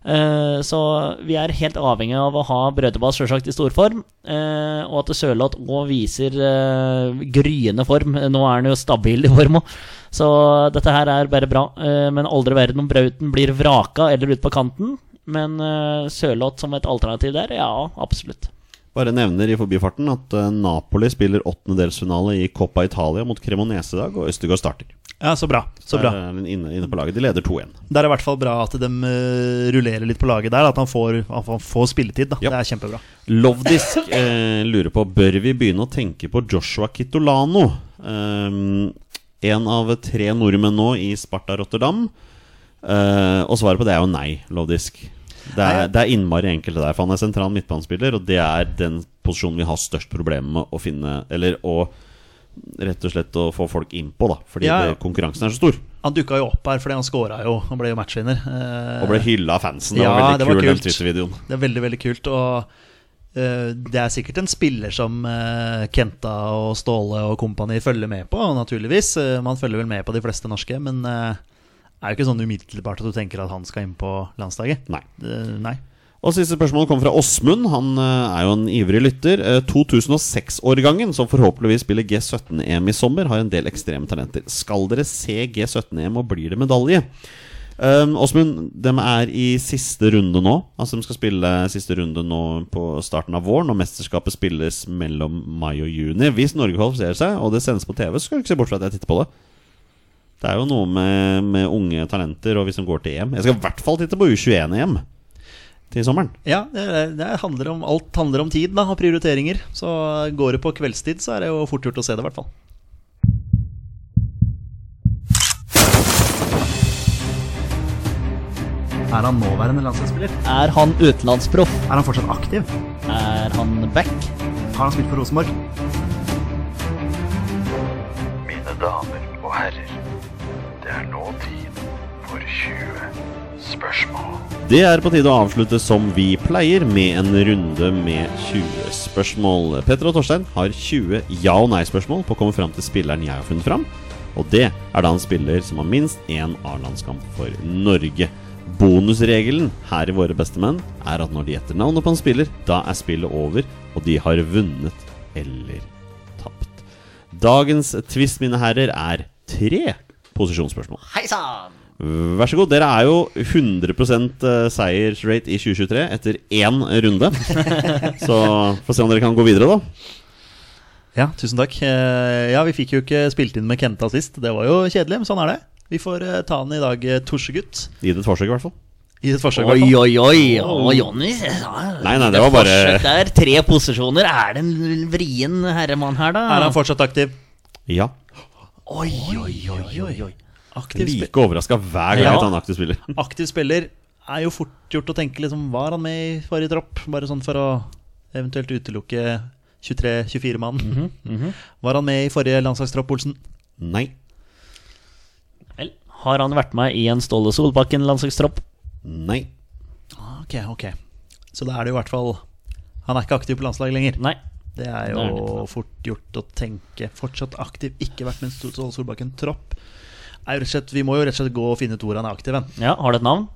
Speaker 1: Eh, Så vi er helt avhengig av å ha Brødebas selvsagt i storform, eh, og at Sørloth òg viser eh, gryende form. Nå er han jo stabil i form òg, så dette her er bare bra. Eh, Men aldri verden om Brauten blir vraka eller ute på kanten. Men eh, Sørloth som et alternativ der, ja, absolutt.
Speaker 2: Bare nevner i forbifarten at eh, Napoli spiller åttendedelsfinale i Coppa Italia mot Cremonese i dag, og Østegård starter.
Speaker 3: Ja, så bra. Så bra.
Speaker 2: Der er han inne, inne på laget. De leder 2-1.
Speaker 3: Det er i hvert fall bra at de eh, rullerer litt på laget der. At han får, at han får spilletid. da
Speaker 2: Ja.
Speaker 3: Det er kjempebra.
Speaker 2: Lovdisk eh, lurer på Bør vi begynne å tenke på Joshua Kitolano Ehm, En av tre nordmenn nå i Sparta Rotterdam Eh, Og svaret på det er jo nei, Lovdisk det er, det er innmari enkelte der For han er sentral midtbanespiller Og det er den posisjonen vi har størst problemer med Å finne, eller å Rett og slett å få folk inn på da Fordi
Speaker 3: Ja, ja.
Speaker 2: det, konkurransen er så stor Og
Speaker 3: Han dukka jo opp her fordi han scora jo. Han ble jo matchvinner. Eh,
Speaker 2: ble hyllet av fansen Det
Speaker 3: Ja,
Speaker 2: var
Speaker 3: det
Speaker 2: veldig
Speaker 3: var
Speaker 2: kul den
Speaker 3: kult.
Speaker 2: Twitter-videoen
Speaker 3: Det er veldig, veldig kult. Og eh, det er sikkert en spiller som eh, Kenta og Ståle og kompani følger med på, naturligvis. Eh, man følger vel med på de fleste norske, men eh, det er jo ikke sånn umiddelbart at du tenker at han skal inn på landslaget.
Speaker 2: Nei
Speaker 3: Eh, nei.
Speaker 2: Og Siste spørsmål kommer fra Åsmund. Han eh, er jo en ivrig lytter. Eh, 2006-årgangen, som forhåpentligvis spiller G17-EM i sommer, har en del ekstreme talenter. Skal dere se G17-EM, og blir det medalje? Um, Åsmund, de er i siste runde nå. Altså De skal spille siste runde nå på starten av våren, og mesterskapet spilles mellom mai og juni. Hvis Norge kvalifiserer seg, og det sendes på TV, så skal du ikke se bort fra at jeg titter på det. Det er jo noe med, med unge talenter, og hvis de går til EM Jeg skal i hvert fall titte på U21-EM til sommeren.
Speaker 3: Ja, det, det handler om, alt handler om tid da, og prioriteringer. Så eh, går det på kveldstid, så er det jo fort gjort å se det, i hvert fall. Er han nåværende landslagsspiller?
Speaker 1: Er han utenlandsproff?
Speaker 3: Er han fortsatt aktiv?
Speaker 1: Er han back?
Speaker 3: Har han spilt for Rosenborg?
Speaker 5: Mine damer og herrer, det er nå tid for 20 spørsmål.
Speaker 2: Det er på tide å avslutte som vi pleier, med en runde med 20 spørsmål. Petter og Torstein har 20 ja- og nei-spørsmål på å komme fram til spilleren jeg har funnet fram. Og det er da en spiller som har minst én A-landskamp for Norge. Bonusregelen her i Våre bestemenn er at når de gjetter navnet på en spiller, da er spillet over, og de har vunnet eller tapt. Dagens twist, mine herrer, er tre posisjonsspørsmål.
Speaker 1: Hei sann!
Speaker 2: Vær så god. Dere er jo 100 seiersrate i 2023 etter én
Speaker 1: [laughs]
Speaker 2: runde. Så får se om dere kan gå videre, da.
Speaker 3: Ja, tusen takk. Eh, Ja, vi fikk jo ikke spilt inn med Kenta sist. Det var jo kjedelig, men sånn er det. Vi får eh, ta han i dag, eh, Torsegutt.
Speaker 2: Gi det et forsøk, i hvert fall.
Speaker 3: I et forsøk, i hvert
Speaker 1: Oi,
Speaker 3: fall.
Speaker 1: oi, oi! Å, Jonny ja.
Speaker 2: Nei, nei, det var bare
Speaker 1: Forsøk der, tre posisjoner. Er det en vrien herremann her, da?
Speaker 3: Er han fortsatt aktiv?
Speaker 2: Ja.
Speaker 1: Oi, oi, oi, oi, oi.
Speaker 3: Aktiv, spi-
Speaker 2: Like overraska hver gang jeg
Speaker 3: Ja.
Speaker 2: tar en aktiv spiller.
Speaker 3: aktiv spiller er jo fort gjort å tenke liksom, Var han med i forrige tropp? Bare sånn for å eventuelt utelukke 23-24-mann.
Speaker 1: Mhm,
Speaker 3: Var han med i forrige landslagstropp, Olsen?
Speaker 2: Nei.
Speaker 1: Vel, har han vært med i en Ståle Solbakken-landslagstropp?
Speaker 2: Nei.
Speaker 3: Ok, ok. Så da er det jo i hvert fall Han er ikke aktiv på landslaget lenger.
Speaker 1: Nei.
Speaker 3: Det er
Speaker 1: Det er litt
Speaker 3: jo
Speaker 1: sant.
Speaker 3: fort gjort å tenke. Fortsatt aktiv, ikke vært med i Stol- Ståle Solbakken-tropp. Er jo rett og slett- Vi må jo rett og slett gå og finne ut hvor han er aktiv. hen.
Speaker 1: Ja, har du et navn?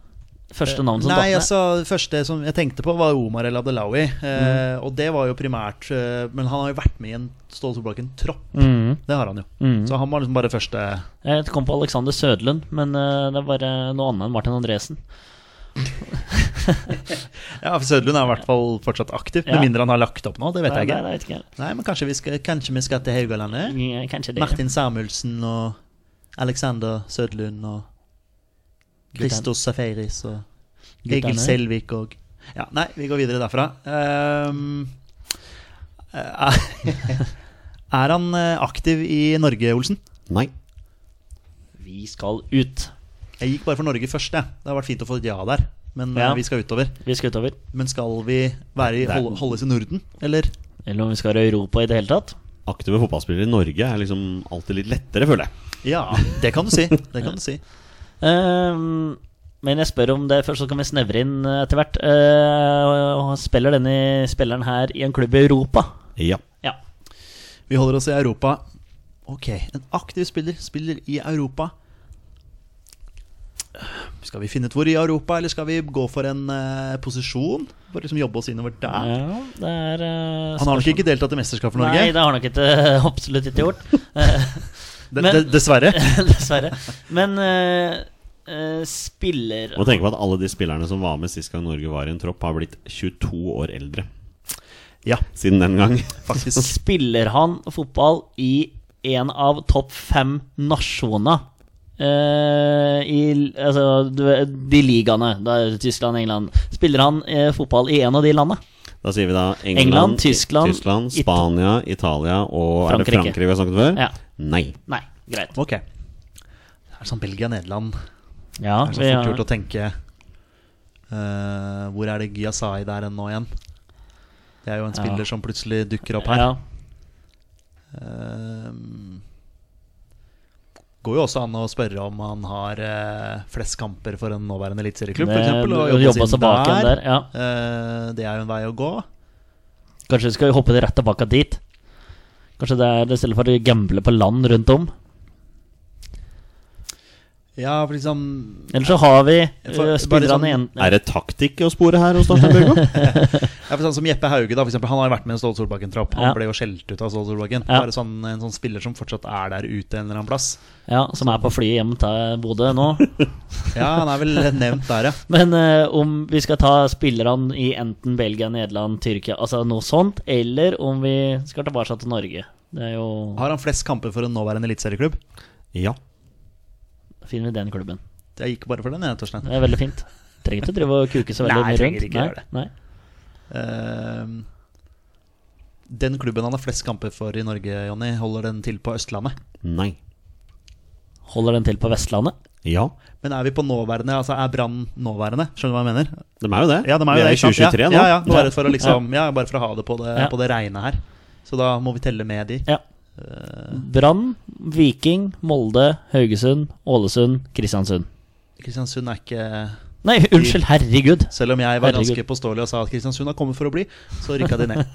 Speaker 1: Første navn som datt
Speaker 3: Nei,
Speaker 1: ned?
Speaker 3: altså, det første som jeg tenkte på, var Omar El Abdelawi. Eh, og det var jo primært eh, Men han har jo vært med i en Ståle Solbakken-tropp.
Speaker 1: Mhm.
Speaker 3: Det har han jo. Så han var liksom bare første
Speaker 1: Jeg kom på Alexander Sødlund, men eh, det er bare noe annet enn Martin Andresen.
Speaker 3: Ja, for Sødlund er i hvert fall fortsatt aktiv.
Speaker 1: Ja.
Speaker 3: Med mindre han har lagt opp nå, det vet
Speaker 1: Nei,
Speaker 3: jeg ikke.
Speaker 1: nei, jeg vet ikke.
Speaker 3: Nei, men kanskje vi skal, kanskje vi skal til Haugalandet?
Speaker 1: Ja, Kanskje det.
Speaker 3: Martin Samuelsen og Alexander Sødlund og Christos Safaris og Egil
Speaker 1: Guttene.
Speaker 3: Selvik og Ja, nei, vi går videre derfra. Ehm, eh, [laughs] er han eh, aktiv i Norge, Olsen?
Speaker 2: Nei.
Speaker 1: Vi skal ut.
Speaker 3: Jeg gikk bare for Norge først, jeg. Det har vært fint å få et ja der. Men eh,
Speaker 1: Ja.
Speaker 3: vi skal utover.
Speaker 1: Vi skal utover.
Speaker 3: Men skal vi være i,
Speaker 2: er-
Speaker 3: holde, holdes i Norden, eller?
Speaker 1: Eller om vi skal til Europa i det hele tatt.
Speaker 2: Aktive fotballspillere i Norge er liksom alltid litt lettere, føler jeg.
Speaker 3: Ja, det kan du si. Det kan du si.
Speaker 1: Ehm, men jeg spør om det først, så kan vi snevre inn eh, etter hvert. Eh, og- og spiller denne spilleren her i en klubb i Europa?
Speaker 2: Ja.
Speaker 1: Ja.
Speaker 3: Vi holder oss i Europa. Ok, en aktiv spiller spiller i Europa. Skal vi finne ut hvor i Europa, eller skal vi gå for en eh, posisjon? For å liksom jobbe oss innover der.
Speaker 1: Ja, det er eh,
Speaker 3: Han har nok
Speaker 1: spørsmål.
Speaker 3: ikke deltatt i mesterskap for
Speaker 1: Nei,
Speaker 3: Norge.
Speaker 1: det har han nok ikke, [laughs] absolutt ikke gjort.
Speaker 3: [laughs]
Speaker 1: Eh,
Speaker 3: De-
Speaker 1: men-
Speaker 3: de- Dessverre.
Speaker 1: [laughs] Dessverre. Men eh, eh, spiller
Speaker 2: Og tenke på at alle de spillerne som var med sist gang Norge var i en tropp, har blitt 22 år eldre
Speaker 3: Ja,
Speaker 2: siden den gang. [laughs]
Speaker 3: faktisk.
Speaker 1: Spiller han fotball i en av topp fem nasjoner? eh, i altså, du vet, de ligaene, da er det Tyskland, England Spiller han eh, fotball i en av de landene?
Speaker 2: Da sier vi da England,
Speaker 1: England, Tyskland,
Speaker 2: Tyskland
Speaker 1: It-
Speaker 2: Spania, Italia og Er det
Speaker 1: Frankrike.
Speaker 2: Frankrike vi har snakket før?
Speaker 1: Ja.
Speaker 2: Nei.
Speaker 1: Nei, greit.
Speaker 3: Ok. Det er sånn Belgia-Nederland.
Speaker 1: Ja,
Speaker 3: Det er så
Speaker 1: vi
Speaker 3: fort
Speaker 1: har-
Speaker 3: gjort å tenke eh, Hvor er det Gyasai der enn nå igjen? Det er jo en
Speaker 1: Ja.
Speaker 3: spiller som plutselig dukker opp her.
Speaker 1: ja.
Speaker 3: Ehm, går jo også an å spørre om han har eh, flest kamper for en nåværende eliteserieklubb,
Speaker 1: Det-
Speaker 3: f.eks. Og
Speaker 1: og
Speaker 3: jobba
Speaker 1: jobba
Speaker 3: seg
Speaker 1: seg bak igjen
Speaker 3: der.
Speaker 1: der, ja.
Speaker 3: Eh, det er jo en vei å gå.
Speaker 1: Kanskje vi skal hoppe rett tilbake dit? Kanskje det er i stedet for å gamble på land rundt om?
Speaker 3: Ja, for liksom
Speaker 1: Eller så har vi
Speaker 3: For-
Speaker 1: eh, spillerne
Speaker 3: bare sånn-
Speaker 1: igjen
Speaker 2: Er det taktikk å spore her hos Torstein
Speaker 3: [laughs]
Speaker 2: Bjørgo?
Speaker 3: ja, for sånn Som Jeppe Hauge, da, for eksempel, han har jo vært med i en Ståle Solbakken-tropp. Han
Speaker 1: Ja.
Speaker 3: ble jo skjelt ut av Ståle Solbakken.
Speaker 1: Ja.
Speaker 3: Bare sånn, en sånn spiller som fortsatt er der ute en eller annen plass.
Speaker 1: ja, som er på flyet hjem til Bodø nå.
Speaker 3: [laughs] Ja, han er vel nevnt der, ja.
Speaker 1: Men eh, om vi skal ta spillerne i enten Belgia, Nederland, Tyrkia, altså noe sånt, eller om vi skal tilbake til Norge. Det er jo
Speaker 3: Har han flest kamper for en nåværende eliteserieklubb?
Speaker 2: ja.
Speaker 1: Finner vi den klubben.
Speaker 3: Jeg gikk bare for den, jeg, Torstein.
Speaker 1: Det er veldig fint. Trenger ikke å drive og kuke så veldig
Speaker 3: Nei,
Speaker 1: mye rundt.
Speaker 3: trenger ikke
Speaker 1: Nei,
Speaker 3: gjøre det.
Speaker 1: nei.
Speaker 3: Ehm, den klubben han har flest kamper for i Norge, Jonny, holder den til på Østlandet.
Speaker 2: Nei.
Speaker 1: Holder den til på Vestlandet?
Speaker 2: Ja.
Speaker 3: Men er vi på nåværende? Altså Er Brann nåværende? Skjønner du hva jeg mener?
Speaker 2: De er jo det.
Speaker 3: Ja, de er jo
Speaker 2: vi er
Speaker 3: det,
Speaker 2: i
Speaker 3: ikke sant?
Speaker 2: 2023 nå.
Speaker 3: ja, ja, ja, bare, for å liksom, ja, bare for å ha det på det,
Speaker 1: Ja.
Speaker 3: på det reine her. Så da må vi telle med de.
Speaker 1: Ja.
Speaker 3: Eh.
Speaker 1: Brann, Viking, Molde, Haugesund, Ålesund, Kristiansund.
Speaker 3: Kristiansund er ikke
Speaker 1: Nei, unnskyld, herregud!
Speaker 3: Selv om jeg var ganske
Speaker 1: Herregud.
Speaker 3: påståelig og sa at Kristiansund har kommet for å bli, så rykka de ned.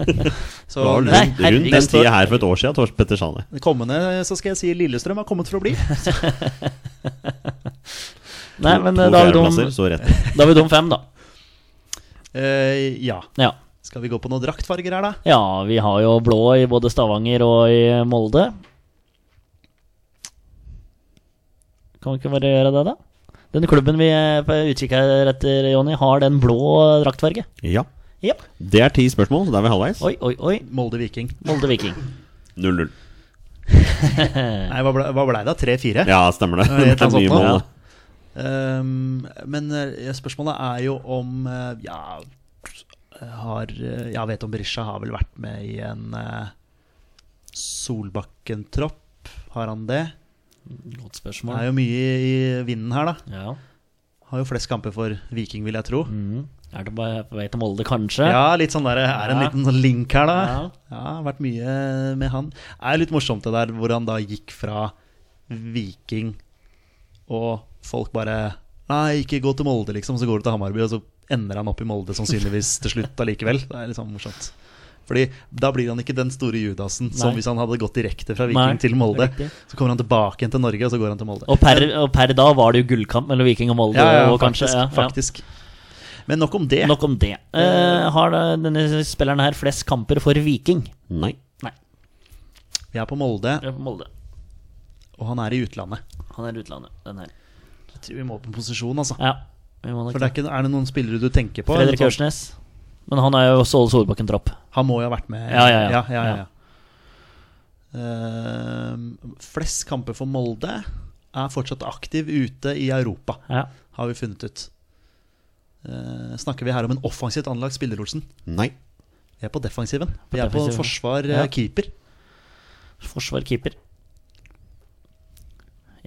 Speaker 3: Så
Speaker 2: Det var
Speaker 1: Nei,
Speaker 2: rundt, rundt
Speaker 1: herregud.
Speaker 2: den tida her for et år siden Torst Petter sa det.
Speaker 3: det kommende så skal jeg si Lillestrøm har kommet for å bli.
Speaker 1: Nei, men
Speaker 2: to
Speaker 1: eh, da har vi
Speaker 2: fjerdeplasser,
Speaker 1: dum,
Speaker 2: så rett.
Speaker 1: da har vi dum fem, da.
Speaker 3: Eh, ja.
Speaker 1: Ja.
Speaker 3: Skal vi gå på noen draktfarger her, da?
Speaker 1: ja, vi har jo blå i både Stavanger og i Molde. Kan vi ikke bare gjøre det, da? Den klubben vi er på utkikk her etter, Jonny, har den blå draktfarge.
Speaker 2: Ja.
Speaker 1: Ja.
Speaker 2: Det er ti spørsmål, så da er vi halvveis.
Speaker 1: Oi, oi, oi.
Speaker 3: Molde Viking.
Speaker 1: Molde Viking.
Speaker 2: 0-0.
Speaker 3: Nei, hva blei ble det? Tre-fire?
Speaker 2: Ja, stemmer det.
Speaker 3: Ja, det er
Speaker 2: Det er mye
Speaker 3: sant,
Speaker 2: mål.
Speaker 3: da.
Speaker 2: da.
Speaker 3: Ehm, men eh, spørsmålet er jo om eh, Ja, har eh, Jeg vet om Berisha har vel vært med i en eh, Solbakken-tropp. Har han det?
Speaker 1: Godt
Speaker 3: Det er
Speaker 1: spørsmål.
Speaker 3: jo mye i vinden her, da.
Speaker 1: Ja.
Speaker 3: Har jo flest kamper for Viking, vil jeg tro.
Speaker 1: Mm. Er det bare på vei til Molde, kanskje?
Speaker 3: Ja, litt sånn der, er det en
Speaker 1: Ja.
Speaker 3: liten sånn link her, da.
Speaker 1: Ja.
Speaker 3: Ja, det har vært mye med han. Det er litt morsomt det der hvor han da gikk fra Viking og folk bare Nei, ikke gå til Molde, liksom. Så går du til Hamarby, og så ender han opp i Molde sannsynligvis til slutt allikevel. Det er litt sånn morsomt. Fordi da blir han ikke den store Judasen som
Speaker 1: Nei.
Speaker 3: hvis han hadde gått direkte fra Viking
Speaker 1: Nei,
Speaker 3: til Molde.
Speaker 1: riktig.
Speaker 3: Så kommer han tilbake igjen til Norge, og så går han til Molde.
Speaker 1: Og per, og per da var det jo gullkamp mellom Viking og Molde.
Speaker 3: ja, ja,
Speaker 1: og kanskje,
Speaker 3: faktisk,
Speaker 1: ja, ja.
Speaker 3: faktisk. Men nok om det.
Speaker 1: Nok om det. Eh, har da denne spilleren her flest kamper for Viking?
Speaker 2: Nei.
Speaker 1: Nei,
Speaker 3: Vi er på Molde,
Speaker 1: det er på Molde.
Speaker 3: og han er i utlandet.
Speaker 1: Han er i utlandet, den her.
Speaker 3: Jeg tror vi må på en posisjon, altså.
Speaker 1: Ja, vi må nok
Speaker 3: For det er, ikke, er det noen spillere du tenker på?
Speaker 1: Fredrik
Speaker 3: Eller sånn-
Speaker 1: Hørsnes. Men han er jo også Ole Solbakken-tropp.
Speaker 3: Han må jo ha vært med.
Speaker 1: Ja, ja, ja.
Speaker 3: ja,
Speaker 1: Ja.
Speaker 3: ja. Ehm, flest kamper for Molde er fortsatt aktiv ute i Europa,
Speaker 1: Ja.
Speaker 3: har vi funnet ut. Eh, snakker vi her om en offensivt anlagt spiller, Olsen?
Speaker 2: Nei.
Speaker 3: Vi er på defensiven. Vi er på
Speaker 1: defensiven.
Speaker 3: forsvar, eh,
Speaker 1: Ja.
Speaker 3: keeper.
Speaker 1: Forsvar, keeper.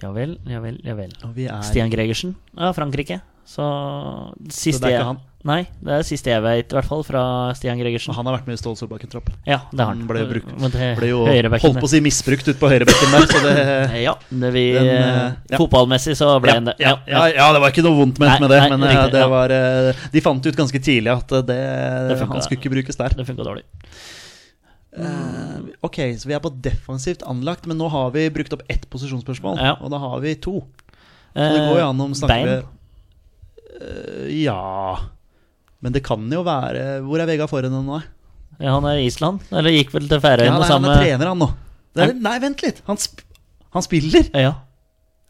Speaker 1: Ja vel, ja vel, ja vel.
Speaker 3: Og vi er
Speaker 1: Stian Gregersen Ja, Frankrike. Så siste
Speaker 3: Så det er ikke
Speaker 1: jeg-
Speaker 3: han?
Speaker 1: Nei, det er siste jeg vet, i hvert fall, fra Stian Gregersen.
Speaker 3: Han har vært med i Ståle Solbakken-tropp.
Speaker 1: Ja, det har han.
Speaker 3: Han ble jo brukt-
Speaker 1: Men det-
Speaker 3: Ble jo
Speaker 1: høyrebacken
Speaker 3: holdt
Speaker 1: der.
Speaker 3: på å si misbrukt ute på høyrebekken der,
Speaker 1: [laughs]
Speaker 3: så det
Speaker 1: Ja, det vi,
Speaker 3: Den, eh, ja.
Speaker 1: fotballmessig så ble
Speaker 3: ja,
Speaker 1: han det.
Speaker 3: ja, ja, ja, det var ikke noe vondt
Speaker 1: Nei,
Speaker 3: ment med det,
Speaker 1: nei,
Speaker 3: men eh,
Speaker 1: riktig,
Speaker 3: det
Speaker 1: ja.
Speaker 3: var, eh, de fant ut ganske tidlig at eh, det,
Speaker 1: Det funket,
Speaker 3: han skulle
Speaker 1: ja.
Speaker 3: ikke brukes der.
Speaker 1: Det funka dårlig.
Speaker 3: Eh, ok, så vi er på defensivt anlagt, men nå har vi brukt opp ett posisjonsspørsmål.
Speaker 1: Ja. Eh,
Speaker 3: Og da har vi to. Så det går jo an om snakker
Speaker 1: Bein.
Speaker 3: Eh, Ja Men det kan jo være Hvor er Vegard Forhen nå? da?
Speaker 1: Ja, han er i Island. Eller gikk vel til
Speaker 3: Ja,
Speaker 1: Færøyene
Speaker 3: nei, han
Speaker 1: sammen
Speaker 3: er
Speaker 1: med
Speaker 3: trener, han nå. Det er, nei, vent litt! Han, sp han spiller!
Speaker 1: Ja.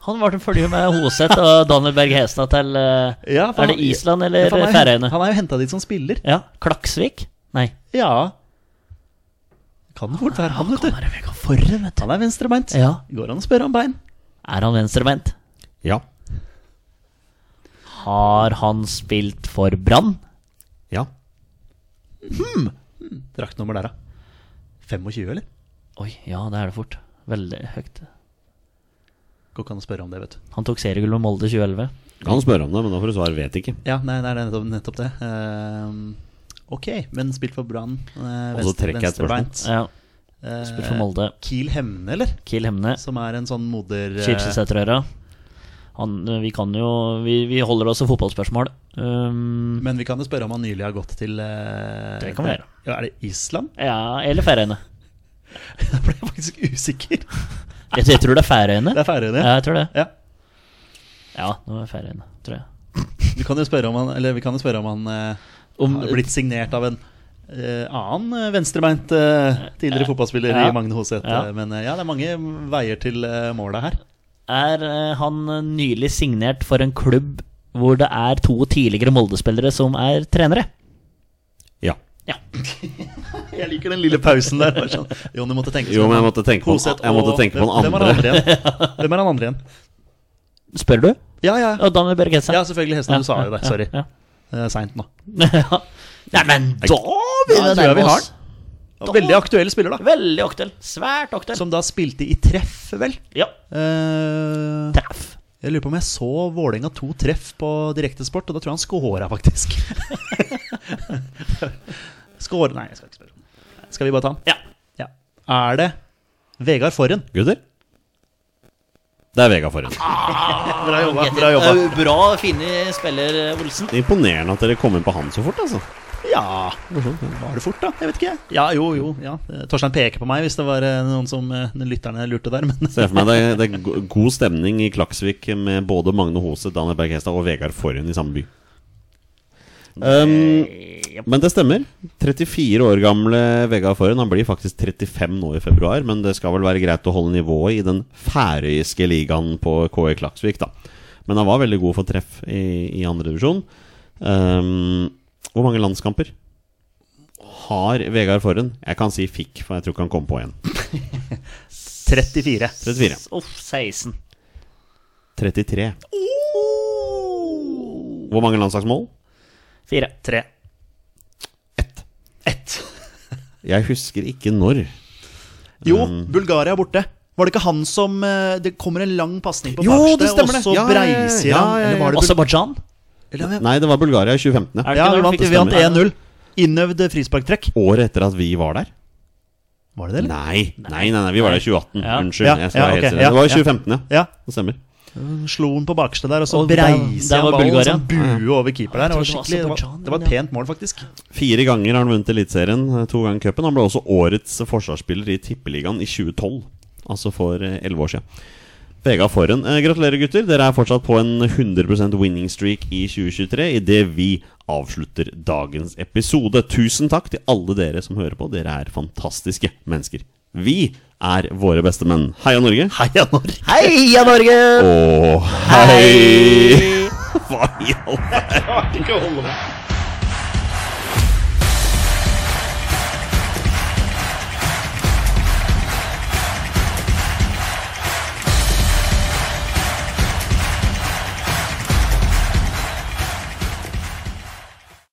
Speaker 1: Han var til følge med Hoseth og Daniel Berg Hestad til eh,
Speaker 3: Ja, for
Speaker 1: Er det
Speaker 3: han-
Speaker 1: Island
Speaker 3: Ja,
Speaker 1: eller
Speaker 3: for han er jo hent-
Speaker 1: Færøyene?
Speaker 3: Han er jo henta dit som spiller.
Speaker 1: Ja. Klaksvik? Nei.
Speaker 3: Ja. Kan fort være han, vet
Speaker 1: Kan
Speaker 3: du.
Speaker 1: være Vegard Forhen, vet du.
Speaker 3: Han er venstrebeint.
Speaker 1: Ja.
Speaker 3: Går an å spørre om bein.
Speaker 1: Er han venstrebeint?
Speaker 2: Ja.
Speaker 1: Har han spilt for Brann?
Speaker 2: Ja.
Speaker 3: Draktnummer der, da. 25, eller?
Speaker 1: Oi, ja, det er det fort. Veldig høyt.
Speaker 3: Går ikke an å spørre om det, vet du.
Speaker 1: Han tok seriegull med Molde i 2011.
Speaker 2: Kan spørre om det, men da får du svar 'vet ikke'.
Speaker 3: Ja, nei, nei, det er nettopp, nettopp det. Ehm, ok, men spilt for Brann.
Speaker 2: Og
Speaker 3: eh,
Speaker 2: så
Speaker 3: venst-
Speaker 2: trekker jeg et spørsmål.
Speaker 3: venstrebeint.
Speaker 1: Ja,
Speaker 3: Eh,
Speaker 1: spilt for Molde.
Speaker 3: Kiel Hemne, eller?
Speaker 1: Kiel Hemne.
Speaker 3: Som er en sånn moder... eh,
Speaker 1: Kirkesæterøra. Han, vi kan jo Vi, vi holder oss til fotballspørsmål. Um,
Speaker 3: Men vi kan jo spørre om han nylig har gått til eh,
Speaker 1: Det kan vi gjøre.
Speaker 3: Ja, er det Island? [laughs]
Speaker 1: ja, eller Færøyene.
Speaker 3: Da ble jeg faktisk usikker.
Speaker 1: Jeg, jeg tror det er Færøyene.
Speaker 3: Det er Færøyene.
Speaker 1: Ja, jeg tror det.
Speaker 3: Ja.
Speaker 1: Ja, nå er det Færøyene, tror jeg.
Speaker 3: Vi kan jo spørre om han, eller vi kan jo spørre om han eh,
Speaker 1: Om-
Speaker 3: har blitt signert av en eh, annen eh, venstrebeint eh, tidligere fotballspiller
Speaker 1: Ja.
Speaker 3: i Magne Hoseth.
Speaker 1: Ja.
Speaker 3: eh, Men eh, ja, det er mange veier til eh, målet her.
Speaker 1: Er eh, han nylig signert for en klubb hvor det er to tidligere Molde-spillere som er trenere?
Speaker 2: Ja.
Speaker 1: Ja.
Speaker 3: Jeg liker den lille pausen der. [laughs] bare Sånn. Jo, du måtte tenke
Speaker 2: Jo, men jeg måtte tenke på,
Speaker 3: Hoseth
Speaker 2: jeg måtte
Speaker 3: og-
Speaker 2: tenke på
Speaker 3: Hvem-
Speaker 2: den
Speaker 3: hvem er
Speaker 2: andre.
Speaker 3: han andre
Speaker 2: [laughs]
Speaker 3: igjen? Hvem er han andre igjen?
Speaker 1: Spør du?
Speaker 3: Ja, ja.
Speaker 1: Og Daniel Berg Hestad.
Speaker 3: Ja, selvfølgelig Hesten. Du sa jo det. Sorry.
Speaker 1: Ja,
Speaker 3: Eh, Seint nå.
Speaker 1: [laughs] ja. Nei, men da vil vi
Speaker 3: Ja, tror jeg vi
Speaker 1: nærme
Speaker 3: har
Speaker 1: oss.
Speaker 3: Veldig aktuell spiller, da.
Speaker 1: Veldig aktuell. Svært aktuell.
Speaker 3: Som da spilte i treff, vel?
Speaker 1: Ja.
Speaker 3: Eh,
Speaker 1: Treff.
Speaker 3: jeg lurer på om jeg så Vålerenga to treff på direktesport, og da tror jeg han scora, faktisk. [laughs] Skåre Nei, jeg skal ikke spørre. om det. Skal vi bare ta han?
Speaker 1: Ja.
Speaker 3: Ja. Er det Vegard Forhen?
Speaker 2: Gutter? Det er Vegard Forhen.
Speaker 3: Ah. Bra jobba. Bra jobba.
Speaker 1: Eh, Bra funnet spiller, eh, Olsen.
Speaker 2: Det er Imponerende at dere kom inn på han så fort, altså.
Speaker 3: Ja Var det fort, da? Jeg vet ikke. jeg. Ja, jo, jo. Ja. Eh, Torstein peker på meg hvis det var eh, noen som eh, lytterne lurte der, men [laughs]
Speaker 2: Ser for meg det, det er go- god stemning i Klaksvik med både Magne Hose, Daniel Berg Hestad og Vegard Forhen i samme by. Um, men det stemmer. 34 år gamle Vegard Forhen. Han blir faktisk 35 nå i februar, men det skal vel være greit å holde nivået i den færøyske ligaen på KE Klaksvik, da. Men han var veldig god for treff i, i andre divisjon. Um, hvor mange landskamper har Vegard Forhen? Jeg kan si fikk, for jeg tror ikke han kom på én.
Speaker 3: 34.
Speaker 2: 34.
Speaker 1: Uff, 16.
Speaker 2: 33. Hvor mange landslagsmål?
Speaker 1: 4. 3.
Speaker 2: Ett. Jeg husker ikke når.
Speaker 3: Jo,
Speaker 2: Mm.
Speaker 3: Bulgaria er borte. Var det ikke han som eh, Det kommer en lang pasning på
Speaker 2: Jo, det
Speaker 3: Bakstad, og
Speaker 2: stemmer det.
Speaker 3: så
Speaker 2: Ja, ja, ja,
Speaker 3: breiser
Speaker 2: ja,
Speaker 3: han.
Speaker 2: ja, ja.
Speaker 3: Eller var det Bul-
Speaker 1: Aserbajdsjan?
Speaker 3: eller, hvem-
Speaker 2: Nei, det var Bulgaria i 2015.
Speaker 1: Er det ikke
Speaker 3: Ja, vi
Speaker 1: når han
Speaker 3: vant,
Speaker 1: fikk
Speaker 3: vi vant
Speaker 1: stemmer?
Speaker 3: 1-0. Innøvd frisparktrekk.
Speaker 2: Året etter at vi var der.
Speaker 3: Var det det, eller?
Speaker 2: Nei, nei, nei, nei vi var der i 2018.
Speaker 1: Ja.
Speaker 2: Unnskyld.
Speaker 3: Ja,
Speaker 2: jeg skal
Speaker 3: ja,
Speaker 2: være helt
Speaker 3: ok,
Speaker 2: stille.
Speaker 3: ja,
Speaker 2: det var i
Speaker 3: ja.
Speaker 2: 2015, ja.
Speaker 3: Ja.
Speaker 2: Det stemmer.
Speaker 3: Slo han på Bakstad der, og så
Speaker 1: Og der-
Speaker 3: breiser
Speaker 1: der
Speaker 3: han
Speaker 1: var
Speaker 3: ballen
Speaker 1: Bulgaria.
Speaker 3: som bue over keeper der. Det var,
Speaker 1: Jeg tror det var
Speaker 3: skikkelig, det, var,
Speaker 1: Aserbajdsjan,
Speaker 3: det var
Speaker 1: men
Speaker 3: et
Speaker 1: ja.
Speaker 3: pent mål, faktisk.
Speaker 2: Fire ganger har han vunnet Eliteserien, eh, to ganger cupen. Han ble også årets forsvarsspiller i Tippeligaen i 2012, altså for eh, 11 år siden. Vegard Forhen. Eh, gratulerer, gutter. Dere er fortsatt på en 100 winning streak i 2023 idet vi avslutter dagens episode. Tusen takk til alle dere som hører på. Dere er fantastiske mennesker. Vi er våre beste menn. Heia Norge. Heia Norge.
Speaker 1: Heia Norge!
Speaker 2: Og hei! [laughs] Hva i all verden?
Speaker 4: Jeg klarte ikke å holde meg.